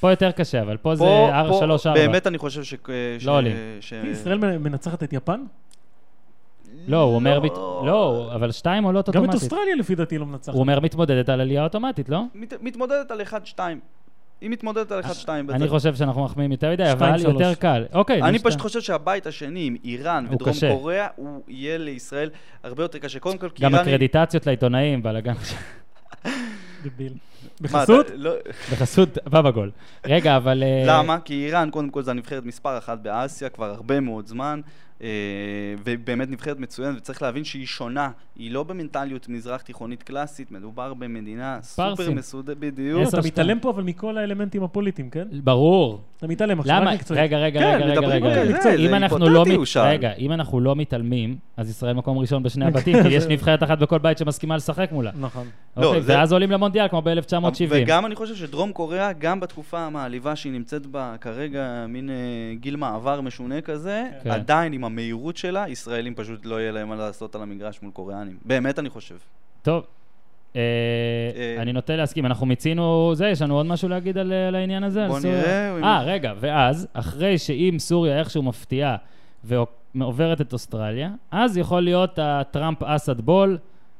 Speaker 1: פה יותר קשה, אבל פה זה
Speaker 3: פה, פה,
Speaker 1: 3-4.
Speaker 3: באמת אני חושב ש... ש-
Speaker 1: לא עולים.
Speaker 3: ש-
Speaker 2: ישראל מנצחת את יפן?
Speaker 1: לא, הוא אומר... מת- לא, אבל 2 עולות
Speaker 2: גם את
Speaker 1: אוטומטית.
Speaker 2: אוסטרליה לפי דעתי לא מנצחת.
Speaker 1: הוא אומר מתמודדת על עלייה אוטומטית, לא?
Speaker 3: מת- מתמודדת על 1-2. היא מתמודדת על 1-2.
Speaker 1: אני
Speaker 3: בטח.
Speaker 1: חושב שאנחנו מחמיאים יותר מדי,
Speaker 2: שתיים,
Speaker 1: אבל
Speaker 2: שלוש.
Speaker 1: יותר קל. אוקיי,
Speaker 3: אני
Speaker 1: נשת-
Speaker 3: פשוט חושב שהבית השני עם איראן
Speaker 1: הוא
Speaker 3: ודרום
Speaker 1: קשה.
Speaker 3: קוריאה, הוא יהיה לישראל הרבה יותר קשה. קודם כל, כי
Speaker 1: גם
Speaker 3: איראן... היא-
Speaker 1: הקרדיטציות לעיתונאים, בלאגן.
Speaker 2: דביל.
Speaker 3: מה,
Speaker 2: בחסות?
Speaker 3: אתה- לא-
Speaker 1: בחסות, בא בגול. רגע, אבל... אה,
Speaker 3: למה? כי איראן, קודם כל, זו הנבחרת מספר אחת באסיה כבר הרבה מאוד זמן, אה, ובאמת נבחרת מצוינת, וצריך להבין שהיא שונה. היא לא במנטליות מזרח תיכונית קלאסית, מדובר במדינה סופר
Speaker 1: פרסים.
Speaker 3: מסודרת,
Speaker 2: לא,
Speaker 3: בדיוק.
Speaker 1: עשר,
Speaker 2: אתה
Speaker 1: שתיים.
Speaker 2: מתעלם פה אבל מכל האלמנטים הפוליטיים, כן?
Speaker 1: ברור.
Speaker 2: אתה מתעלם עכשיו,
Speaker 1: למה?
Speaker 2: רק מקצועית.
Speaker 1: רגע, רגע,
Speaker 3: כן,
Speaker 1: רגע, רגע,
Speaker 3: מדברים
Speaker 1: רגע.
Speaker 3: על זה, זה
Speaker 1: אם אנחנו לא
Speaker 3: היפותטי,
Speaker 1: מת-
Speaker 3: הוא שאל.
Speaker 1: רגע, אם אנחנו לא מתעלמים, אז ישראל מקום ראשון בשני הבתים, כי יש נבחרת אחת בכל בית שמסכימה לשחק מולה.
Speaker 2: נכון.
Speaker 3: לא,
Speaker 1: אוקיי,
Speaker 3: זה-
Speaker 1: ואז עולים למונדיאל, כמו ב-1970.
Speaker 3: וגם אני חושב שדרום קוריאה, גם בתקופה המעליבה שהיא נמצאת בה כרגע, מין אה, גיל מעבר משונה כזה,
Speaker 1: כן.
Speaker 3: עדיין עם המהירות שלה, ישראלים פשוט לא יהיה להם מה לעשות על המגרש מול קוריאנים. באמת אני חושב.
Speaker 1: טוב. אה,
Speaker 3: אה,
Speaker 1: אני נוטה להסכים, אנחנו מיצינו זה, יש לנו עוד משהו להגיד על אה, על העניין הזה? על
Speaker 3: בוא
Speaker 1: סוריה?
Speaker 3: נראה, אם-
Speaker 1: אה, רגע, ואז, אחרי שאם סוריה איכשהו מפתיעה ועוברת את אוסטרליה, אז יכול להיות הטראמפ אסד בול,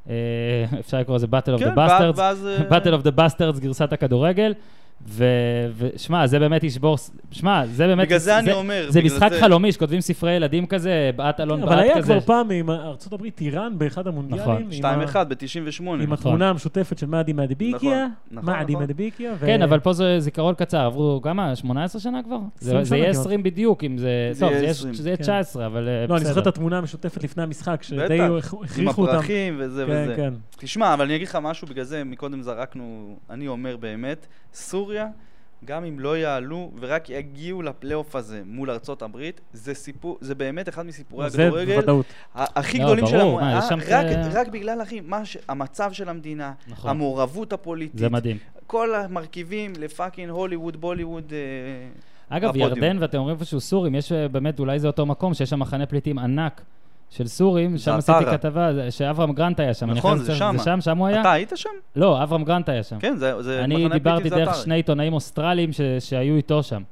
Speaker 1: אה, אפשר לקרוא לזה Battle of
Speaker 3: כן,
Speaker 1: the
Speaker 3: ואז-
Speaker 1: Bastards,
Speaker 3: ואז... אה,
Speaker 1: Battle of the Bastards גרסת הכדורגל, ו- ושמע, זה באמת ישבור, ס- שמע, זה באמת,
Speaker 3: בגלל זה אני אומר,
Speaker 1: זה
Speaker 3: בגלל
Speaker 1: משחק
Speaker 3: זה.
Speaker 1: חלומי שכותבים ספרי ילדים כזה, בעט אלון
Speaker 2: כן, אבל
Speaker 1: בעט
Speaker 2: היה
Speaker 1: כזה.
Speaker 2: כבר פעם עם ארצות הברית, איראן, באחד
Speaker 1: נכון.
Speaker 2: המונדיאלים. עם
Speaker 3: 2-1
Speaker 2: ה-
Speaker 3: ב-98.
Speaker 2: עם התמונה המשותפת של מאדי מדביקיה.
Speaker 3: נכון, נכון,
Speaker 2: מאדי
Speaker 3: נכון.
Speaker 2: מדביקיה. ו-
Speaker 1: כן, אבל פה זה זיכרון קצר, עברו כמה? 18 שנה כבר? זה-
Speaker 2: 20
Speaker 1: זה יהיה
Speaker 2: שנה כמעט.
Speaker 1: 20 בדיוק, אם זה...
Speaker 3: זה
Speaker 1: טוב,
Speaker 3: יהיה
Speaker 1: זה יהיה-
Speaker 3: 20,
Speaker 1: זה יהיה
Speaker 2: כן.
Speaker 1: 19, אבל אה, בסדר.
Speaker 2: לא, אני זוכר את התמונה המשותפת לפני המשחק, שדי
Speaker 3: בטח, עם
Speaker 2: הכריחו אותם.
Speaker 3: הפרחים וזה
Speaker 2: כן,
Speaker 3: וזה.
Speaker 2: כן.
Speaker 3: תשמע, אבל אני אגיד לך משהו, בגלל זה מקודם זרקנו, אני אומר באמת, סוריה, גם אם לא יעלו ורק יגיעו לפלייאוף הזה מול ארצות הברית, זה סיפור, זה באמת אחד מסיפורי
Speaker 2: זה
Speaker 3: הכדורגל
Speaker 2: בוודאות.
Speaker 3: ה- הכי
Speaker 1: לא,
Speaker 3: גדולים של
Speaker 1: ברור, מה,
Speaker 3: המועדה,
Speaker 1: יש שם
Speaker 3: רק,
Speaker 1: את-
Speaker 3: רק בגלל, אחי, מה ש- המצב של המדינה,
Speaker 1: נכון.
Speaker 3: המעורבות הפוליטית,
Speaker 1: זה מדהים.
Speaker 3: כל המרכיבים לפאקינג הוליווד, בוליווד, אה,
Speaker 1: אגב,
Speaker 3: הפודיום.
Speaker 1: ירדן, ואתם אומרים איפשהו סורים, יש אה, באמת, אולי זה אותו מקום, שיש שם מחנה פליטים ענק של סורים, שם עשיתי
Speaker 3: עטרה.
Speaker 1: כתבה, זה- שאברהם גרנט היה שם. אני
Speaker 3: נכון,
Speaker 1: חושב שזה-
Speaker 3: זה
Speaker 1: זה
Speaker 3: שמה.
Speaker 1: שם, שם הוא היה?
Speaker 3: אתה היית שם?
Speaker 1: לא, אברהם גרנט היה שם.
Speaker 3: כן, זה, זה
Speaker 1: אני
Speaker 3: מחנה
Speaker 1: דיברתי
Speaker 3: פליטים, זה
Speaker 1: דרך
Speaker 3: אתר.
Speaker 1: שני עיתונאים אוסטרלים ש- שהיו איתו שם.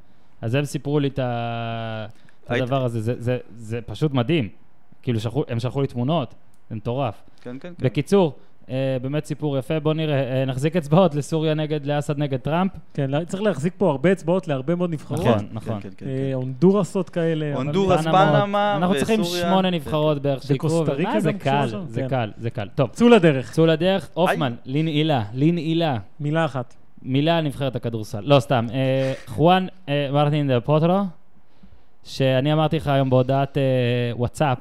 Speaker 1: אז הם סיפרו לי את ה- את
Speaker 3: היית-
Speaker 1: הדבר הזה. זה- זה- זה פשוט מדהים. כאילו, שלחו- הם שלחו לי תמונות, זה מטורף.
Speaker 3: כן, כן, כן.
Speaker 1: בקיצור, אה, באמת סיפור יפה, בוא נראה, אה, נחזיק אצבעות לסוריה נגד, לאסד נגד טראמפ.
Speaker 2: כן, לא- צריך להחזיק פה הרבה אצבעות להרבה מאוד נבחרות.
Speaker 1: נכון,
Speaker 3: כן,
Speaker 1: נכון.
Speaker 3: כן, כן, כן.
Speaker 2: אה, הונדורסות כאלה. אבל-
Speaker 3: הונדורס,
Speaker 1: פנמות.
Speaker 3: פנמה
Speaker 1: אנחנו צריכים
Speaker 3: וסוריה.
Speaker 1: שמונה נבחרות בערך שיקרו,
Speaker 2: בקוסטה ריקה
Speaker 1: מה זה
Speaker 2: גם קשור
Speaker 1: קל,
Speaker 2: לשם?
Speaker 1: זה
Speaker 2: כן.
Speaker 1: קל, זה קל. טוב,
Speaker 2: צאו לדרך,
Speaker 1: צאו לדרך, הופמן, לנעילה, לנעילה.
Speaker 2: מילה אחת.
Speaker 1: מילה על נבחרת הכדורסל, לא סתם. אה, חואן אה, מרטין דה פוטרו, שאני אמרתי לך היום בהודעת אה, וואטסאפ,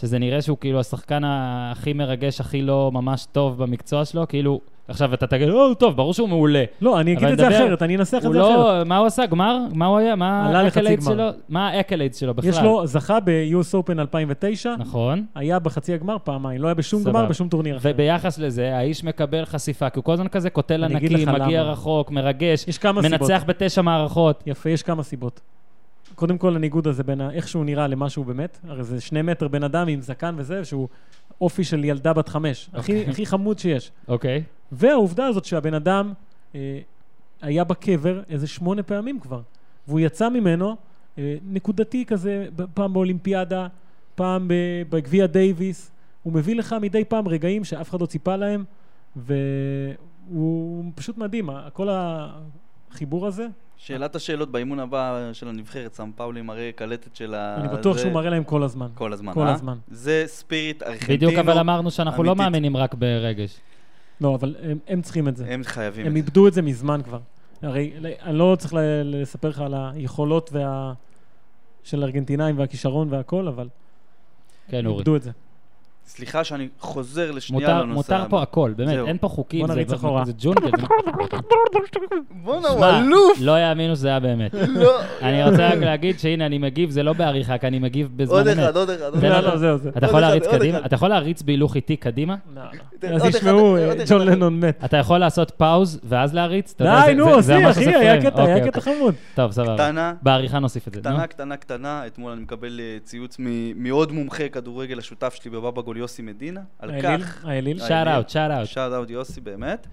Speaker 1: שזה נראה שהוא כאילו השחקן הכי מרגש, הכי לא ממש טוב במקצוע שלו, כאילו, עכשיו אתה תגיד, או, טוב, ברור שהוא מעולה.
Speaker 2: לא, אני אגיד
Speaker 1: אבל
Speaker 2: את זה
Speaker 1: נדבר-
Speaker 2: אחרת, אני אנסח את
Speaker 1: הוא
Speaker 2: זה אחרת.
Speaker 1: לא, מה הוא עשה? גמר? מה הוא היה? מה
Speaker 2: עלה לחצי
Speaker 1: ה-accolades
Speaker 2: גמר.
Speaker 1: שלו? מה האקלייד שלו בכלל?
Speaker 2: יש לו, זכה ב-US Open 2009,
Speaker 1: נכון.
Speaker 2: היה בחצי הגמר פעמיים, לא היה בשום
Speaker 1: סבבה.
Speaker 2: גמר, בשום טורניר אחר.
Speaker 1: וביחס לזה, האיש מקבל חשיפה, כי הוא כל הזמן כזה קוטל
Speaker 2: אני אגיד
Speaker 1: ענקי,
Speaker 2: לך
Speaker 1: מגיע
Speaker 2: למה.
Speaker 1: רחוק, מרגש,
Speaker 2: יש כמה סיבות.
Speaker 1: מנצח בתשע מערכות.
Speaker 2: יפה, יש כמה סיבות. קודם כל, הניגוד הזה בין ה- איך שהוא נראה למה שהוא באמת, הרי זה שני מטר בן אדם עם זקן וזה, שהוא אופי של ילדה בת חמש. הכי,
Speaker 1: אוקיי.
Speaker 2: הכי חמוד שיש.
Speaker 1: אוקיי.
Speaker 2: והעובדה הזאת שהבן אדם אה, היה בקבר איזה שמונה פעמים כבר, והוא יצא ממנו אה, נקודתי כזה, ב- פעם באולימפיאדה, פעם ב- בגביע דייוויס, הוא מביא לך מדי פעם רגעים שאף אחד לא ציפה להם, והוא פשוט מדהים, ה- כל החיבור הזה,
Speaker 3: שאלת השאלות באימון הבא של הנבחרת, סאם פאולי מראה קלטת של ה...
Speaker 2: אני בטוח
Speaker 3: אה, זה-
Speaker 2: שהוא מראה להם כל הזמן.
Speaker 3: כל הזמן,
Speaker 2: כל
Speaker 3: אה?
Speaker 2: הזמן.
Speaker 3: זה ספיריט ארגנטינו.
Speaker 1: בדיוק, אבל אמרנו שאנחנו לא
Speaker 3: אמיתית.
Speaker 1: מאמינים רק ברגש.
Speaker 2: לא, אבל הם, הם צריכים את זה.
Speaker 3: הם חייבים
Speaker 2: הם
Speaker 3: את זה.
Speaker 2: איבדו את זה מזמן כבר. הרי ל- אני לא צריך ל- לספר לך על היכולות וה... של הארגנטינאים והכישרון והכל, אבל
Speaker 1: כן, אורי.
Speaker 2: איבדו את זה.
Speaker 3: לא, סליחה שאני חוזר לשנייה
Speaker 1: מותר,
Speaker 3: לנושא.
Speaker 1: מותר פה
Speaker 3: הבא.
Speaker 1: הכל, באמת,
Speaker 3: זהו.
Speaker 1: אין פה חוקים,
Speaker 2: בוא
Speaker 1: זה-
Speaker 2: נריץ
Speaker 1: זה-
Speaker 2: אחורה.
Speaker 1: זה ג'ונגל. זה-
Speaker 3: בואנה, הוא
Speaker 1: שמע,
Speaker 3: אלוף!
Speaker 1: לא יאמינו שזה היה באמת.
Speaker 3: לא.
Speaker 1: אני רוצה רק להגיד שהנה, אני מגיב, זה לא בעריכה, כי אני מגיב בזמן
Speaker 3: עוד אחד,
Speaker 1: אמת.
Speaker 3: עוד אחד, עוד
Speaker 1: תן
Speaker 2: לא,
Speaker 1: לנו-
Speaker 3: אחד.
Speaker 2: לא, זהו, זהו.
Speaker 1: אתה יכול
Speaker 3: עוד
Speaker 1: להריץ
Speaker 3: אחד, עוד
Speaker 1: קדימה?
Speaker 3: אחד.
Speaker 1: אתה יכול להריץ בהילוך איתי קדימה?
Speaker 2: לא, לא.
Speaker 3: תן-
Speaker 2: אז
Speaker 3: עוד
Speaker 2: ישמעו,
Speaker 3: אחד, עוד אחד.
Speaker 2: ג'ון לנון מת.
Speaker 1: אתה יכול לעשות פאוז ואז להריץ? אתה יודע,
Speaker 2: די,
Speaker 1: זה-
Speaker 2: נו,
Speaker 1: זה- זה
Speaker 2: עזבי,
Speaker 1: ממש
Speaker 2: אחי,
Speaker 1: עושה
Speaker 2: היה
Speaker 1: פריים.
Speaker 2: קטע,
Speaker 1: אוקיי,
Speaker 2: היה
Speaker 1: אוקיי.
Speaker 2: קטע חמוד.
Speaker 1: טוב, סבבה.
Speaker 3: קטנה,
Speaker 1: בעריכה נוסיף את זה. נו.
Speaker 3: קטנה, קטנה, קטנה. אתמול אני מקבל אה, ציוץ מ- מעוד מומחה כדורגל השותף שלי בבאבא גול יוסי מדינה, על
Speaker 2: האליל,
Speaker 3: כך,
Speaker 2: האליל.
Speaker 3: אה,
Speaker 1: שאט אאוט, שאט אאוט.
Speaker 3: שאט אאוט יוסי באמת.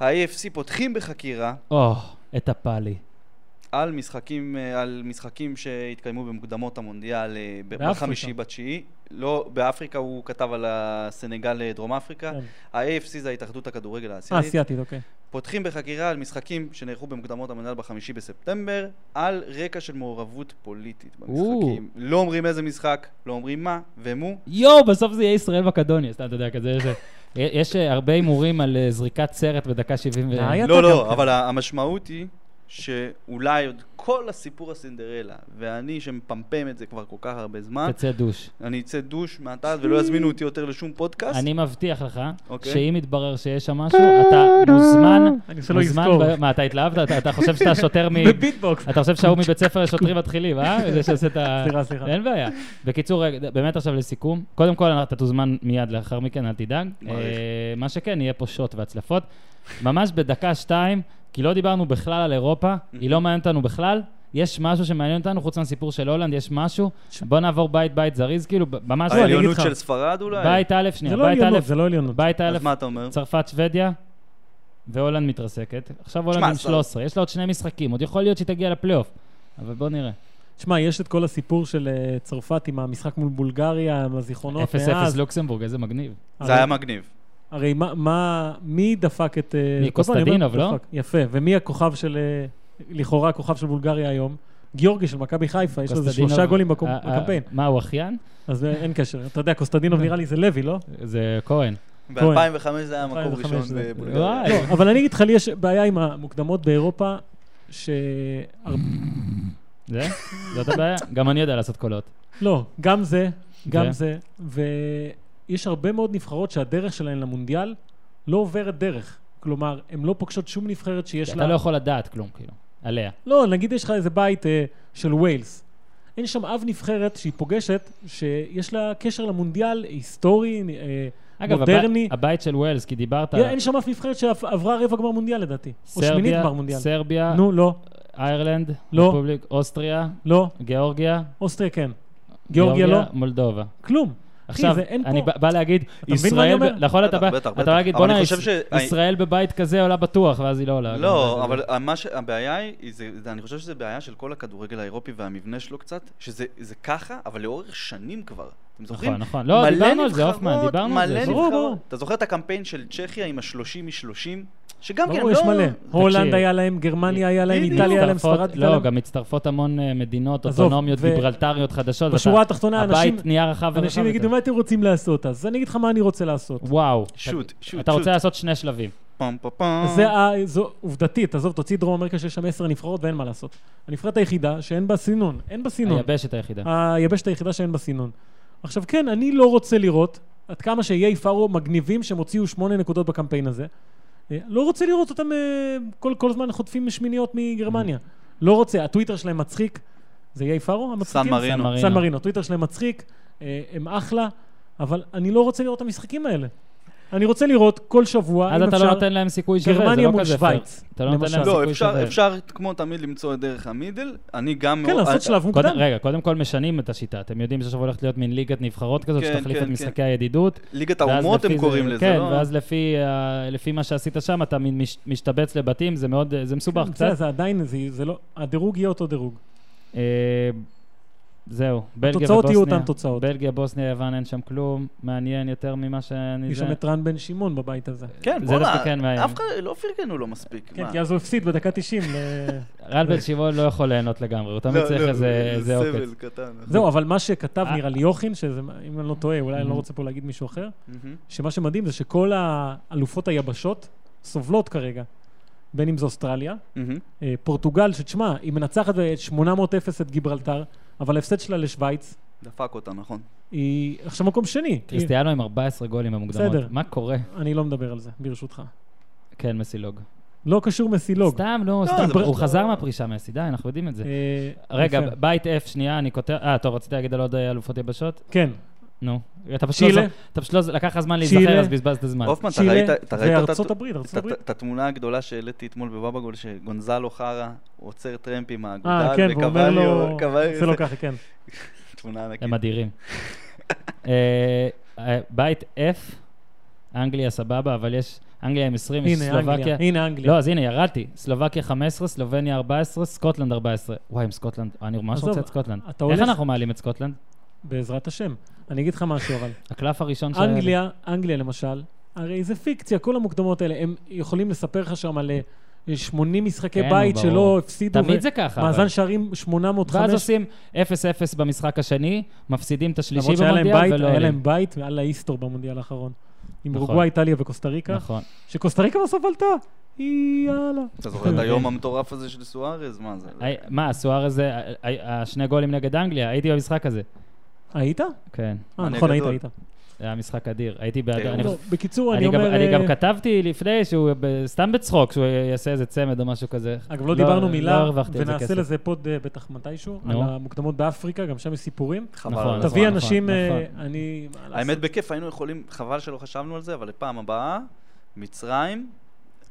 Speaker 3: ה-AFC פותחים בחקירה
Speaker 1: או, את הפאלי.
Speaker 3: על משחקים, אה, על משחקים שהתקיימו במוקדמות המונדיאל אה, ב-
Speaker 2: באפריקה.
Speaker 3: בחמישי בתשיעי. לא, באפריקה הוא כתב על הסנגל אה, דרום אפריקה.
Speaker 2: כן.
Speaker 3: ה-AFC זה ההתאחדות הכדורגל
Speaker 2: אה,
Speaker 3: האסייתית.
Speaker 2: אסייתית, אוקיי.
Speaker 3: פותחים בחקירה על משחקים שנערכו במוקדמות המנהל בחמישי בספטמבר, על רקע של מעורבות פוליטית במשחקים. לא אומרים איזה משחק, לא אומרים מה ומו.
Speaker 1: יואו, בסוף זה יהיה ישראל מקדוניה, סתם, אתה יודע, כזה יש... יש אה, הרבה הימורים על אה, זריקת סרט בדקה 70 ו...
Speaker 2: די, אתה
Speaker 3: לא,
Speaker 2: גם
Speaker 3: לא,
Speaker 2: כן.
Speaker 3: אבל ה- המשמעות היא שאולי עוד כל הסיפור הסינדרלה, ואני שמפמפם את זה כבר כל כך הרבה זמן,
Speaker 1: תצא דוש.
Speaker 3: אני אצא דוש מעתה ולא יזמינו אותי יותר לשום פודקאסט.
Speaker 1: אני מבטיח לך,
Speaker 3: אוקיי.
Speaker 1: שאם יתברר שיש שם משהו, אתה מוזמן,
Speaker 2: אני עושה לו
Speaker 1: מוזמן...
Speaker 2: יזכור.
Speaker 1: ב- מה, אתה התלהבת? אתה- אתה חושב שאתה שוטר מ...
Speaker 2: בביטבוקס.
Speaker 1: אתה חושב שההוא מבית ספר לשוטרים מתחילים, אה? זה שעושה את ה...
Speaker 2: סליחה, סליחה.
Speaker 1: אין בעיה. בקיצור, רגע, באמת עכשיו לסיכום. קודם כל, אתה תוזמן מיד לאחר מכן, אל תדאג.
Speaker 3: מעריך.
Speaker 1: אה, מה שכן, יהיה פה שוט והצלפות. ממש בדקה-שתיים, כי לא דיברנו בכלל על אירופה, היא לא מעניינת אותנו בכלל. יש משהו שמעניין אותנו, חוץ מהסיפור של הולנד, יש משהו. בוא נעבור בית-בית זריז, כאילו, ב- ממש...
Speaker 3: העליונות
Speaker 2: אגיד לך.
Speaker 3: של ספרד אולי?
Speaker 1: בית א',
Speaker 2: זה
Speaker 1: שנייה,
Speaker 2: לא
Speaker 1: בית א',
Speaker 2: עליונות, זה לא עליונות.
Speaker 1: בית א',
Speaker 3: אז מה אתה אומר?
Speaker 1: צרפת, שוודיה, והולנד מתרסקת. עכשיו הולנד
Speaker 3: תשמע,
Speaker 1: עם
Speaker 3: זה-
Speaker 1: 13, יש לה עוד שני משחקים, עוד יכול להיות שהיא תגיע לפלייאוף, אבל בוא נראה.
Speaker 2: תשמע, יש את כל הסיפור של אה, צרפת עם המשחק מול בולגריה, עם הזיכרונות
Speaker 1: 0-0
Speaker 2: לא, מאז.
Speaker 1: לוקסמבורג, איזה מגניב.
Speaker 3: זה
Speaker 2: הרי-
Speaker 3: היה מגניב.
Speaker 2: הרי מה, מה, מי דפק את... אה,
Speaker 1: מי,
Speaker 2: כל פעם אני אומר,
Speaker 1: קוסטדינוב, לא?
Speaker 2: דפק. יפה, ומי הכוכב של... אה, לכאורה הכוכב של בולגריה היום? גיאורגי של מכבי חיפה, יש לו איזה
Speaker 1: קוסטדינוב,
Speaker 2: שלושה גולים בקום-
Speaker 1: אה, אה,
Speaker 2: בקמפיין.
Speaker 1: מה, הוא אחיין?
Speaker 2: אז אה, אין קשר. אתה יודע, קוסטדינוב נראה לי זה לוי, לא?
Speaker 1: זה כהן.
Speaker 3: ב-2005 זה היה מקום
Speaker 2: 2005
Speaker 3: ראשון
Speaker 2: זה-
Speaker 3: בבולגריה.
Speaker 1: וואי.
Speaker 2: לא, אבל אני אגיד לך, לי יש בעיה עם המוקדמות באירופה, ש... הר-
Speaker 1: זה? זאת הבעיה? גם אני יודע לעשות קולות.
Speaker 2: לא, גם זה, גם
Speaker 1: ו-
Speaker 2: זה, ויש הרבה מאוד נבחרות שהדרך שלהן למונדיאל לא עוברת דרך. כלומר, הן לא פוגשות שום נבחרת שיש לה...
Speaker 1: אתה לא יכול לדעת כלום, כאילו, עליה.
Speaker 2: לא, נגיד יש לך איזה בית אה, של ווילס. אין שם אף נבחרת שהיא פוגשת, שיש לה קשר למונדיאל היסטורי, אה,
Speaker 1: אגב,
Speaker 2: מודרני.
Speaker 1: הבית- הבית של ווילס, כי דיברת...
Speaker 2: אין שם אף נבחרת שעברה רבע גמר מונדיאל לדעתי. או שמינית
Speaker 1: סרביה-
Speaker 2: גמר מונדיאל.
Speaker 1: סרביה,
Speaker 2: נו, לא,
Speaker 1: איירלנד,
Speaker 2: לא.
Speaker 1: רפובליק- אוסטריה,
Speaker 2: לא,
Speaker 1: גיאורגיה,
Speaker 2: אוסטריה כן. גיאורגיה לא,
Speaker 1: מולדובה.
Speaker 2: כלום.
Speaker 1: עכשיו,
Speaker 2: זה אין
Speaker 1: אני
Speaker 2: פה.
Speaker 1: בא- בא להגיד,
Speaker 2: מבין מה אני
Speaker 1: ישראל,
Speaker 2: אומר?
Speaker 1: ב- נכון, אתה
Speaker 3: בטח,
Speaker 1: בא
Speaker 3: בטח,
Speaker 1: אתה
Speaker 3: בטח.
Speaker 1: בא להגיד,
Speaker 3: אבל
Speaker 1: בוא'נה,
Speaker 3: אני חושב ש-
Speaker 1: יש- ישראל בבית כזה עולה בטוח, ואז היא לא עולה.
Speaker 3: לא, אבל מה ש- הבעיה היא, זה- זה- אני חושב שזה בעיה של כל הכדורגל האירופי והמבנה שלו קצת, שזה זה ככה, אבל לאורך שנים כבר. אתם זוכרים?
Speaker 1: נכון, נכון. לא,
Speaker 3: מלא
Speaker 1: דיברנו על זה,
Speaker 3: נבחרות,
Speaker 1: הופמן, דיברנו על זה.
Speaker 3: מלא
Speaker 1: ברור,
Speaker 3: נבחרות.
Speaker 2: ברור.
Speaker 3: אתה זוכר את הקמפיין של צ'כיה עם השלושים משלושים? שגם כן, לא...
Speaker 2: ברור, יש מלא. הולנד היה להם,
Speaker 1: בדיוק.
Speaker 2: גרמניה היה להם,
Speaker 3: בדיוק.
Speaker 2: איטליה היה להם,
Speaker 1: מצטרפות-
Speaker 2: ספרד הייתה
Speaker 1: לא,
Speaker 2: להם.
Speaker 1: גם מצטרפות המון אה, מדינות
Speaker 2: עזוב,
Speaker 1: אוטונומיות,
Speaker 2: ו-
Speaker 1: גיברלטריות חדשות.
Speaker 2: בשורה
Speaker 1: ואתה-
Speaker 2: התחתונה, אנשים-
Speaker 1: הבית נהיה רחב ורחב
Speaker 2: אנשים יגידו,
Speaker 1: יותר.
Speaker 2: מה אתם רוצים לעשות? אז אני אגיד לך מה אני רוצה לעשות.
Speaker 1: וואו.
Speaker 3: שוט,
Speaker 1: אתה-
Speaker 3: שוט,
Speaker 1: אתה
Speaker 3: שוט.
Speaker 1: רוצה לעשות שני שלבים.
Speaker 3: פעם פעם פעם.
Speaker 2: זה
Speaker 1: אה,
Speaker 2: ה... זו עובדתית, עזוב, תוציא דרום אמריקה שיש שם עשר נבחרות ואין מה לעשות. הנבחרת היחידה שאין בה סינון, אין בה סינון.
Speaker 1: היבשת היחידה.
Speaker 2: היבשת היחידה שאין בה סינון. עכשיו כן, אני לא רוצה לראות, עד כמה שאיי פארו מגניבים שהם הוציאו שמונה נקודות בקמפיין הזה. אה, לא רוצה לראות אותם אה, כל, כל זמן חוטפים שמיניות מגרמניה. לא רוצה, הטוויטר שלהם מצחיק. זה איי פארו? המצחיקים?
Speaker 3: מרינו.
Speaker 1: סן מרינו.
Speaker 2: סן מרינו. הטוויטר שלהם מצחיק, אה, הם אחלה, אבל אני לא רוצה לראות את המשחקים האלה. אני רוצה לראות כל שבוע,
Speaker 1: אז
Speaker 2: אם
Speaker 1: אתה
Speaker 2: אפשר,
Speaker 1: לא נותן להם סיכוי שווה, זה לא כזה
Speaker 2: גרמניה מול
Speaker 1: פייר.
Speaker 2: שווייץ,
Speaker 1: אתה לא נותן
Speaker 2: למשל.
Speaker 1: להם
Speaker 3: לא,
Speaker 1: סיכוי
Speaker 3: אפשר,
Speaker 1: שווה.
Speaker 3: אפשר כמו תמיד למצוא את דרך המידל, אני גם...
Speaker 2: כן,
Speaker 3: מאוד-
Speaker 2: לעשות שלב
Speaker 1: קודם,
Speaker 2: מוקדם.
Speaker 1: רגע, קודם כל משנים את השיטה. אתם יודעים שעכשיו הולכת להיות מין ליגת נבחרות כזאת,
Speaker 3: כן,
Speaker 1: שתחליף
Speaker 3: כן,
Speaker 1: את
Speaker 3: כן.
Speaker 1: משחקי הידידות.
Speaker 3: ליגת
Speaker 1: ואז
Speaker 3: האומות
Speaker 1: לפי
Speaker 3: הם
Speaker 1: זה-
Speaker 3: קוראים לזה,
Speaker 1: כן,
Speaker 3: לא?
Speaker 1: ואז לפי, ה- לפי מה שעשית שם, אתה מין מש, משתבץ לבתים, זה מאוד, זה מסובך
Speaker 2: בסדר,
Speaker 1: קצת.
Speaker 2: אה, כן, זה עדיין, זה- זה לא, הדירוג יהיה אותו דירוג.
Speaker 1: אה, זהו, בלגיה ובוסניה.
Speaker 2: התוצאות יהיו אותן תוצאות.
Speaker 1: בלגיה, בוסניה, יוון, אין שם כלום. מעניין יותר ממה שאני...
Speaker 2: יש
Speaker 1: זה.
Speaker 2: שם את רן בן שמעון בבית הזה.
Speaker 3: כן,
Speaker 1: זה
Speaker 3: בוא'נה,
Speaker 1: דווקא כן מעניין.
Speaker 3: אף אחד, לא פרגנו לו מספיק.
Speaker 2: כן,
Speaker 3: מה?
Speaker 2: כי אז הוא הפסיד בדקה 90. ל-
Speaker 1: רן בן שמעון לא יכול ליהנות לגמרי, הוא תמיד
Speaker 3: לא,
Speaker 1: צריך
Speaker 3: לא,
Speaker 1: איזה איזה עוקץ.
Speaker 3: סבל קטן.
Speaker 2: זהו, אבל מה שכתב
Speaker 1: אה.
Speaker 2: נראה לי יוכין, שזה, אם אני לא טועה, אולי אני
Speaker 1: Mhm.
Speaker 2: לא
Speaker 1: נכון.
Speaker 2: רוצה פה להגיד מישהו אחר,
Speaker 3: מהמם.
Speaker 2: שמה שמדהים זה שכל האלופות היבשות סובלות כרגע, בין אם זה אוסטרליה,
Speaker 3: מהמם.
Speaker 2: אה, פורטוגל, שתשמע, היא מנצחת ב-800-0 את גיברלטר, אבל ההפסד שלה לשוויץ,
Speaker 3: דפק אותה, נכון.
Speaker 2: היא עכשיו מקום שני.
Speaker 1: קריסטיאנו עם 14 גולים במוקדמות.
Speaker 2: בסדר.
Speaker 1: מה קורה?
Speaker 2: היא- אני לא מדבר על זה, ברשותך.
Speaker 1: כן, מסילוג.
Speaker 2: לא קשור מסילוג.
Speaker 1: סתם, לא,
Speaker 3: לא,
Speaker 1: סתם.
Speaker 3: זה
Speaker 1: הוא
Speaker 3: פשוט-
Speaker 1: חזר מהפרישה, מסי, די, אנחנו יודעים את זה.
Speaker 2: אה,
Speaker 1: רגע,
Speaker 2: יפה.
Speaker 1: בית F, שנייה, אני כותב... אה, טוב, רציתי להגיד על עוד אה, אלופות יבשות?
Speaker 2: כן,
Speaker 1: נו. אתה פשוט לא...
Speaker 2: צ'ילה.
Speaker 1: זוכ- אתה פשוט לא... לקח לך זמן
Speaker 2: צ'ילה.
Speaker 1: להיזכר, אז בזבזת זמן.
Speaker 3: הופמן, אתה ראית
Speaker 2: צ'ילה
Speaker 3: אתה ראית את
Speaker 2: וארצות
Speaker 3: הת-
Speaker 2: הברית,
Speaker 3: את-
Speaker 2: ארצות הברית.
Speaker 3: את התמונה הגדולה שהעליתי אתמול בבבגול, שגונזלו חרא עוצר טרמפ עם האגודל,
Speaker 2: אה, כן, והוא אומר לו...
Speaker 3: וקבליו, קבליו-
Speaker 2: זה לא ככה, כן.
Speaker 3: תמונה ענקית.
Speaker 1: הם אדירים. אה, אה, בית F, אנגליה סבבה, אבל יש... אנגליה עם 20, יש
Speaker 2: הנה
Speaker 1: סלובקיה.
Speaker 2: אנגליה, הנה אנגליה.
Speaker 1: לא, אז הנה, ירדתי. סלובקיה 15, סלובניה 14, סקוטלנד 14. וואי, עם סקוטלנד, אני ממש
Speaker 2: עזוב,
Speaker 1: רוצה את סקוטלנד.
Speaker 2: אתה
Speaker 1: איך
Speaker 2: הולך-
Speaker 1: אנחנו מעלים את סקוטלנד?
Speaker 2: בעזרת השם. אני אגיד לך משהו אבל.
Speaker 1: הקלף הראשון שהיה לי.
Speaker 2: אנגליה, אנגליה למשל, הרי זה פיקציה, כל המוקדמות האלה, הם יכולים לספר לך שם על אה, 80 משחקי
Speaker 1: כן,
Speaker 2: בית
Speaker 1: ברור.
Speaker 2: שלא הפסידו.
Speaker 1: תמיד
Speaker 2: ו-
Speaker 1: זה ככה, אבל.
Speaker 2: מאזן שערים 805.
Speaker 1: ואז עושים 0-0 במשחק השני, מפסידים את השלישי
Speaker 2: למרות שהיה להם
Speaker 1: במונדיאל
Speaker 2: בית,
Speaker 1: ולא
Speaker 2: היה
Speaker 1: עולים.
Speaker 2: להם בית מעל האיסטור במונדיאל האחרון. עם
Speaker 1: נכון.
Speaker 2: אורוגוואי, איטליה וקוסטה ריקה,
Speaker 1: נכון.
Speaker 2: שקוסטה ריקה בסוף עלתה. יאללה.
Speaker 3: אתה זוכר את
Speaker 1: נכון.
Speaker 3: היום המטורף הזה של סוארז? מה זה?
Speaker 1: הי- מה, הסואר הזה, ה- ה- השני גולים נגד אנגליה, הייתי במשחק הזה.
Speaker 2: היית?
Speaker 1: כן,
Speaker 2: אה,
Speaker 3: אני
Speaker 2: נכון, היית,
Speaker 3: גדול.
Speaker 2: היית.
Speaker 1: זה היה משחק אדיר. הייתי בעד...
Speaker 3: אה,
Speaker 1: אני-
Speaker 2: לא, בקיצור, אני
Speaker 1: אני גם-
Speaker 2: אומר...
Speaker 1: אני גם
Speaker 2: אה,
Speaker 1: כתבתי לפני שהוא ב- סתם בצחוק, שהוא יעשה איזה צמד או משהו כזה.
Speaker 2: אגב, לא דיברנו
Speaker 1: לא
Speaker 2: מילה,
Speaker 1: הרווחתי על זה
Speaker 2: ונעשה
Speaker 1: כסף.
Speaker 2: לזה פוד אה, בטח מתישהו, על
Speaker 1: נו.
Speaker 2: המוקדמות באפריקה, גם שם יש סיפורים.
Speaker 3: חבל
Speaker 1: נכון.
Speaker 3: על הזמן.
Speaker 2: תביא
Speaker 1: נכון,
Speaker 2: אנשים, אה,
Speaker 1: נכון.
Speaker 2: אני... מה לעשות?
Speaker 3: האמת, בכיף, היינו יכולים, חבל שלא חשבנו על זה, אבל לפעם הבאה, מצרים,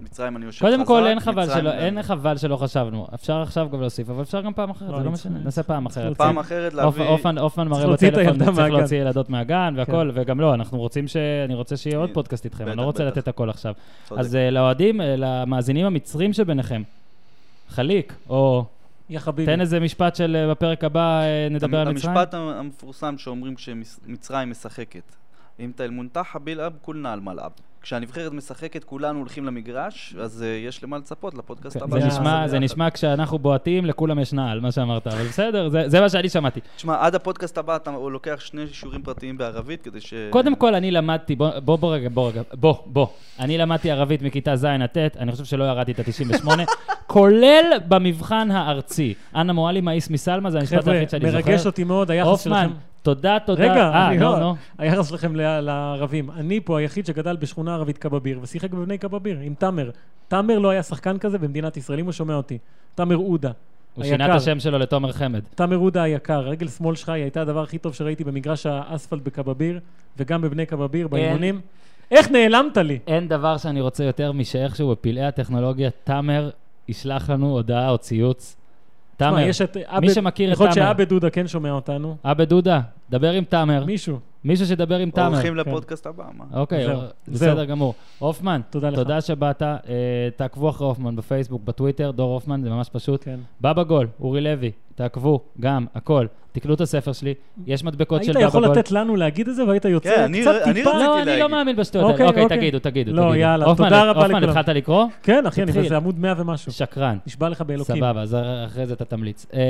Speaker 3: מצרים אני יושב חזק.
Speaker 1: קודם כל, אין חבל
Speaker 3: מצרים-
Speaker 1: שלא- אין חבל שלא חשבנו. אפשר עכשיו גם להוסיף, אבל אפשר גם פעם אחרת,
Speaker 2: לא,
Speaker 1: זה לא
Speaker 2: אני
Speaker 1: משנה.
Speaker 2: צריך-
Speaker 1: נעשה פעם
Speaker 2: צריך
Speaker 1: אחרת.
Speaker 2: להוציא-
Speaker 3: פעם אחרת
Speaker 1: אופ-
Speaker 3: להביא...
Speaker 1: אופן- אופן מראה
Speaker 2: להוציא את
Speaker 1: בטלפון,
Speaker 2: הילדה
Speaker 1: צריך
Speaker 2: מהגן. כן.
Speaker 1: להוציא ילדות מהגן והכל, וגם לא, אנחנו רוצים ש... אני רוצה שיהיה עוד
Speaker 3: כן.
Speaker 1: פודקאסט איתכם, אני
Speaker 3: בטח,
Speaker 1: לא רוצה
Speaker 3: בטח.
Speaker 1: לתת הכל עכשיו.
Speaker 3: צודק.
Speaker 1: אז אה, לאוהדים, אה, למאזינים המצרים שביניכם, חליק, או
Speaker 2: יא חביבי.
Speaker 1: תן איזה משפט של אה, בפרק הבא אה, נדבר על מצרים.
Speaker 3: המשפט המפורסם שאומרים כשמצרים משחקת. אם תלמונתחה בלעב, כולנה על מלעב. כשהנבחרת משחקת, כולנו הולכים למגרש, אז אה, יש למה לצפות לפודקאסט
Speaker 1: כן,
Speaker 3: הבא. אה,
Speaker 1: זה
Speaker 2: זה
Speaker 1: נשמע,
Speaker 3: נעשה
Speaker 1: זה
Speaker 3: ביחד.
Speaker 1: נשמע כשאנחנו בועטים, לכולם יש נעל, מה שאמרת, אבל בסדר, זה- זה מה שאני שמעתי.
Speaker 3: תשמע, עד הפודקאסט הבא אתה לוקח שני שיעורים פרטיים בערבית, כדי ש...
Speaker 1: קודם כל, אני למדתי, בוא, בוא, בוא רגע, בוא רגע, בוא, בוא. אני למדתי ערבית מכיתה ז' עד ט', אני חושב שלא ירדתי את ה-98, כולל במבחן הארצי. אנה מועלי מאיס מסלמה, זה המשפט
Speaker 2: חבר'ה,
Speaker 1: היחיד שאני זוכר.
Speaker 2: מרגש אותי מאוד היחס
Speaker 1: הופמן,
Speaker 2: שלכם.
Speaker 1: תודה, תודה.
Speaker 2: רגע,
Speaker 1: אה,
Speaker 2: אני
Speaker 1: נו, נו.
Speaker 2: לא... היחס שלכם ל- לערבים. אני פה היחיד שגדל בשכונה ערבית קבביר, ושיחק בבני קבביר, עם תאמר. תאמר לא היה שחקן כזה במדינת ישראל, אם הוא שומע אותי. תאמר עודה.
Speaker 1: הוא שינה את
Speaker 2: היקר.
Speaker 1: השם שלו לתומר חמד.
Speaker 2: תאמר עודה היקר, רגל שמאל שלך היא הייתה הדבר הכי טוב שראיתי במגרש האספלט בקבביר, וגם בבני
Speaker 1: אה,
Speaker 2: קבביר, באימונים. איך נעלמת לי?
Speaker 1: אין דבר שאני רוצה יותר משאיכשהו בפלאי הטכנולוגיה, תאמר ישלח לנו הודעה או ציוץ. תאמר,
Speaker 2: תשמע, יש את
Speaker 1: מי
Speaker 2: עבד-
Speaker 1: שמכיר את
Speaker 2: יכול להיות
Speaker 1: תאמר.
Speaker 2: שעבד דודה כן שומע אותנו.
Speaker 1: אבא דודה, דבר עם תאמר.
Speaker 2: מישהו.
Speaker 1: מישהו שידבר עם תאמר.
Speaker 3: הולכים לפודקאסט הבא, מה?
Speaker 1: אוקיי,
Speaker 2: זהו,
Speaker 1: בסדר
Speaker 2: זהו.
Speaker 1: גמור. הופמן,
Speaker 2: תודה לך.
Speaker 1: תודה שבאת. אה, תעקבו אחרי הופמן בפייסבוק, בטוויטר, דור הופמן, זה ממש פשוט.
Speaker 2: כן.
Speaker 1: בבא גול, אורי לוי, תעקבו, גם, הכל. תקנו את הספר שלי, יש מדבקות של
Speaker 2: היית
Speaker 1: בבא גול.
Speaker 2: יכול לתת לנו להגיד את זה והיית
Speaker 3: כן,
Speaker 2: יוצא
Speaker 3: אני-
Speaker 2: קצת
Speaker 3: אני
Speaker 2: טיפה.
Speaker 3: רציתי
Speaker 1: לא, אני לא
Speaker 3: להגיד.
Speaker 1: מאמין בשטויות האלה.
Speaker 2: אוקיי,
Speaker 1: אוקיי,
Speaker 2: אוקיי.
Speaker 1: תגידו, תגידו.
Speaker 2: לא,
Speaker 1: תגידו.
Speaker 2: יאללה,
Speaker 1: הופמן,
Speaker 2: תודה רבה
Speaker 1: הופמן,
Speaker 2: לכולם.
Speaker 1: התחלת לקרוא?
Speaker 2: כן, אחי, אני
Speaker 1: תתחיל.
Speaker 2: זה עמוד 100 ומשהו.
Speaker 1: שקרן.
Speaker 2: נשבע לך באלוקים.
Speaker 1: סבבה, אז אחרי זה אתה תמליץ. אה,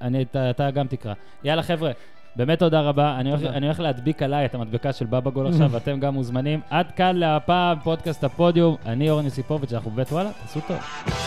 Speaker 1: אני, אתה, אתה גם תקרא. יאללה, חבר'ה, באמת תודה רבה. אני הולך,
Speaker 2: תודה.
Speaker 1: אני הולך להדביק עליי את המדבקה של בבא גול עכשיו, ואתם גם מוזמנים. עד כאן להפעם, פודקאסט הפודיום. אני אורן יוסיפוביץ', אנחנו בבית וואלה, תעשו טוב.